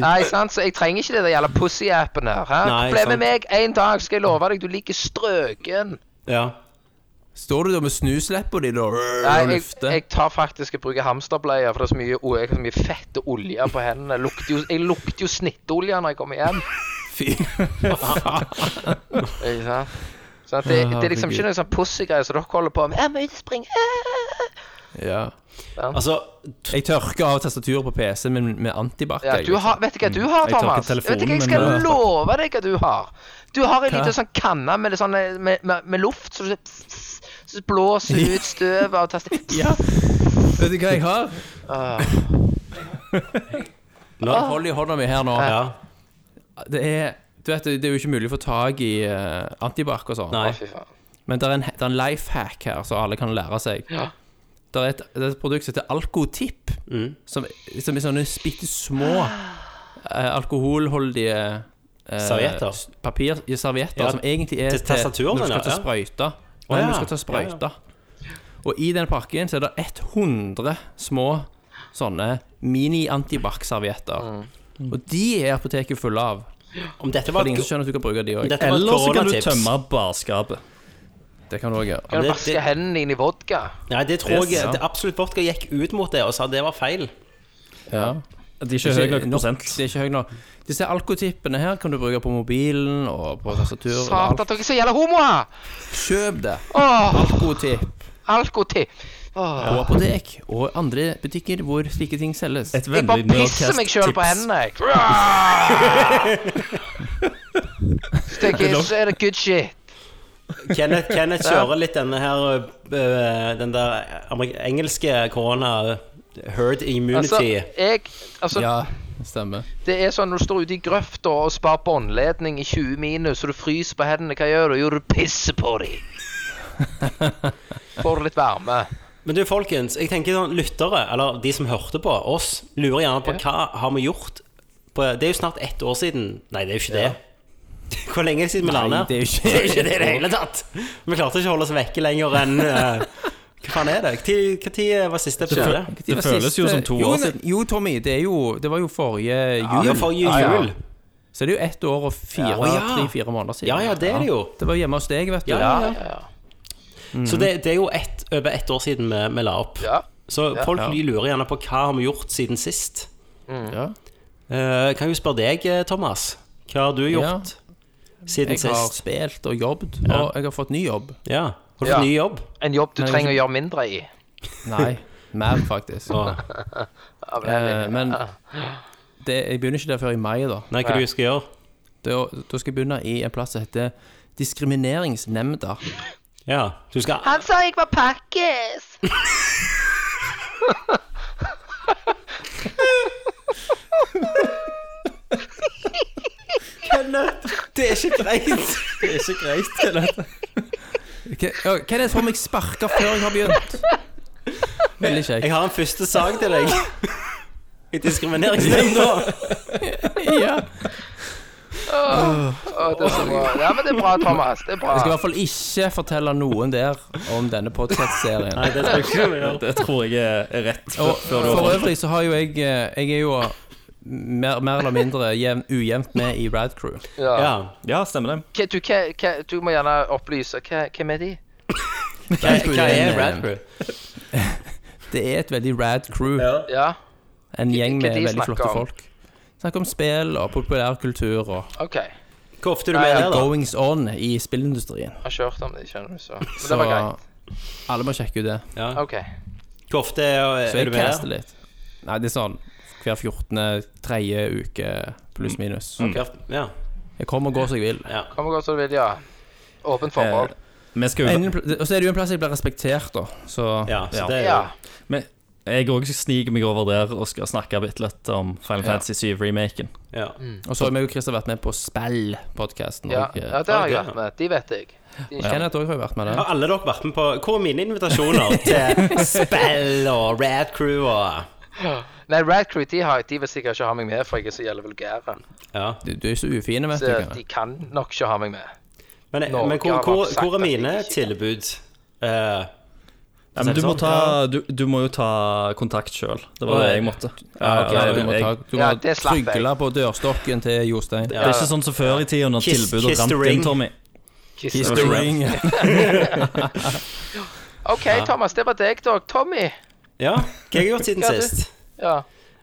Speaker 9: Nei, sant, så jeg trenger ikke det der jævla pussy-appen her. hæ?
Speaker 6: Nei,
Speaker 9: Bli
Speaker 6: sant.
Speaker 9: med meg en dag, skal jeg love deg. Du liker strøken.
Speaker 6: Ja.
Speaker 7: Står du der med snusleppa di da
Speaker 9: Nei,
Speaker 7: og
Speaker 9: jeg,
Speaker 7: lufter?
Speaker 9: jeg tar faktisk jeg bruker hamsterbleier, for det er så mye, o- jeg har så mye fett og olje på hendene. Jeg lukter jo, jeg lukter jo snitteolje når jeg kommer hjem.
Speaker 7: Fy.
Speaker 9: Ikke sant? Sånn at det, det er liksom ikke noe sånn pussy-greier som dere holder på med. Jeg må ut og springe. Ah.
Speaker 7: Ja.
Speaker 6: Altså,
Speaker 7: Jeg tørker av tastaturet på PC-en min med antibac.
Speaker 9: Ja,
Speaker 7: jeg,
Speaker 9: du har,
Speaker 7: liksom.
Speaker 9: vet du hva du har,
Speaker 12: Jeg tar ikke
Speaker 9: Thomas? Jeg vet du hva jeg
Speaker 12: telefonen,
Speaker 9: skal
Speaker 12: men-
Speaker 9: love deg hva du har? Du har en
Speaker 7: Hva?
Speaker 9: liten sånn kanne med, litt sånn, eh, med, med, med luft, så du så- så blåser du ut støvet og taster
Speaker 7: Ja. Vet du hva jeg har?
Speaker 6: nå,
Speaker 7: Hold i hånda mi her nå.
Speaker 6: ja.
Speaker 7: Det er du vet, det er jo ikke mulig å få tak i uh, antibac og sånn.
Speaker 6: Nei.
Speaker 9: Fy faen.
Speaker 7: Men det er en, det er en life hack her som alle kan lære seg.
Speaker 9: Ja.
Speaker 7: Det er et, det er et produkt som heter Alcotip,
Speaker 6: Mm.
Speaker 7: som, som er sånne bitte små eh, alkoholholdige eh,
Speaker 6: Servietter.
Speaker 7: s- Papir, ja, servietter,
Speaker 6: Ja,
Speaker 7: som egentlig er
Speaker 6: til tastaturet,
Speaker 7: når du skal
Speaker 6: ja,
Speaker 7: ta
Speaker 6: ja.
Speaker 7: sprøyte. Nei,
Speaker 6: ja.
Speaker 7: når du skal ta sprøyte. Og i den pakken så er det 100 små sånne mini-antibac-servietter.
Speaker 6: Mm.
Speaker 12: Mm.
Speaker 7: Og de er apoteket fulle av.
Speaker 6: Om dette
Speaker 7: For
Speaker 6: var
Speaker 7: det er ingen
Speaker 6: et
Speaker 7: som skjønner at du kan bruke de òg.
Speaker 6: Dette var et
Speaker 12: Eller så kan du
Speaker 6: koronatips.
Speaker 12: tømme barskapet.
Speaker 7: Det kan du òg gjøre.
Speaker 9: Kan du
Speaker 6: det-
Speaker 9: vaske
Speaker 6: det-
Speaker 9: hendene dine i vodka?
Speaker 6: Nei, det tror
Speaker 7: Yes,
Speaker 6: jeg
Speaker 7: ja.
Speaker 6: det, Absolutt Vodka gikk ut mot det og sa det var feil.
Speaker 7: Ja.
Speaker 12: De er ikke høy nok prosent.
Speaker 7: Det er ikke høy nok. Disse alkotippene her kan du bruke på mobilen og på tastatur. og
Speaker 9: Satan,
Speaker 7: alt.
Speaker 9: dere er så jævla homoer!
Speaker 7: Kjøp det.
Speaker 9: Åh,
Speaker 7: Alkotipp.
Speaker 9: alkotipp. Åh.
Speaker 7: På apotek og andre butikker hvor slike ting selges.
Speaker 12: Et
Speaker 9: Jeg bare
Speaker 12: vennlig
Speaker 9: pisser meg sjøl på
Speaker 12: Nerdcast-tips.
Speaker 9: hendene, jeg. Ah! Stikker, så er det good shit.
Speaker 6: Kenneth, Kenneth kjører litt denne her øh, Den der amerik- engelske korona herd
Speaker 9: Altså,
Speaker 6: immunity.
Speaker 9: jeg Altså,
Speaker 7: Ja, stemmer.
Speaker 9: Det er sånn når du står ute i grøfta og sparer båndledning i 20 minus, og du fryser på hendene, hva gjør du? Jo, du pisser på dem. Får du litt varme.
Speaker 6: Men du, folkens, jeg tenker sånn, lyttere, eller de som hørte på oss, lurer gjerne på hva har vi gjort på, Det er jo snart ett år siden Nei, det er jo ikke det. Hvor lenge er det siden vi landa?
Speaker 7: det er jo ikke-
Speaker 6: det er jo ikke det i det hele tatt! Vi klarte ikke å holde oss vekke lenger enn eh, Hva faen er det? Når var siste episode?
Speaker 12: Det
Speaker 7: var
Speaker 12: føles jo
Speaker 7: siste-
Speaker 12: som to
Speaker 7: jo,
Speaker 12: år
Speaker 7: men-
Speaker 12: siden.
Speaker 7: Jo, Tommy, det, er jo, det var jo forrige
Speaker 6: Ja,
Speaker 7: jul.
Speaker 6: det var forrige jul.
Speaker 7: Så det er jo ett år og fire,
Speaker 6: Ja, ja.
Speaker 7: tre-fire måneder siden.
Speaker 6: Ja, ja, det er det jo.
Speaker 7: Det var hjemme hos deg, vet du.
Speaker 6: Ja, ja, ja.
Speaker 9: Ja, ja.
Speaker 6: Så det, det er jo ett- over ett år siden vi, vi la opp.
Speaker 9: Ja.
Speaker 6: Så folk de lurer gjerne på hva har vi gjort siden sist.
Speaker 7: Ja.
Speaker 6: Eh, kan jeg jo spørre deg, eh, Thomas. Hva har du gjort siden
Speaker 7: Jeg har
Speaker 6: sist?
Speaker 7: spilt og jobbet, og jeg har fått ny jobb.
Speaker 6: Ja. Har du
Speaker 9: Ja.
Speaker 6: fått ny jobb?
Speaker 9: En jobb du
Speaker 7: Nei,
Speaker 9: trenger å gjøre mindre i.
Speaker 7: Nei, mer faktisk.
Speaker 6: Åh.
Speaker 9: Ja, men-
Speaker 7: Eh, men det, jeg begynner ikke der før i mai, da.
Speaker 6: Nei, hva du skal gjøre?
Speaker 7: Da, da skal jeg begynne i en plass som heter Diskrimineringsnemnda.
Speaker 6: Ja, du skal
Speaker 13: Han sa jeg var pakkis.
Speaker 6: Det er ikke greit!
Speaker 12: Det er ikke greit, Kenneth.
Speaker 7: Hva ja, hva er det som får meg sparka før jeg har begynt? Veldig
Speaker 6: Jeg
Speaker 7: kjekt.
Speaker 6: har en første sak til deg. I diskrimineringsnemnda.
Speaker 7: Ja.
Speaker 9: Å, det er så bra. Ja, men det er bra, Thomas. Det er bra.
Speaker 8: Jeg skal i hvert fall ikke fortelle noen der om denne podkast-serien.
Speaker 6: Nei, det tror jeg ikke du gjør.
Speaker 7: Det tror jeg er rett.
Speaker 8: Og for øvrig så har jo jeg eh, Jeg er jo mer, mer eller mindre jevn, ujevnt med i Rad Crew.
Speaker 6: Ja.
Speaker 7: Ja, stemmer det.
Speaker 9: Hva- Du, hva- hva- du må gjerne opplyse. Hva, hvem er de?
Speaker 6: Hva, hva er
Speaker 8: en,
Speaker 6: Rad Crew?
Speaker 8: Det er et veldig rad crew.
Speaker 9: Ja,
Speaker 8: En gjeng
Speaker 9: Hva
Speaker 8: med
Speaker 9: de
Speaker 8: veldig
Speaker 9: snakker
Speaker 8: flotte
Speaker 9: om?
Speaker 8: folk. Snakker om spill og populærkultur og
Speaker 9: OK. Jeg
Speaker 6: Hvor ofte er du
Speaker 9: Nei,
Speaker 6: med der, da?
Speaker 8: goings on i spillindustrien.
Speaker 9: har ikke hørt om det, skjønner du, så Men
Speaker 8: Så
Speaker 9: det var greit.
Speaker 8: alle må sjekke ut det.
Speaker 6: Ja.
Speaker 9: OK.
Speaker 6: Hvor ofte er, eh,
Speaker 8: Så
Speaker 6: er
Speaker 8: jeg
Speaker 6: du med
Speaker 8: caster
Speaker 6: der?
Speaker 8: litt. Nei, det er sånn hver 14. tredje uke pluss
Speaker 7: Mm.
Speaker 8: minus.
Speaker 6: Hvert- Ja.
Speaker 8: Jeg kommer og går som jeg vil.
Speaker 9: Kom og gå som du vil, ja. Åpent forhold.
Speaker 7: Vi skal jo
Speaker 8: Ingen pl- Og så er det jo en plass jeg blir respektert, da. Så
Speaker 6: ja, så
Speaker 7: Ja.
Speaker 6: det er jo
Speaker 9: Ja.
Speaker 7: Men jeg òg sniker meg over der og skal snakke bitte litt om Final Fantasy 7-remaken.
Speaker 6: ja. Mm.
Speaker 8: Og så har vi og Christer vært med på Spell-podkasten.
Speaker 9: Ja, ja det har jeg vært med. De vet jeg. De kjenner
Speaker 8: Kenneth òg har jo vært med der.
Speaker 6: Har alle dere vært med på Hvor er mine invitasjoner til spill og Rad Crew og
Speaker 9: Nei, Rad Crew de, har, de vil sikkert ikke ha meg med, for jeg er så jævlig vulgær.
Speaker 6: Ja.
Speaker 8: Du, du er så ufin, vet du.
Speaker 9: Så
Speaker 8: Kenneth.
Speaker 9: de kan nok ikke ha meg med.
Speaker 6: Men,
Speaker 9: Norge
Speaker 6: men hvor,
Speaker 9: har
Speaker 6: hvor,
Speaker 9: sagt
Speaker 6: hvor er
Speaker 9: at de
Speaker 6: mine
Speaker 9: ikke-
Speaker 6: tilbud? Eh,
Speaker 7: Ja, men du, må
Speaker 6: Sånn.
Speaker 7: ta, du, du må jo ta kontakt sjøl. Det var det jeg måtte.
Speaker 6: Ja, ok,
Speaker 7: ja,
Speaker 8: Du må,
Speaker 7: jeg-
Speaker 8: ta, du må
Speaker 9: Ja, det slapp jeg.
Speaker 8: trygle på dørstokken til Jostein.
Speaker 7: Det er ikke sånn som før i tida, når
Speaker 6: Kiss-
Speaker 7: tilbudet
Speaker 6: kiss the
Speaker 7: rant
Speaker 6: ring.
Speaker 7: inn, Tommy.
Speaker 9: Kiss
Speaker 8: Kiss
Speaker 9: the
Speaker 8: the
Speaker 9: ring.
Speaker 8: ring.
Speaker 9: OK, Thomas. Det var deg, da. Tommy.
Speaker 6: ja, hva har jeg gjort siden
Speaker 9: Ja, du-
Speaker 6: sist?
Speaker 9: Ja.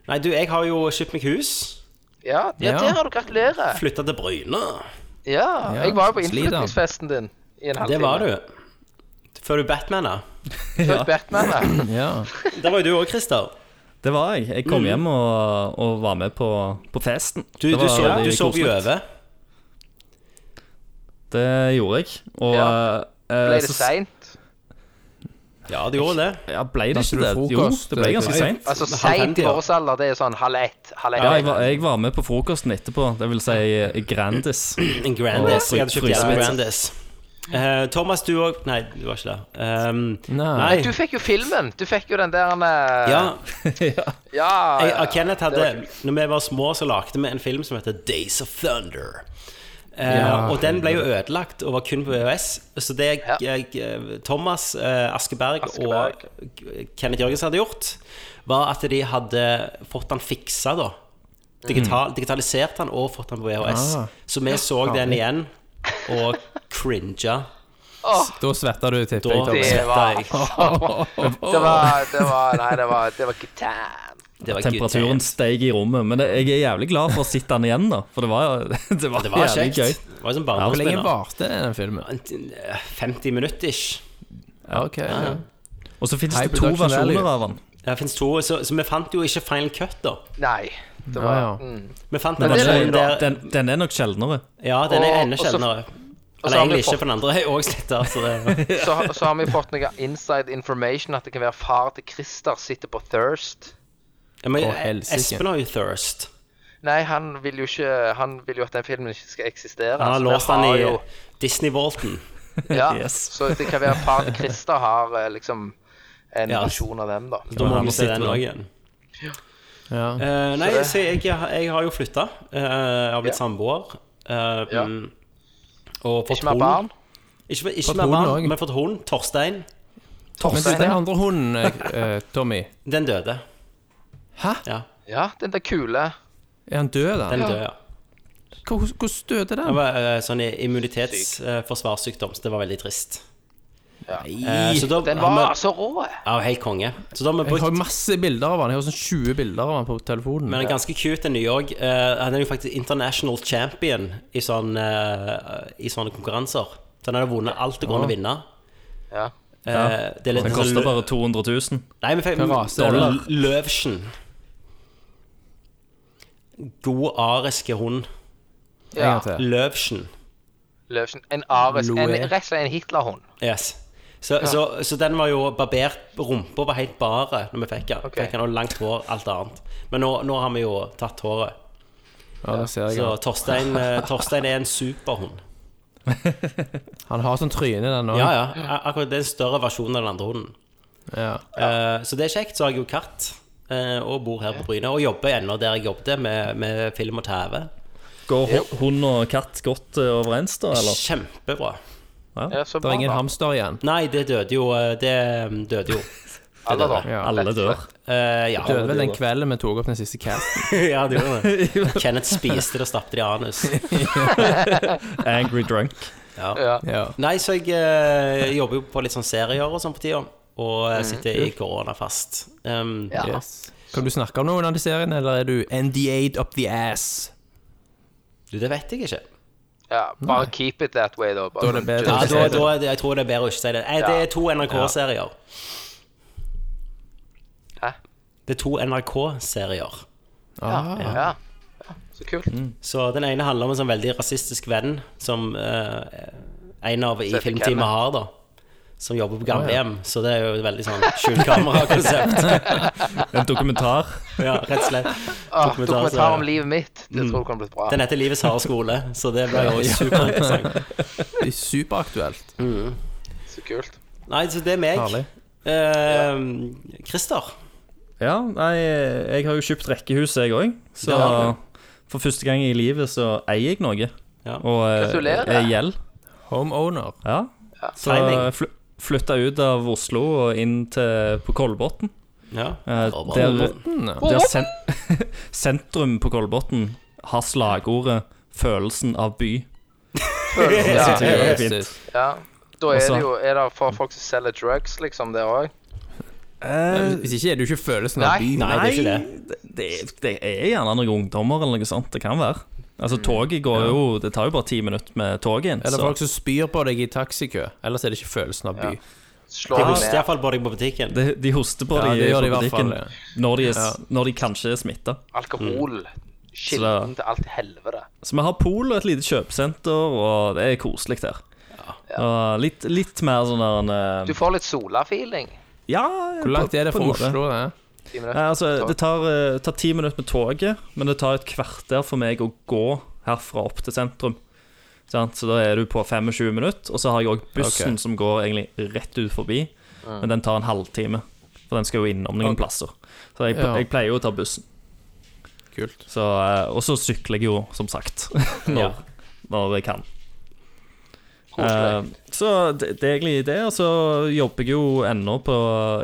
Speaker 6: Nei, du, jeg har jo kjøpt meg hus.
Speaker 9: Ja, ja,
Speaker 8: Ja.
Speaker 9: der har du. Gratulerer.
Speaker 6: Flytta til Bryne.
Speaker 9: Ja. Jeg var jo på
Speaker 8: sliter.
Speaker 9: innflyttingsfesten din i en halvtime.
Speaker 6: Det var du. Før du Batmana.
Speaker 9: Følg Batman, da.
Speaker 8: Ja.
Speaker 6: Der var jo du òg, Christer.
Speaker 7: Det var jeg. Jeg
Speaker 9: Mm.
Speaker 7: kom hjem og, og var med på, på festen.
Speaker 6: Du,
Speaker 7: Det
Speaker 6: du
Speaker 7: var
Speaker 6: så,
Speaker 7: veldig
Speaker 6: du så
Speaker 7: koselig.
Speaker 6: jo over.
Speaker 7: Det gjorde jeg. Og
Speaker 9: Ja.
Speaker 7: eh,
Speaker 9: Ble det
Speaker 7: så-
Speaker 9: seint?
Speaker 6: Ja, du gjorde det.
Speaker 7: Ja, ble det
Speaker 8: Da
Speaker 7: ikke
Speaker 8: skulle
Speaker 7: det?
Speaker 8: du
Speaker 7: Jo,
Speaker 8: frokost,
Speaker 7: det ble ganske
Speaker 8: det-
Speaker 7: seint.
Speaker 9: Altså,
Speaker 6: Halv fem,
Speaker 9: seint i
Speaker 6: ja.
Speaker 9: vår alder, det er sånn halv ett. Halv ett.
Speaker 7: Ja, jeg var, jeg var med på frokosten etterpå. Det vil si eh, Grandis.
Speaker 6: En Grandis.
Speaker 7: Å,
Speaker 6: Jeg hadde kjøpt
Speaker 7: frysepizza.
Speaker 6: jævla Grandis. Eh, Thomas, du òg Nei, du var ikke det. Um,
Speaker 8: Nei.
Speaker 9: Du fikk jo filmen. Du fikk jo den der eh,
Speaker 6: Ja,
Speaker 9: ja
Speaker 6: jeg, ah, og Kenneth hadde
Speaker 9: det var
Speaker 6: Når vi var små, så lagde vi en film som heter Days of Thunder. Eh, og den ble jo ødelagt og var kun på VHS. Så det jeg, eh, Thomas eh, Askeberg,
Speaker 9: Askeberg.
Speaker 6: og K- Kenneth Jørgensen hadde gjort, var at de hadde fått den fiksa, da. Digital, Digitalisert den og fått den på VHS. så vi så den igjen og cringa.
Speaker 8: Da svetter du, tipper
Speaker 6: Da
Speaker 8: jeg.
Speaker 9: Det
Speaker 6: svetta
Speaker 9: var
Speaker 6: jeg.
Speaker 9: Det var Det var Nei, det var Det var ikke damn.
Speaker 6: Det var
Speaker 7: Temperaturen steg i rommet, men det, jeg er jævlig glad for å sitte den igjen, da. For det var, det var,
Speaker 6: Det var
Speaker 7: jævlig
Speaker 6: kjekt.
Speaker 7: gøy. altså,
Speaker 6: Det var som
Speaker 8: Hvor lenge
Speaker 6: barndomsminner.
Speaker 8: varte den filmen?
Speaker 9: eh,
Speaker 6: 50 minutter ish.
Speaker 8: Ja, ok ja.
Speaker 7: Og så finnes
Speaker 8: High
Speaker 7: det to
Speaker 8: production value.
Speaker 7: versjoner av den.
Speaker 6: Det finnes to, så, så vi fant jo ikke final cut, da.
Speaker 9: Nei. Det
Speaker 8: Ja,
Speaker 9: var
Speaker 8: ja.
Speaker 9: Mm.
Speaker 6: Vi fant
Speaker 7: Men
Speaker 6: den
Speaker 7: den,
Speaker 6: versjonen
Speaker 7: er,
Speaker 6: der
Speaker 7: den, den er nok sjeldnere.
Speaker 6: Ja, den er
Speaker 9: Og-
Speaker 6: enda
Speaker 9: og så-
Speaker 6: sjeldnere.
Speaker 9: og så
Speaker 6: Eller
Speaker 9: har vi
Speaker 6: egentlig ikke,
Speaker 9: fått-
Speaker 6: for den andre er òg sletta. Så det
Speaker 9: Så, har- så har vi fått noe inside information at det kan være far til Christer sitter på Thirst.
Speaker 6: ja, men,
Speaker 8: Å, helsike.
Speaker 6: Espen har jo thirst.
Speaker 9: Nei, han vil jo ikke Han vil jo at den filmen ikke skal eksistere.
Speaker 6: Han har
Speaker 9: så vi
Speaker 6: låst den
Speaker 9: har
Speaker 6: i eh,
Speaker 9: jo-
Speaker 6: Disney-Walton.
Speaker 9: Ja,
Speaker 7: Yes.
Speaker 9: så det kan være far til Christer har eh, liksom en
Speaker 6: Ja.
Speaker 9: versjon av den, da.
Speaker 6: Da må
Speaker 7: han
Speaker 6: vi se
Speaker 7: sitter
Speaker 6: den
Speaker 7: nå.
Speaker 6: òg igjen.
Speaker 8: Ja.
Speaker 6: Eh, nei,
Speaker 9: det-
Speaker 6: så jeg, jeg har jo flytta. jeg har blitt
Speaker 9: Ja.
Speaker 6: samboer. eh,
Speaker 9: Ja.
Speaker 6: Og fått
Speaker 9: Ikke mer
Speaker 6: hund.
Speaker 9: barn.
Speaker 6: Ikke, ikke
Speaker 8: Fått
Speaker 6: mer
Speaker 8: hund
Speaker 6: barn,
Speaker 8: også.
Speaker 6: men fått hund. Torstein.
Speaker 8: Men du, den andre hunden, eh, eh, Tommy
Speaker 6: Den døde.
Speaker 8: Hæ?
Speaker 6: Ja,
Speaker 9: Ja, den der kule.
Speaker 8: Er han død, da?
Speaker 6: den døde, ja.
Speaker 8: Hvor- Hvordan døde
Speaker 6: Det
Speaker 8: den?
Speaker 6: var eh, sånn immunitetsforsvarssykdom, så det var veldig trist. Eh, så da
Speaker 9: Den
Speaker 6: har vi-
Speaker 9: var så rå. eh.
Speaker 6: Ja, helt konge. Så da har vi
Speaker 8: Jeg har
Speaker 6: brukt
Speaker 8: jo masse bilder av han. Jeg har sånn 20 bilder av han på telefonen.
Speaker 6: Men en ganske cute en New York. eh, han er jo faktisk international champion i, sånn, eh, i sånne konkurranser. Så han har vunnet alt det går an å vinne.
Speaker 9: Ja.
Speaker 6: Eh, det er litt
Speaker 7: Den
Speaker 6: sånn
Speaker 7: koster
Speaker 6: lø-
Speaker 7: bare 200 000.
Speaker 6: Nei, men fikk
Speaker 8: Hva rase er det?
Speaker 6: dollar. Løvsen. God ariske hund.
Speaker 9: ja.
Speaker 8: til.
Speaker 6: Løvsen.
Speaker 9: Løvsen. En ares. En,
Speaker 8: Loe.
Speaker 9: rett og slett en Hitlerhund.
Speaker 6: Yes. Så, så, så den var jo barbert, rumpa var helt bare når vi fikk den.
Speaker 9: Ok.
Speaker 6: Fikk den og langt hår, alt annet. Men nå, nå har vi jo tatt håret.
Speaker 8: Ja, det ser jeg.
Speaker 6: Så
Speaker 8: ja.
Speaker 6: Torstein, eh, Torstein er en superhund.
Speaker 8: Han har sånn tryne, den òg.
Speaker 6: Ja, ja. a- Akkurat det er en større versjon av den andre hunden.
Speaker 8: Ja.
Speaker 6: Eh, så det er kjekt. Så har jeg jo katt, eh, og bor her på Bryne. Og jobber ennå der jeg jobbet, med, med film og TV.
Speaker 7: Går hu- hund og katt godt eh, overens, da? Eller?
Speaker 6: Kjempebra.
Speaker 9: Ja, så
Speaker 8: Det
Speaker 9: bra,
Speaker 8: er ingen
Speaker 9: da.
Speaker 8: hamster igjen.
Speaker 6: Nei, det døde jo eh, Det døde jo.
Speaker 9: Alle da.
Speaker 8: Ja.
Speaker 7: Alle dør.
Speaker 6: Eh, ja.
Speaker 8: Det var vel den kvelden vi tok opp den siste casten.
Speaker 6: ja, det gjorde det. Kenneth spiste det og stappet det i anus.
Speaker 7: Angry drunk.
Speaker 9: Ja.
Speaker 8: Ja.
Speaker 6: Nei, så jeg eh, jobber jo på litt sånn serier og sånn på tida, og eh, sitter i korona fast. Um,
Speaker 9: Ja.
Speaker 8: Yes. Kan du snakke om noen av de seriene, eller er du NDA'd up the ass?
Speaker 6: Du, det vet jeg ikke.
Speaker 9: ja. Bare keep it that way, da. Bare,
Speaker 8: Da er det bedre.
Speaker 6: Ja,
Speaker 9: Just-
Speaker 6: da, Altså, da, er det- jeg tror det er bedre å ikke si det. Eh, det er to NRK-serier.
Speaker 9: Hæ?
Speaker 6: Det er to NRK-serier.
Speaker 9: Ja. ja. Så kult.
Speaker 6: Så den ene handler om en sånn veldig rasistisk venn som eh, en av i
Speaker 9: Seth
Speaker 6: filmteamet
Speaker 9: Kenneth.
Speaker 6: har, da. Som jobber på gamlehjem. Så det er jo et veldig sånn skjulkamerakonsept.
Speaker 7: En dokumentar.
Speaker 6: ja, rett og slett.
Speaker 9: Ah,
Speaker 6: Dokumentar,
Speaker 9: dokumentar om
Speaker 6: så-
Speaker 9: livet mitt. Det tror jeg kunne blitt bra.
Speaker 6: Den heter Livets harde skole, så det blir jo superinteressant.
Speaker 8: Det er superaktuelt.
Speaker 9: Så kult.
Speaker 6: Nei, så det er meg.
Speaker 8: Herlig.
Speaker 6: Eh, Christer.
Speaker 7: Ja, nei, jeg har jo kjøpt rekkehus, jeg òg. Så
Speaker 6: Det har
Speaker 7: for første gang i livet så eier jeg noe.
Speaker 6: Ja.
Speaker 7: Og eh,
Speaker 9: Gratulerer.
Speaker 7: er gjeld.
Speaker 8: Homeowner.
Speaker 7: Ja. Så
Speaker 6: Timing.
Speaker 7: fl flytta ut av Oslo og inn til, på Kolbotn.
Speaker 6: Ja.
Speaker 7: Eh,
Speaker 6: Robert.
Speaker 7: der
Speaker 8: Mm.
Speaker 7: der sen sentrum på Kolbotn har slagordet 'følelsen av by'.
Speaker 9: Ja,
Speaker 7: Det er fint.
Speaker 8: Fantastisk.
Speaker 9: ja. Da er
Speaker 7: Også-
Speaker 9: det jo Er det for folk som selger drugs, liksom, det òg?
Speaker 8: Hvis ikke er du ikke følelsen
Speaker 9: Nei.
Speaker 8: av by.
Speaker 6: Nei, det er ikke det.
Speaker 7: Det, det er gjerne noen ungdommer eller noe sånt. Det kan være. Altså, toget går jo Det tar jo bare ti minutter med toget inn.
Speaker 8: Mm. Eller
Speaker 7: så-
Speaker 8: folk som spyr på deg i taxikø. Ellers er det ikke følelsen av by.
Speaker 9: Slår
Speaker 6: De
Speaker 9: du
Speaker 6: hoster
Speaker 9: ned?
Speaker 6: iallfall på deg på butikken.
Speaker 7: De, de hoster på
Speaker 8: Ja,
Speaker 7: de
Speaker 8: det gjør
Speaker 7: på
Speaker 8: de i hvert
Speaker 7: butikken
Speaker 8: fall,
Speaker 7: når, de er, s- når de kanskje er smitta.
Speaker 9: Alkohol. Kilden til alt helvete.
Speaker 7: Så vi har pol og et lite kjøpesenter, og det er koselig der. Og litt, litt mer sånn der en,
Speaker 9: Du
Speaker 7: eh,
Speaker 9: får litt sola-feeling.
Speaker 7: Ja,
Speaker 8: Hvor langt er det fra Oslo? Det?
Speaker 9: Ti minutter.
Speaker 7: Ja, altså, det tar, eh, tar ti minutter med toget, men det tar et kvarter for meg å gå herfra opp til sentrum. Sant? Så da er du på 25 minutter, og så har jeg òg bussen som går egentlig rett ut forbi, men den tar en halvtime. For den skal jo innom noen plasser. Så jeg,
Speaker 8: Ja.
Speaker 7: jeg pleier jo å ta bussen.
Speaker 8: Kult.
Speaker 7: Så, eh, og så sykler jeg jo, som sagt, når,
Speaker 6: Ja.
Speaker 7: når jeg kan.
Speaker 9: Koselig.
Speaker 7: Eh, så det, det er egentlig det. Og så jobber jeg jo ennå på,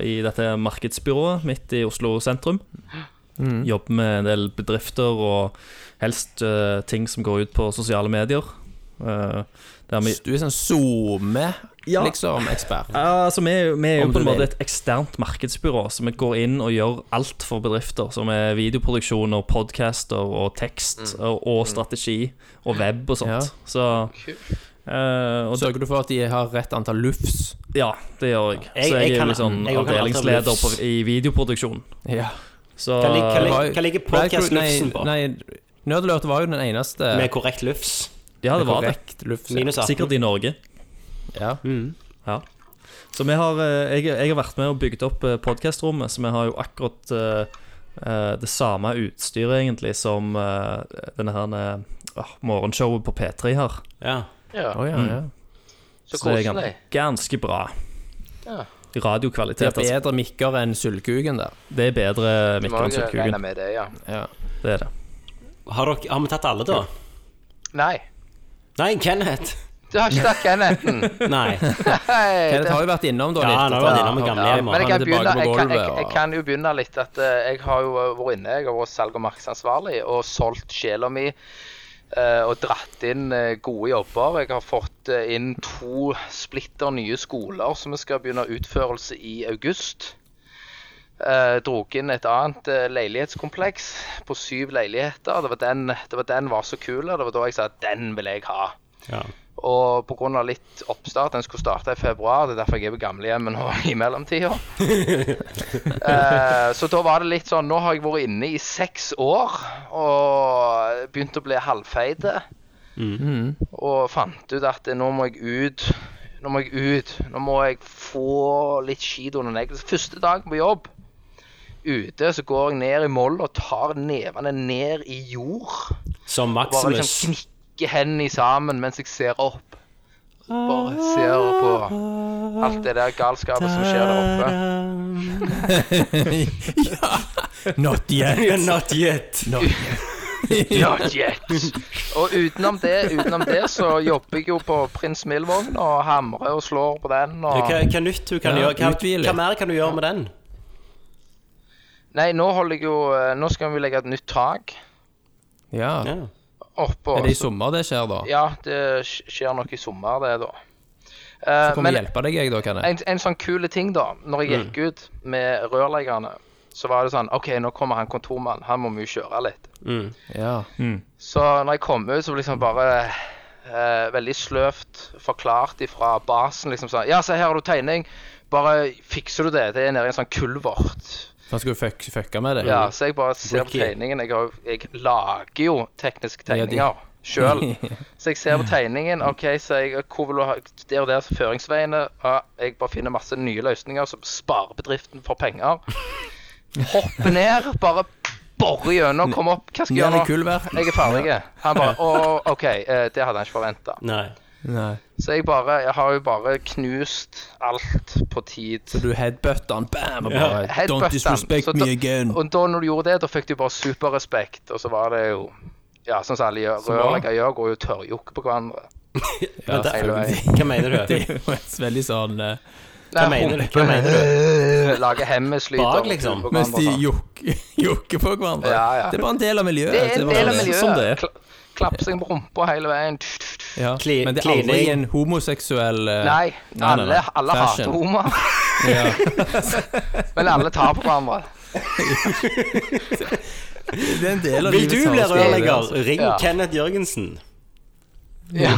Speaker 7: i dette markedsbyrået midt i Oslo sentrum.
Speaker 8: Mm.
Speaker 7: Jobber med en del bedrifter og helst eh, ting som går ut på sosiale medier. Eh, der vi,
Speaker 8: Du er sånn Liksom SoMe-ekspert.
Speaker 7: ja, Ja, altså, vi, er jo- vi er jo
Speaker 8: Om
Speaker 7: på en
Speaker 8: du
Speaker 7: måte
Speaker 8: vil.
Speaker 7: et eksternt markedsbyrå, så vi går inn og gjør alt for bedrifter. Som er videoproduksjon og podcaster og tekst
Speaker 6: Mm.
Speaker 7: og, og strategi og web og sånt. Så eh, og
Speaker 8: Sørger du for at de har rett antall lufs?
Speaker 7: det- Ja, det gjør jeg.
Speaker 6: Jeg-
Speaker 7: så jeg,
Speaker 6: jeg
Speaker 7: er jo
Speaker 6: kan-
Speaker 7: liksom
Speaker 6: jeg kan alltid ha
Speaker 7: avdelingsleder på,
Speaker 6: lufs.
Speaker 7: i videoproduksjon.
Speaker 8: Ja.
Speaker 7: Så
Speaker 6: Hva lig- hva lig-
Speaker 8: var-
Speaker 6: hva ligger podcast-lufsen på?
Speaker 8: Nei, nei, Nerdlert var jo den eneste
Speaker 6: Med korrekt lufs.
Speaker 7: ja, det var det.
Speaker 8: korrekt lufs. ja.
Speaker 6: Minus 18.
Speaker 7: Sikkert i Norge.
Speaker 8: Ja.
Speaker 7: Ja. Så vi har, eh, jeg, jeg har vært med og bygd opp eh, podcastrommet, så vi har jo akkurat eh, eh, det samme utstyret egentlig som eh, denne her eh, åh, morgenshowet på P3 har.
Speaker 6: Ja.
Speaker 9: Ja,
Speaker 8: Å, ja, ja.
Speaker 9: så
Speaker 7: Mm. Så det er
Speaker 9: koselig.
Speaker 7: gans- ganske bra.
Speaker 9: Ja.
Speaker 8: Det er
Speaker 7: Radiokvalitet, altså.
Speaker 8: bedre mikker enn sylkuken der.
Speaker 7: Det er bedre
Speaker 9: Du må
Speaker 7: mikker enn
Speaker 9: jo regne
Speaker 7: Sølvkuken.
Speaker 9: med det, ja.
Speaker 8: Ja.
Speaker 7: Det er det.
Speaker 6: Har, dere, har vi tatt alle, da?
Speaker 9: Nei.
Speaker 6: Nei, Kenneth.
Speaker 9: Du har ikke tatt Kennethen.
Speaker 6: Nei.
Speaker 9: Hei,
Speaker 8: Kenneth
Speaker 9: det-
Speaker 8: har jo vært innom da
Speaker 6: Ja,
Speaker 8: litt.
Speaker 6: han har vært innom med
Speaker 9: Ja,
Speaker 6: gamlehjem.
Speaker 9: men jeg
Speaker 6: og-
Speaker 9: kan,
Speaker 8: han er
Speaker 9: begynne,
Speaker 8: tilbake på
Speaker 9: jeg, kan, jeg,
Speaker 8: gulvet, og-
Speaker 9: jeg kan jo begynne litt at eh, jeg har jo eh, vært inne, jeg har vært salg- og markedsansvarlig og solgt sjela mi eh, og dratt inn eh, gode jobber. Jeg har fått eh, inn to splitter nye skoler som vi skal begynne utførelse i august. Uh, drog inn et annet eh, leilighetskompleks på syv leiligheter. Det var den, det var den var så kul, og det var da jeg sa at den vil jeg ha.
Speaker 6: Ja.
Speaker 9: Og pga. litt oppstart, den skulle starte i februar, det er derfor jeg er på gamlehjemmet nå i mellomtida. Eh, så da var det litt sånn Nå har jeg vært inne i seks år og begynt å bli halvfeite. Og fant ut at nå må jeg ut. Nå må jeg ut. Nå må jeg få litt skit under neglene. Første dagen på jobb ute, så går jeg ned i moll og tar nevene ned i jord.
Speaker 6: Som
Speaker 9: Bare
Speaker 6: Maximus.
Speaker 9: liksom knikke hendene sammen mens jeg ser opp. Bare ser på alt det der galskapet som skjer der oppe.
Speaker 8: Not yet.
Speaker 6: Not yet.
Speaker 9: Not yet. Og utenom det, utenom det så jobber jeg jo på Prins Mill-vogn og hamrer og slår på den. Og...
Speaker 6: Hva, hva nytt du kan
Speaker 7: Ja,
Speaker 6: gjøre? Hva,
Speaker 7: utvide litt.
Speaker 6: hva mer kan du gjøre med den?
Speaker 9: Nei, nå holder jeg jo eh, Nå skal vi legge et nytt tak
Speaker 7: Ja.
Speaker 6: Ja.
Speaker 9: oppå.
Speaker 7: Er det i sommer det skjer, da?
Speaker 9: Ja, det sk- skjer nok i sommer, det, da.
Speaker 7: Kommer
Speaker 9: Eh, men
Speaker 7: men... hjelpe deg, jeg, da, kan jeg?
Speaker 9: en, en sånn kule ting, da. Når jeg gikk ut med rørleggerne, så var det sånn OK, nå kommer han kontormannen. Han må vi jo kjøre litt.
Speaker 7: Ja.
Speaker 9: Så når jeg kom ut, så ble liksom bare eh, veldig sløvt forklart ifra basen. liksom sånn, Ja, se her har du tegning. Bare fikser du det. Det er nede i en sånn kulvert.
Speaker 7: Så han skulle fuck, fucke med Mm. det?
Speaker 9: Ja, så jeg bare ser på
Speaker 6: Ricky.
Speaker 9: tegningen. Jeg, har, jeg lager jo tekniske
Speaker 7: Ja, de-
Speaker 9: tegninger sjøl. Så jeg ser på tegningen. OK, så jeg hvor vil du ha Der og der er føringsveiene. Ja, jeg bare finner masse nye løsninger som sparer bedriften for penger. Hoppe ned, bare bore gjennom, komme opp. Hva skal
Speaker 7: Ned
Speaker 9: jeg
Speaker 7: i
Speaker 9: gjøre nå?
Speaker 7: kulvert.
Speaker 9: Jeg er ferdig. Han bare Å, OK. eh, Det hadde han ikke forventa.
Speaker 6: Nei.
Speaker 7: Nei.
Speaker 9: Så jeg bare Jeg har jo bare knust alt på tid.
Speaker 7: Så du headbutter han, bam, og bare
Speaker 9: Headbutt
Speaker 7: Don't
Speaker 9: han.
Speaker 7: disrespect
Speaker 9: Så da-
Speaker 7: me again.
Speaker 9: Og da når du gjorde det, da fikk du bare superrespekt, og så var det jo Ja, sånn som alle gjør.
Speaker 7: bra.
Speaker 9: Rørleggere gjør, går jo og tørrjokker på hverandre.
Speaker 6: Men det-
Speaker 9: hele veien.
Speaker 6: hva mener du?
Speaker 7: Det er jo et veldig sånn eh,
Speaker 6: Hva mener du? Hva mener du?
Speaker 9: Lager hemmeslyd
Speaker 6: Bak,
Speaker 9: og-
Speaker 6: liksom.
Speaker 9: på
Speaker 7: Mens
Speaker 9: hverandre og
Speaker 7: de
Speaker 9: sånn.
Speaker 7: juk- jokker på hverandre.
Speaker 9: Ja, ja.
Speaker 7: Det er bare en del av miljøet.
Speaker 9: Det er en
Speaker 7: bare
Speaker 9: del av
Speaker 7: sånn-
Speaker 9: miljøet.
Speaker 7: Sånn det er.
Speaker 9: Kla- Klapsing på rumpa hele veien.
Speaker 7: Ja.
Speaker 6: Kli-
Speaker 7: Men det er aldri
Speaker 6: klining.
Speaker 7: en homoseksuell eh,
Speaker 9: Nei,
Speaker 7: Nei, nei,
Speaker 9: alle,
Speaker 7: nei.
Speaker 9: alle hater
Speaker 7: Fashion.
Speaker 9: homer. Men alle tar på hverandre.
Speaker 7: Det er en del av
Speaker 6: Vil
Speaker 7: livets
Speaker 6: du bli
Speaker 7: harde skole, det,
Speaker 6: rørlegger,
Speaker 7: altså.
Speaker 6: ring
Speaker 9: Ja.
Speaker 6: Kenneth Jørgensen.
Speaker 9: Ja.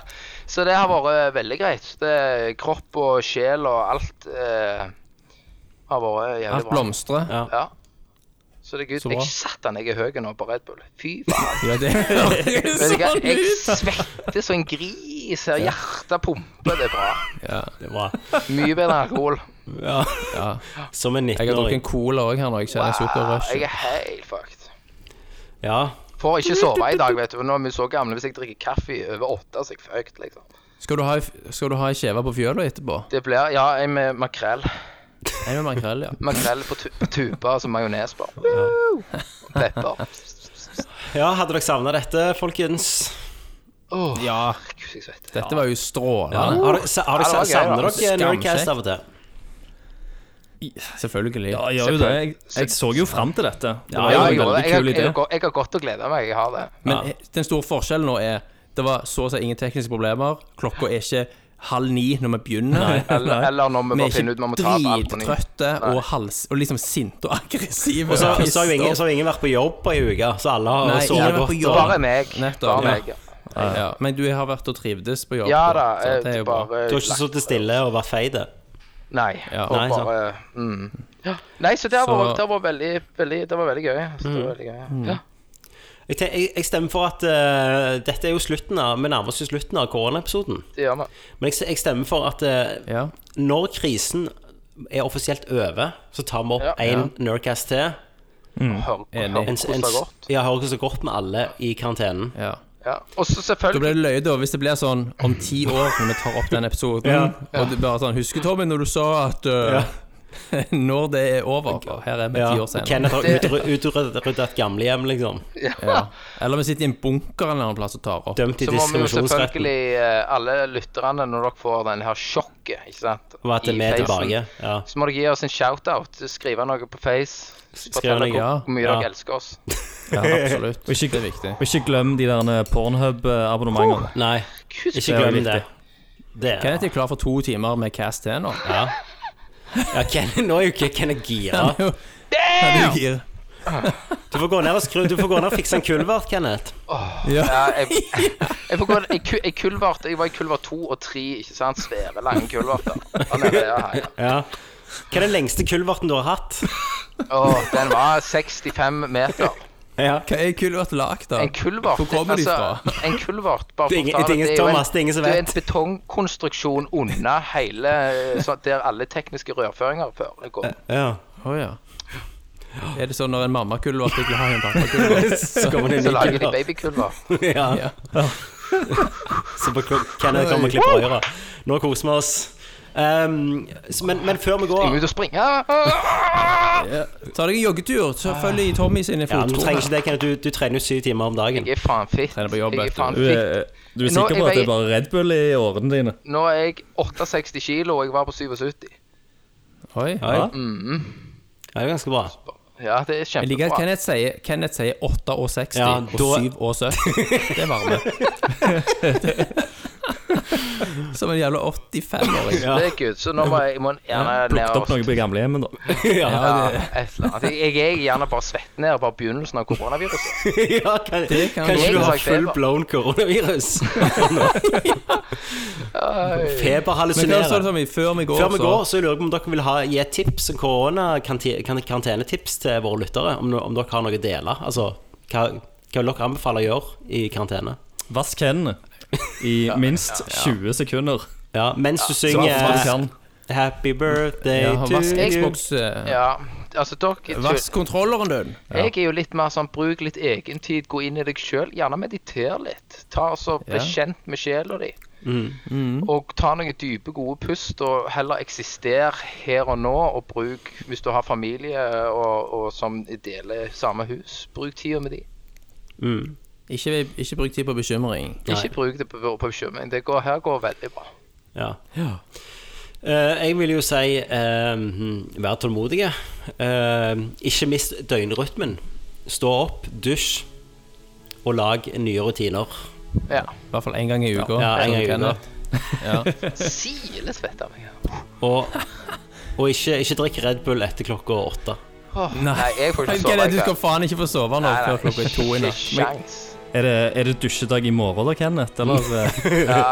Speaker 9: Så det har vært eh, veldig greit. Det, kropp og sjel og alt eh, har vært jævlig
Speaker 7: Alt
Speaker 9: bra.
Speaker 7: blomstrer.
Speaker 6: Ja.
Speaker 9: Ja. Så det er gud,
Speaker 7: bra.
Speaker 9: jeg satan, jeg er høy nå på Red Bull. Fy faen.
Speaker 7: Ja, det høres
Speaker 9: Vet du hva,
Speaker 7: sånn
Speaker 9: jeg
Speaker 7: ut!
Speaker 9: svetter som en gris her. Hjertet pumper, det er bra.
Speaker 6: Det var
Speaker 9: Mye bedre enn alkohol.
Speaker 6: Som en
Speaker 7: Jeg har
Speaker 6: 19-åring.
Speaker 7: drukket en cola òg her nå. Jeg kjenner
Speaker 9: Jeg
Speaker 7: sukkerrush.
Speaker 9: er helt fucked.
Speaker 6: Ja.
Speaker 9: Får ikke sove i dag, vet du. Nå er vi så gamle. Hvis jeg drikker kaffe i over åtte, så er jeg fucked, liksom.
Speaker 7: Skal du ha ei- Skal du ha ei kjeve på fjøla etterpå?
Speaker 9: Det blir Ja, jeg med makrell.
Speaker 7: En med makrell, ja.
Speaker 9: Makrell på, tu på tuba, altså majones bare. Woo! Pepper.
Speaker 6: ja, hadde dere savna dette, folkens?
Speaker 9: Åh,
Speaker 7: Ja,
Speaker 9: Gud, jeg svetter.
Speaker 7: dette var jo
Speaker 6: Ja.
Speaker 7: strålende.
Speaker 6: Har dere, sa- har dere
Speaker 9: Ja, Uh, det var gøy,
Speaker 6: savner
Speaker 9: da.
Speaker 6: dere Nerdcast
Speaker 7: Skamsjekk.
Speaker 6: av og til?
Speaker 7: Selvfølgelig.
Speaker 5: Ja, jeg gjør jo det. Jeg, jeg så jo fram til dette. Det var
Speaker 9: Ja,
Speaker 5: jo
Speaker 9: jeg,
Speaker 5: en
Speaker 9: gjorde
Speaker 5: veldig
Speaker 9: det. jeg, har-
Speaker 5: kul
Speaker 9: jeg,
Speaker 5: idé.
Speaker 9: har gå- jeg har godt å glede meg. Jeg har det.
Speaker 7: Men den store forskjellen nå er Det var så å si ingen tekniske problemer. Klokka er ikke halv ni når vi begynner.
Speaker 9: Eller, eller når vi
Speaker 7: Vi
Speaker 9: bare
Speaker 7: er
Speaker 9: finner ut vi må ta
Speaker 7: ikke
Speaker 9: opp alt på nytt.
Speaker 7: drittrøtte og, hals, og liksom sinte og aggressive.
Speaker 6: Og så,
Speaker 7: Ja.
Speaker 6: så, har jo ingen, så har jo ingen vært på jobb på ei uke, så alle har
Speaker 7: Nei, ingen har
Speaker 6: sovet
Speaker 7: vært på
Speaker 6: godt.
Speaker 7: jobb.
Speaker 6: og-
Speaker 9: Bare meg.
Speaker 7: Nettopp.
Speaker 9: Bare
Speaker 7: Ja.
Speaker 9: meg. ja.
Speaker 7: ja. Men du har vært og trivdes på jobb? da,
Speaker 9: Ja da.
Speaker 7: så
Speaker 9: Jeg,
Speaker 7: det er jo bra.
Speaker 9: bare,
Speaker 6: Du har ikke sittet stille og vært feit?
Speaker 9: Nei.
Speaker 7: Ja.
Speaker 9: og
Speaker 6: Nei, sant.
Speaker 9: bare, mm. Nei, så det har
Speaker 7: Så-
Speaker 9: vært- det har vært veldig, veldig, det var veldig gøy. Så det var veldig gøy. Ja.
Speaker 6: Jeg, ten- jeg, jeg stemmer for at eh, dette er jo slutten av Vi nærmer oss jo slutten av koronaepisoden.
Speaker 9: Det gjør vi.
Speaker 6: Men jeg, s- jeg stemmer for at eh,
Speaker 7: Ja.
Speaker 6: når krisen er offisielt over, så tar vi
Speaker 9: Ja.
Speaker 6: opp én Nerdcast til.
Speaker 9: Hør, hør
Speaker 7: Enig.
Speaker 9: hvordan det har gått.
Speaker 6: ja, hører hvordan det har gått med alle i karantenen.
Speaker 7: Ja.
Speaker 9: Ja. Og så
Speaker 7: Da
Speaker 9: selvfølgelig
Speaker 7: blir det løye, da, hvis det blir sånn om ti år når vi tar opp den episoden, og det bare sånn Husker, Tommy, når du sa at uh, Når det er over og Her er vi ti
Speaker 6: Ja,
Speaker 7: år
Speaker 6: og
Speaker 7: senere.
Speaker 6: Kenneth har utryddet utryddet et gamlehjem, liksom.
Speaker 7: Ja. Eller vi sitter i en bunker en eller annen plass og tar opp.
Speaker 6: Dømt i
Speaker 9: så må vi jo
Speaker 6: diskriminasjonsretten.
Speaker 9: selvfølgelig eh, alle lytterne, når dere får den her sjokket, ikke sant
Speaker 6: Og at
Speaker 9: I
Speaker 6: vi er
Speaker 9: facen,
Speaker 6: tilbake. Ja.
Speaker 9: Så må dere gi oss en shout-out. Skrive noe på Face. Fortelle
Speaker 6: noe,
Speaker 9: hvor,
Speaker 7: ja.
Speaker 9: hvor mye
Speaker 6: Ja.
Speaker 9: dere elsker oss.
Speaker 7: Ja, absolutt.
Speaker 5: Og ikke-
Speaker 7: Det er viktig.
Speaker 5: Og ikke glem de der
Speaker 7: eh,
Speaker 9: Oh.
Speaker 5: Pornhub-abonnementene.
Speaker 6: Nei,
Speaker 9: Gud,
Speaker 6: ikke glem
Speaker 5: viktig.
Speaker 6: det. Det er
Speaker 7: Kenneth er klar for to timer med Cast til nå.
Speaker 6: Ja. ja Ken, nå er jo ikke Kenneth gira.
Speaker 7: Damn! Ja,
Speaker 6: Du får gå ned og skru Du får gå ned og fikse en kulvert, Kenneth.
Speaker 9: Ja, jeg, jeg, får gå, jeg, ku- jeg, kulvert, jeg var i kulvert to og tre, ikke sant? Svære, lange kulverter. Ja, nei, ja, ja.
Speaker 6: Ja. Hva er den lengste kulverten du har hatt?
Speaker 9: Åh, den var 65 meter.
Speaker 6: Ja.
Speaker 7: Hva er kulvert lagd av?
Speaker 9: En kulvert Altså-
Speaker 7: Hvor kommer de fra?
Speaker 9: En kulvert, bare
Speaker 6: Det er
Speaker 9: for å
Speaker 6: ingen-
Speaker 9: ta
Speaker 6: det er ingen-
Speaker 9: jo
Speaker 6: Thomas, det er ingen som
Speaker 9: det er
Speaker 6: vet.
Speaker 9: en betongkonstruksjon unna hele eh, så, Der alle tekniske rørføringer før går.
Speaker 6: ja.
Speaker 7: Å ja. Er det sånn når en mammakulvert ikke har en pappakulvert?
Speaker 6: Så kommer det en
Speaker 9: Så
Speaker 6: ny
Speaker 9: lager de
Speaker 6: kulvert.
Speaker 9: babykulvert.
Speaker 6: Ja. Så på kul- Kenneth kommer og klipper øret. Nå koser vi oss. Ehm, s- men, men før vi
Speaker 9: Jeg må
Speaker 6: går
Speaker 9: ut og springe. Jeg
Speaker 8: Ja. Ta deg en joggetur, så følg i Tommy sine
Speaker 6: ja, men Du
Speaker 8: fotspor.
Speaker 6: trenger ikke det, Kenneth. Du, du trener jo syv timer om dagen.
Speaker 9: er faen fit.
Speaker 8: Trener på jobb,
Speaker 9: Jeg
Speaker 8: vet
Speaker 9: er
Speaker 8: du.
Speaker 9: faen
Speaker 7: Du
Speaker 9: fit.
Speaker 7: er, du er
Speaker 9: Nå,
Speaker 7: sikker på
Speaker 9: jeg
Speaker 7: at det
Speaker 9: veier-
Speaker 7: er bare Red Bull i årene dine?
Speaker 9: Nå er jeg 68 kilo, og jeg var på 77.
Speaker 8: Oi.
Speaker 6: Ja. Ja, det er ganske bra.
Speaker 9: Ja, det er
Speaker 8: Jeg liker at
Speaker 9: kjempebra.
Speaker 8: Kenneth sier, Kenneth sier 8 og 60
Speaker 6: Ja,
Speaker 8: og
Speaker 6: da-
Speaker 8: 7 og 70. Det er varme. Som en jævla 85-åring.
Speaker 9: Det er good. Så nå må jeg jeg må gjerne
Speaker 7: Plukket
Speaker 9: ned
Speaker 7: opp
Speaker 9: og
Speaker 7: noe på gamlehjemmet, da.
Speaker 6: Ja,
Speaker 9: ja, et eller annet. Jeg, jeg er gjerne bare svett ned på begynnelsen av koronaviruset.
Speaker 6: ja kan,
Speaker 8: kan
Speaker 6: Kanskje
Speaker 9: jeg
Speaker 6: du har
Speaker 9: faktisk være.
Speaker 6: full blown koronavirus?
Speaker 8: Men hva står det
Speaker 6: Feberhallusinerer.
Speaker 8: som i før vi går?
Speaker 6: Før vi
Speaker 8: så-
Speaker 6: går, så lurer jeg på om dere vil ha, gi et tips, en koronakarantene-tips til våre lyttere. Om, no- om dere har noe å dele. Altså, hva, hva vil dere anbefale å gjøre i karantene?
Speaker 7: Vask hendene i minst 20 sekunder.
Speaker 6: Ja, mens du
Speaker 7: Så hva du
Speaker 6: synger
Speaker 7: kan.
Speaker 6: Happy birthday
Speaker 8: Ja,
Speaker 6: to
Speaker 8: vask
Speaker 6: you.
Speaker 8: Xbox. eh,
Speaker 9: Ja, altså dere
Speaker 8: Vask kontrolleren din.
Speaker 9: Jeg er jo litt mer sånn bruk litt egentid, gå inn i deg sjøl. Gjerne meditere litt. Ta og så Bli
Speaker 8: Ja. Mm.
Speaker 9: kjent med sjela di.
Speaker 6: Mm.
Speaker 9: Og ta noen dype, gode pust, og heller eksister her og nå. Og bruk, hvis du har familie og, og som deler samme hus, bruk tida med de.
Speaker 8: Ikke, ikke bruk tid på bekymring.
Speaker 6: Nei.
Speaker 9: Ikke bruk det på, på bekymring. Det går, her går veldig bra.
Speaker 6: Ja. Eh, jeg vil jo si eh, vær tålmodige. Eh, ikke mist døgnrytmen. Stå opp, dusj, og lag nye rutiner.
Speaker 9: Ja.
Speaker 8: I hvert fall én gang i uka.
Speaker 6: Ja, en
Speaker 8: som
Speaker 6: gang i uka.
Speaker 8: Kenneth.
Speaker 9: Silesvett av meg.
Speaker 6: Og, og ikke, ikke drikk Red Bull etter klokka åtte.
Speaker 9: Åh, nei, jeg får
Speaker 8: Men
Speaker 9: ikke sove.
Speaker 8: Kenneth, du
Speaker 9: i
Speaker 8: skal
Speaker 9: kveld.
Speaker 8: faen ikke få sove nå
Speaker 9: Nei, nei,
Speaker 8: før klokka er to i
Speaker 9: ikke
Speaker 8: natt. Men-
Speaker 9: sjans.
Speaker 7: Er det, er det dusjedag i morgen da, Kenneth? Eller eh,
Speaker 9: Ja,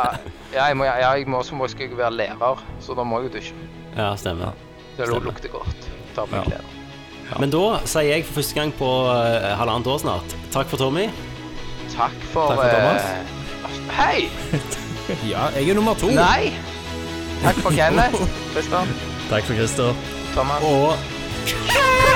Speaker 9: ja, jeg må, ja, jeg må, så må jeg skal være lærer, så da må jeg jo dusje.
Speaker 6: Ja, stemmer.
Speaker 9: Det lukter godt. Ta på klær.
Speaker 6: Men da sier jeg for første gang på eh, halvannet år snart takk for Tommy.
Speaker 9: Takk for,
Speaker 8: Takk for Thomas.
Speaker 9: eh, Hei!
Speaker 8: Ja, jeg er nummer to.
Speaker 9: Nei! Takk for Kenneth, Kristian,
Speaker 7: Takk for Christer.
Speaker 9: Thomas.
Speaker 6: Og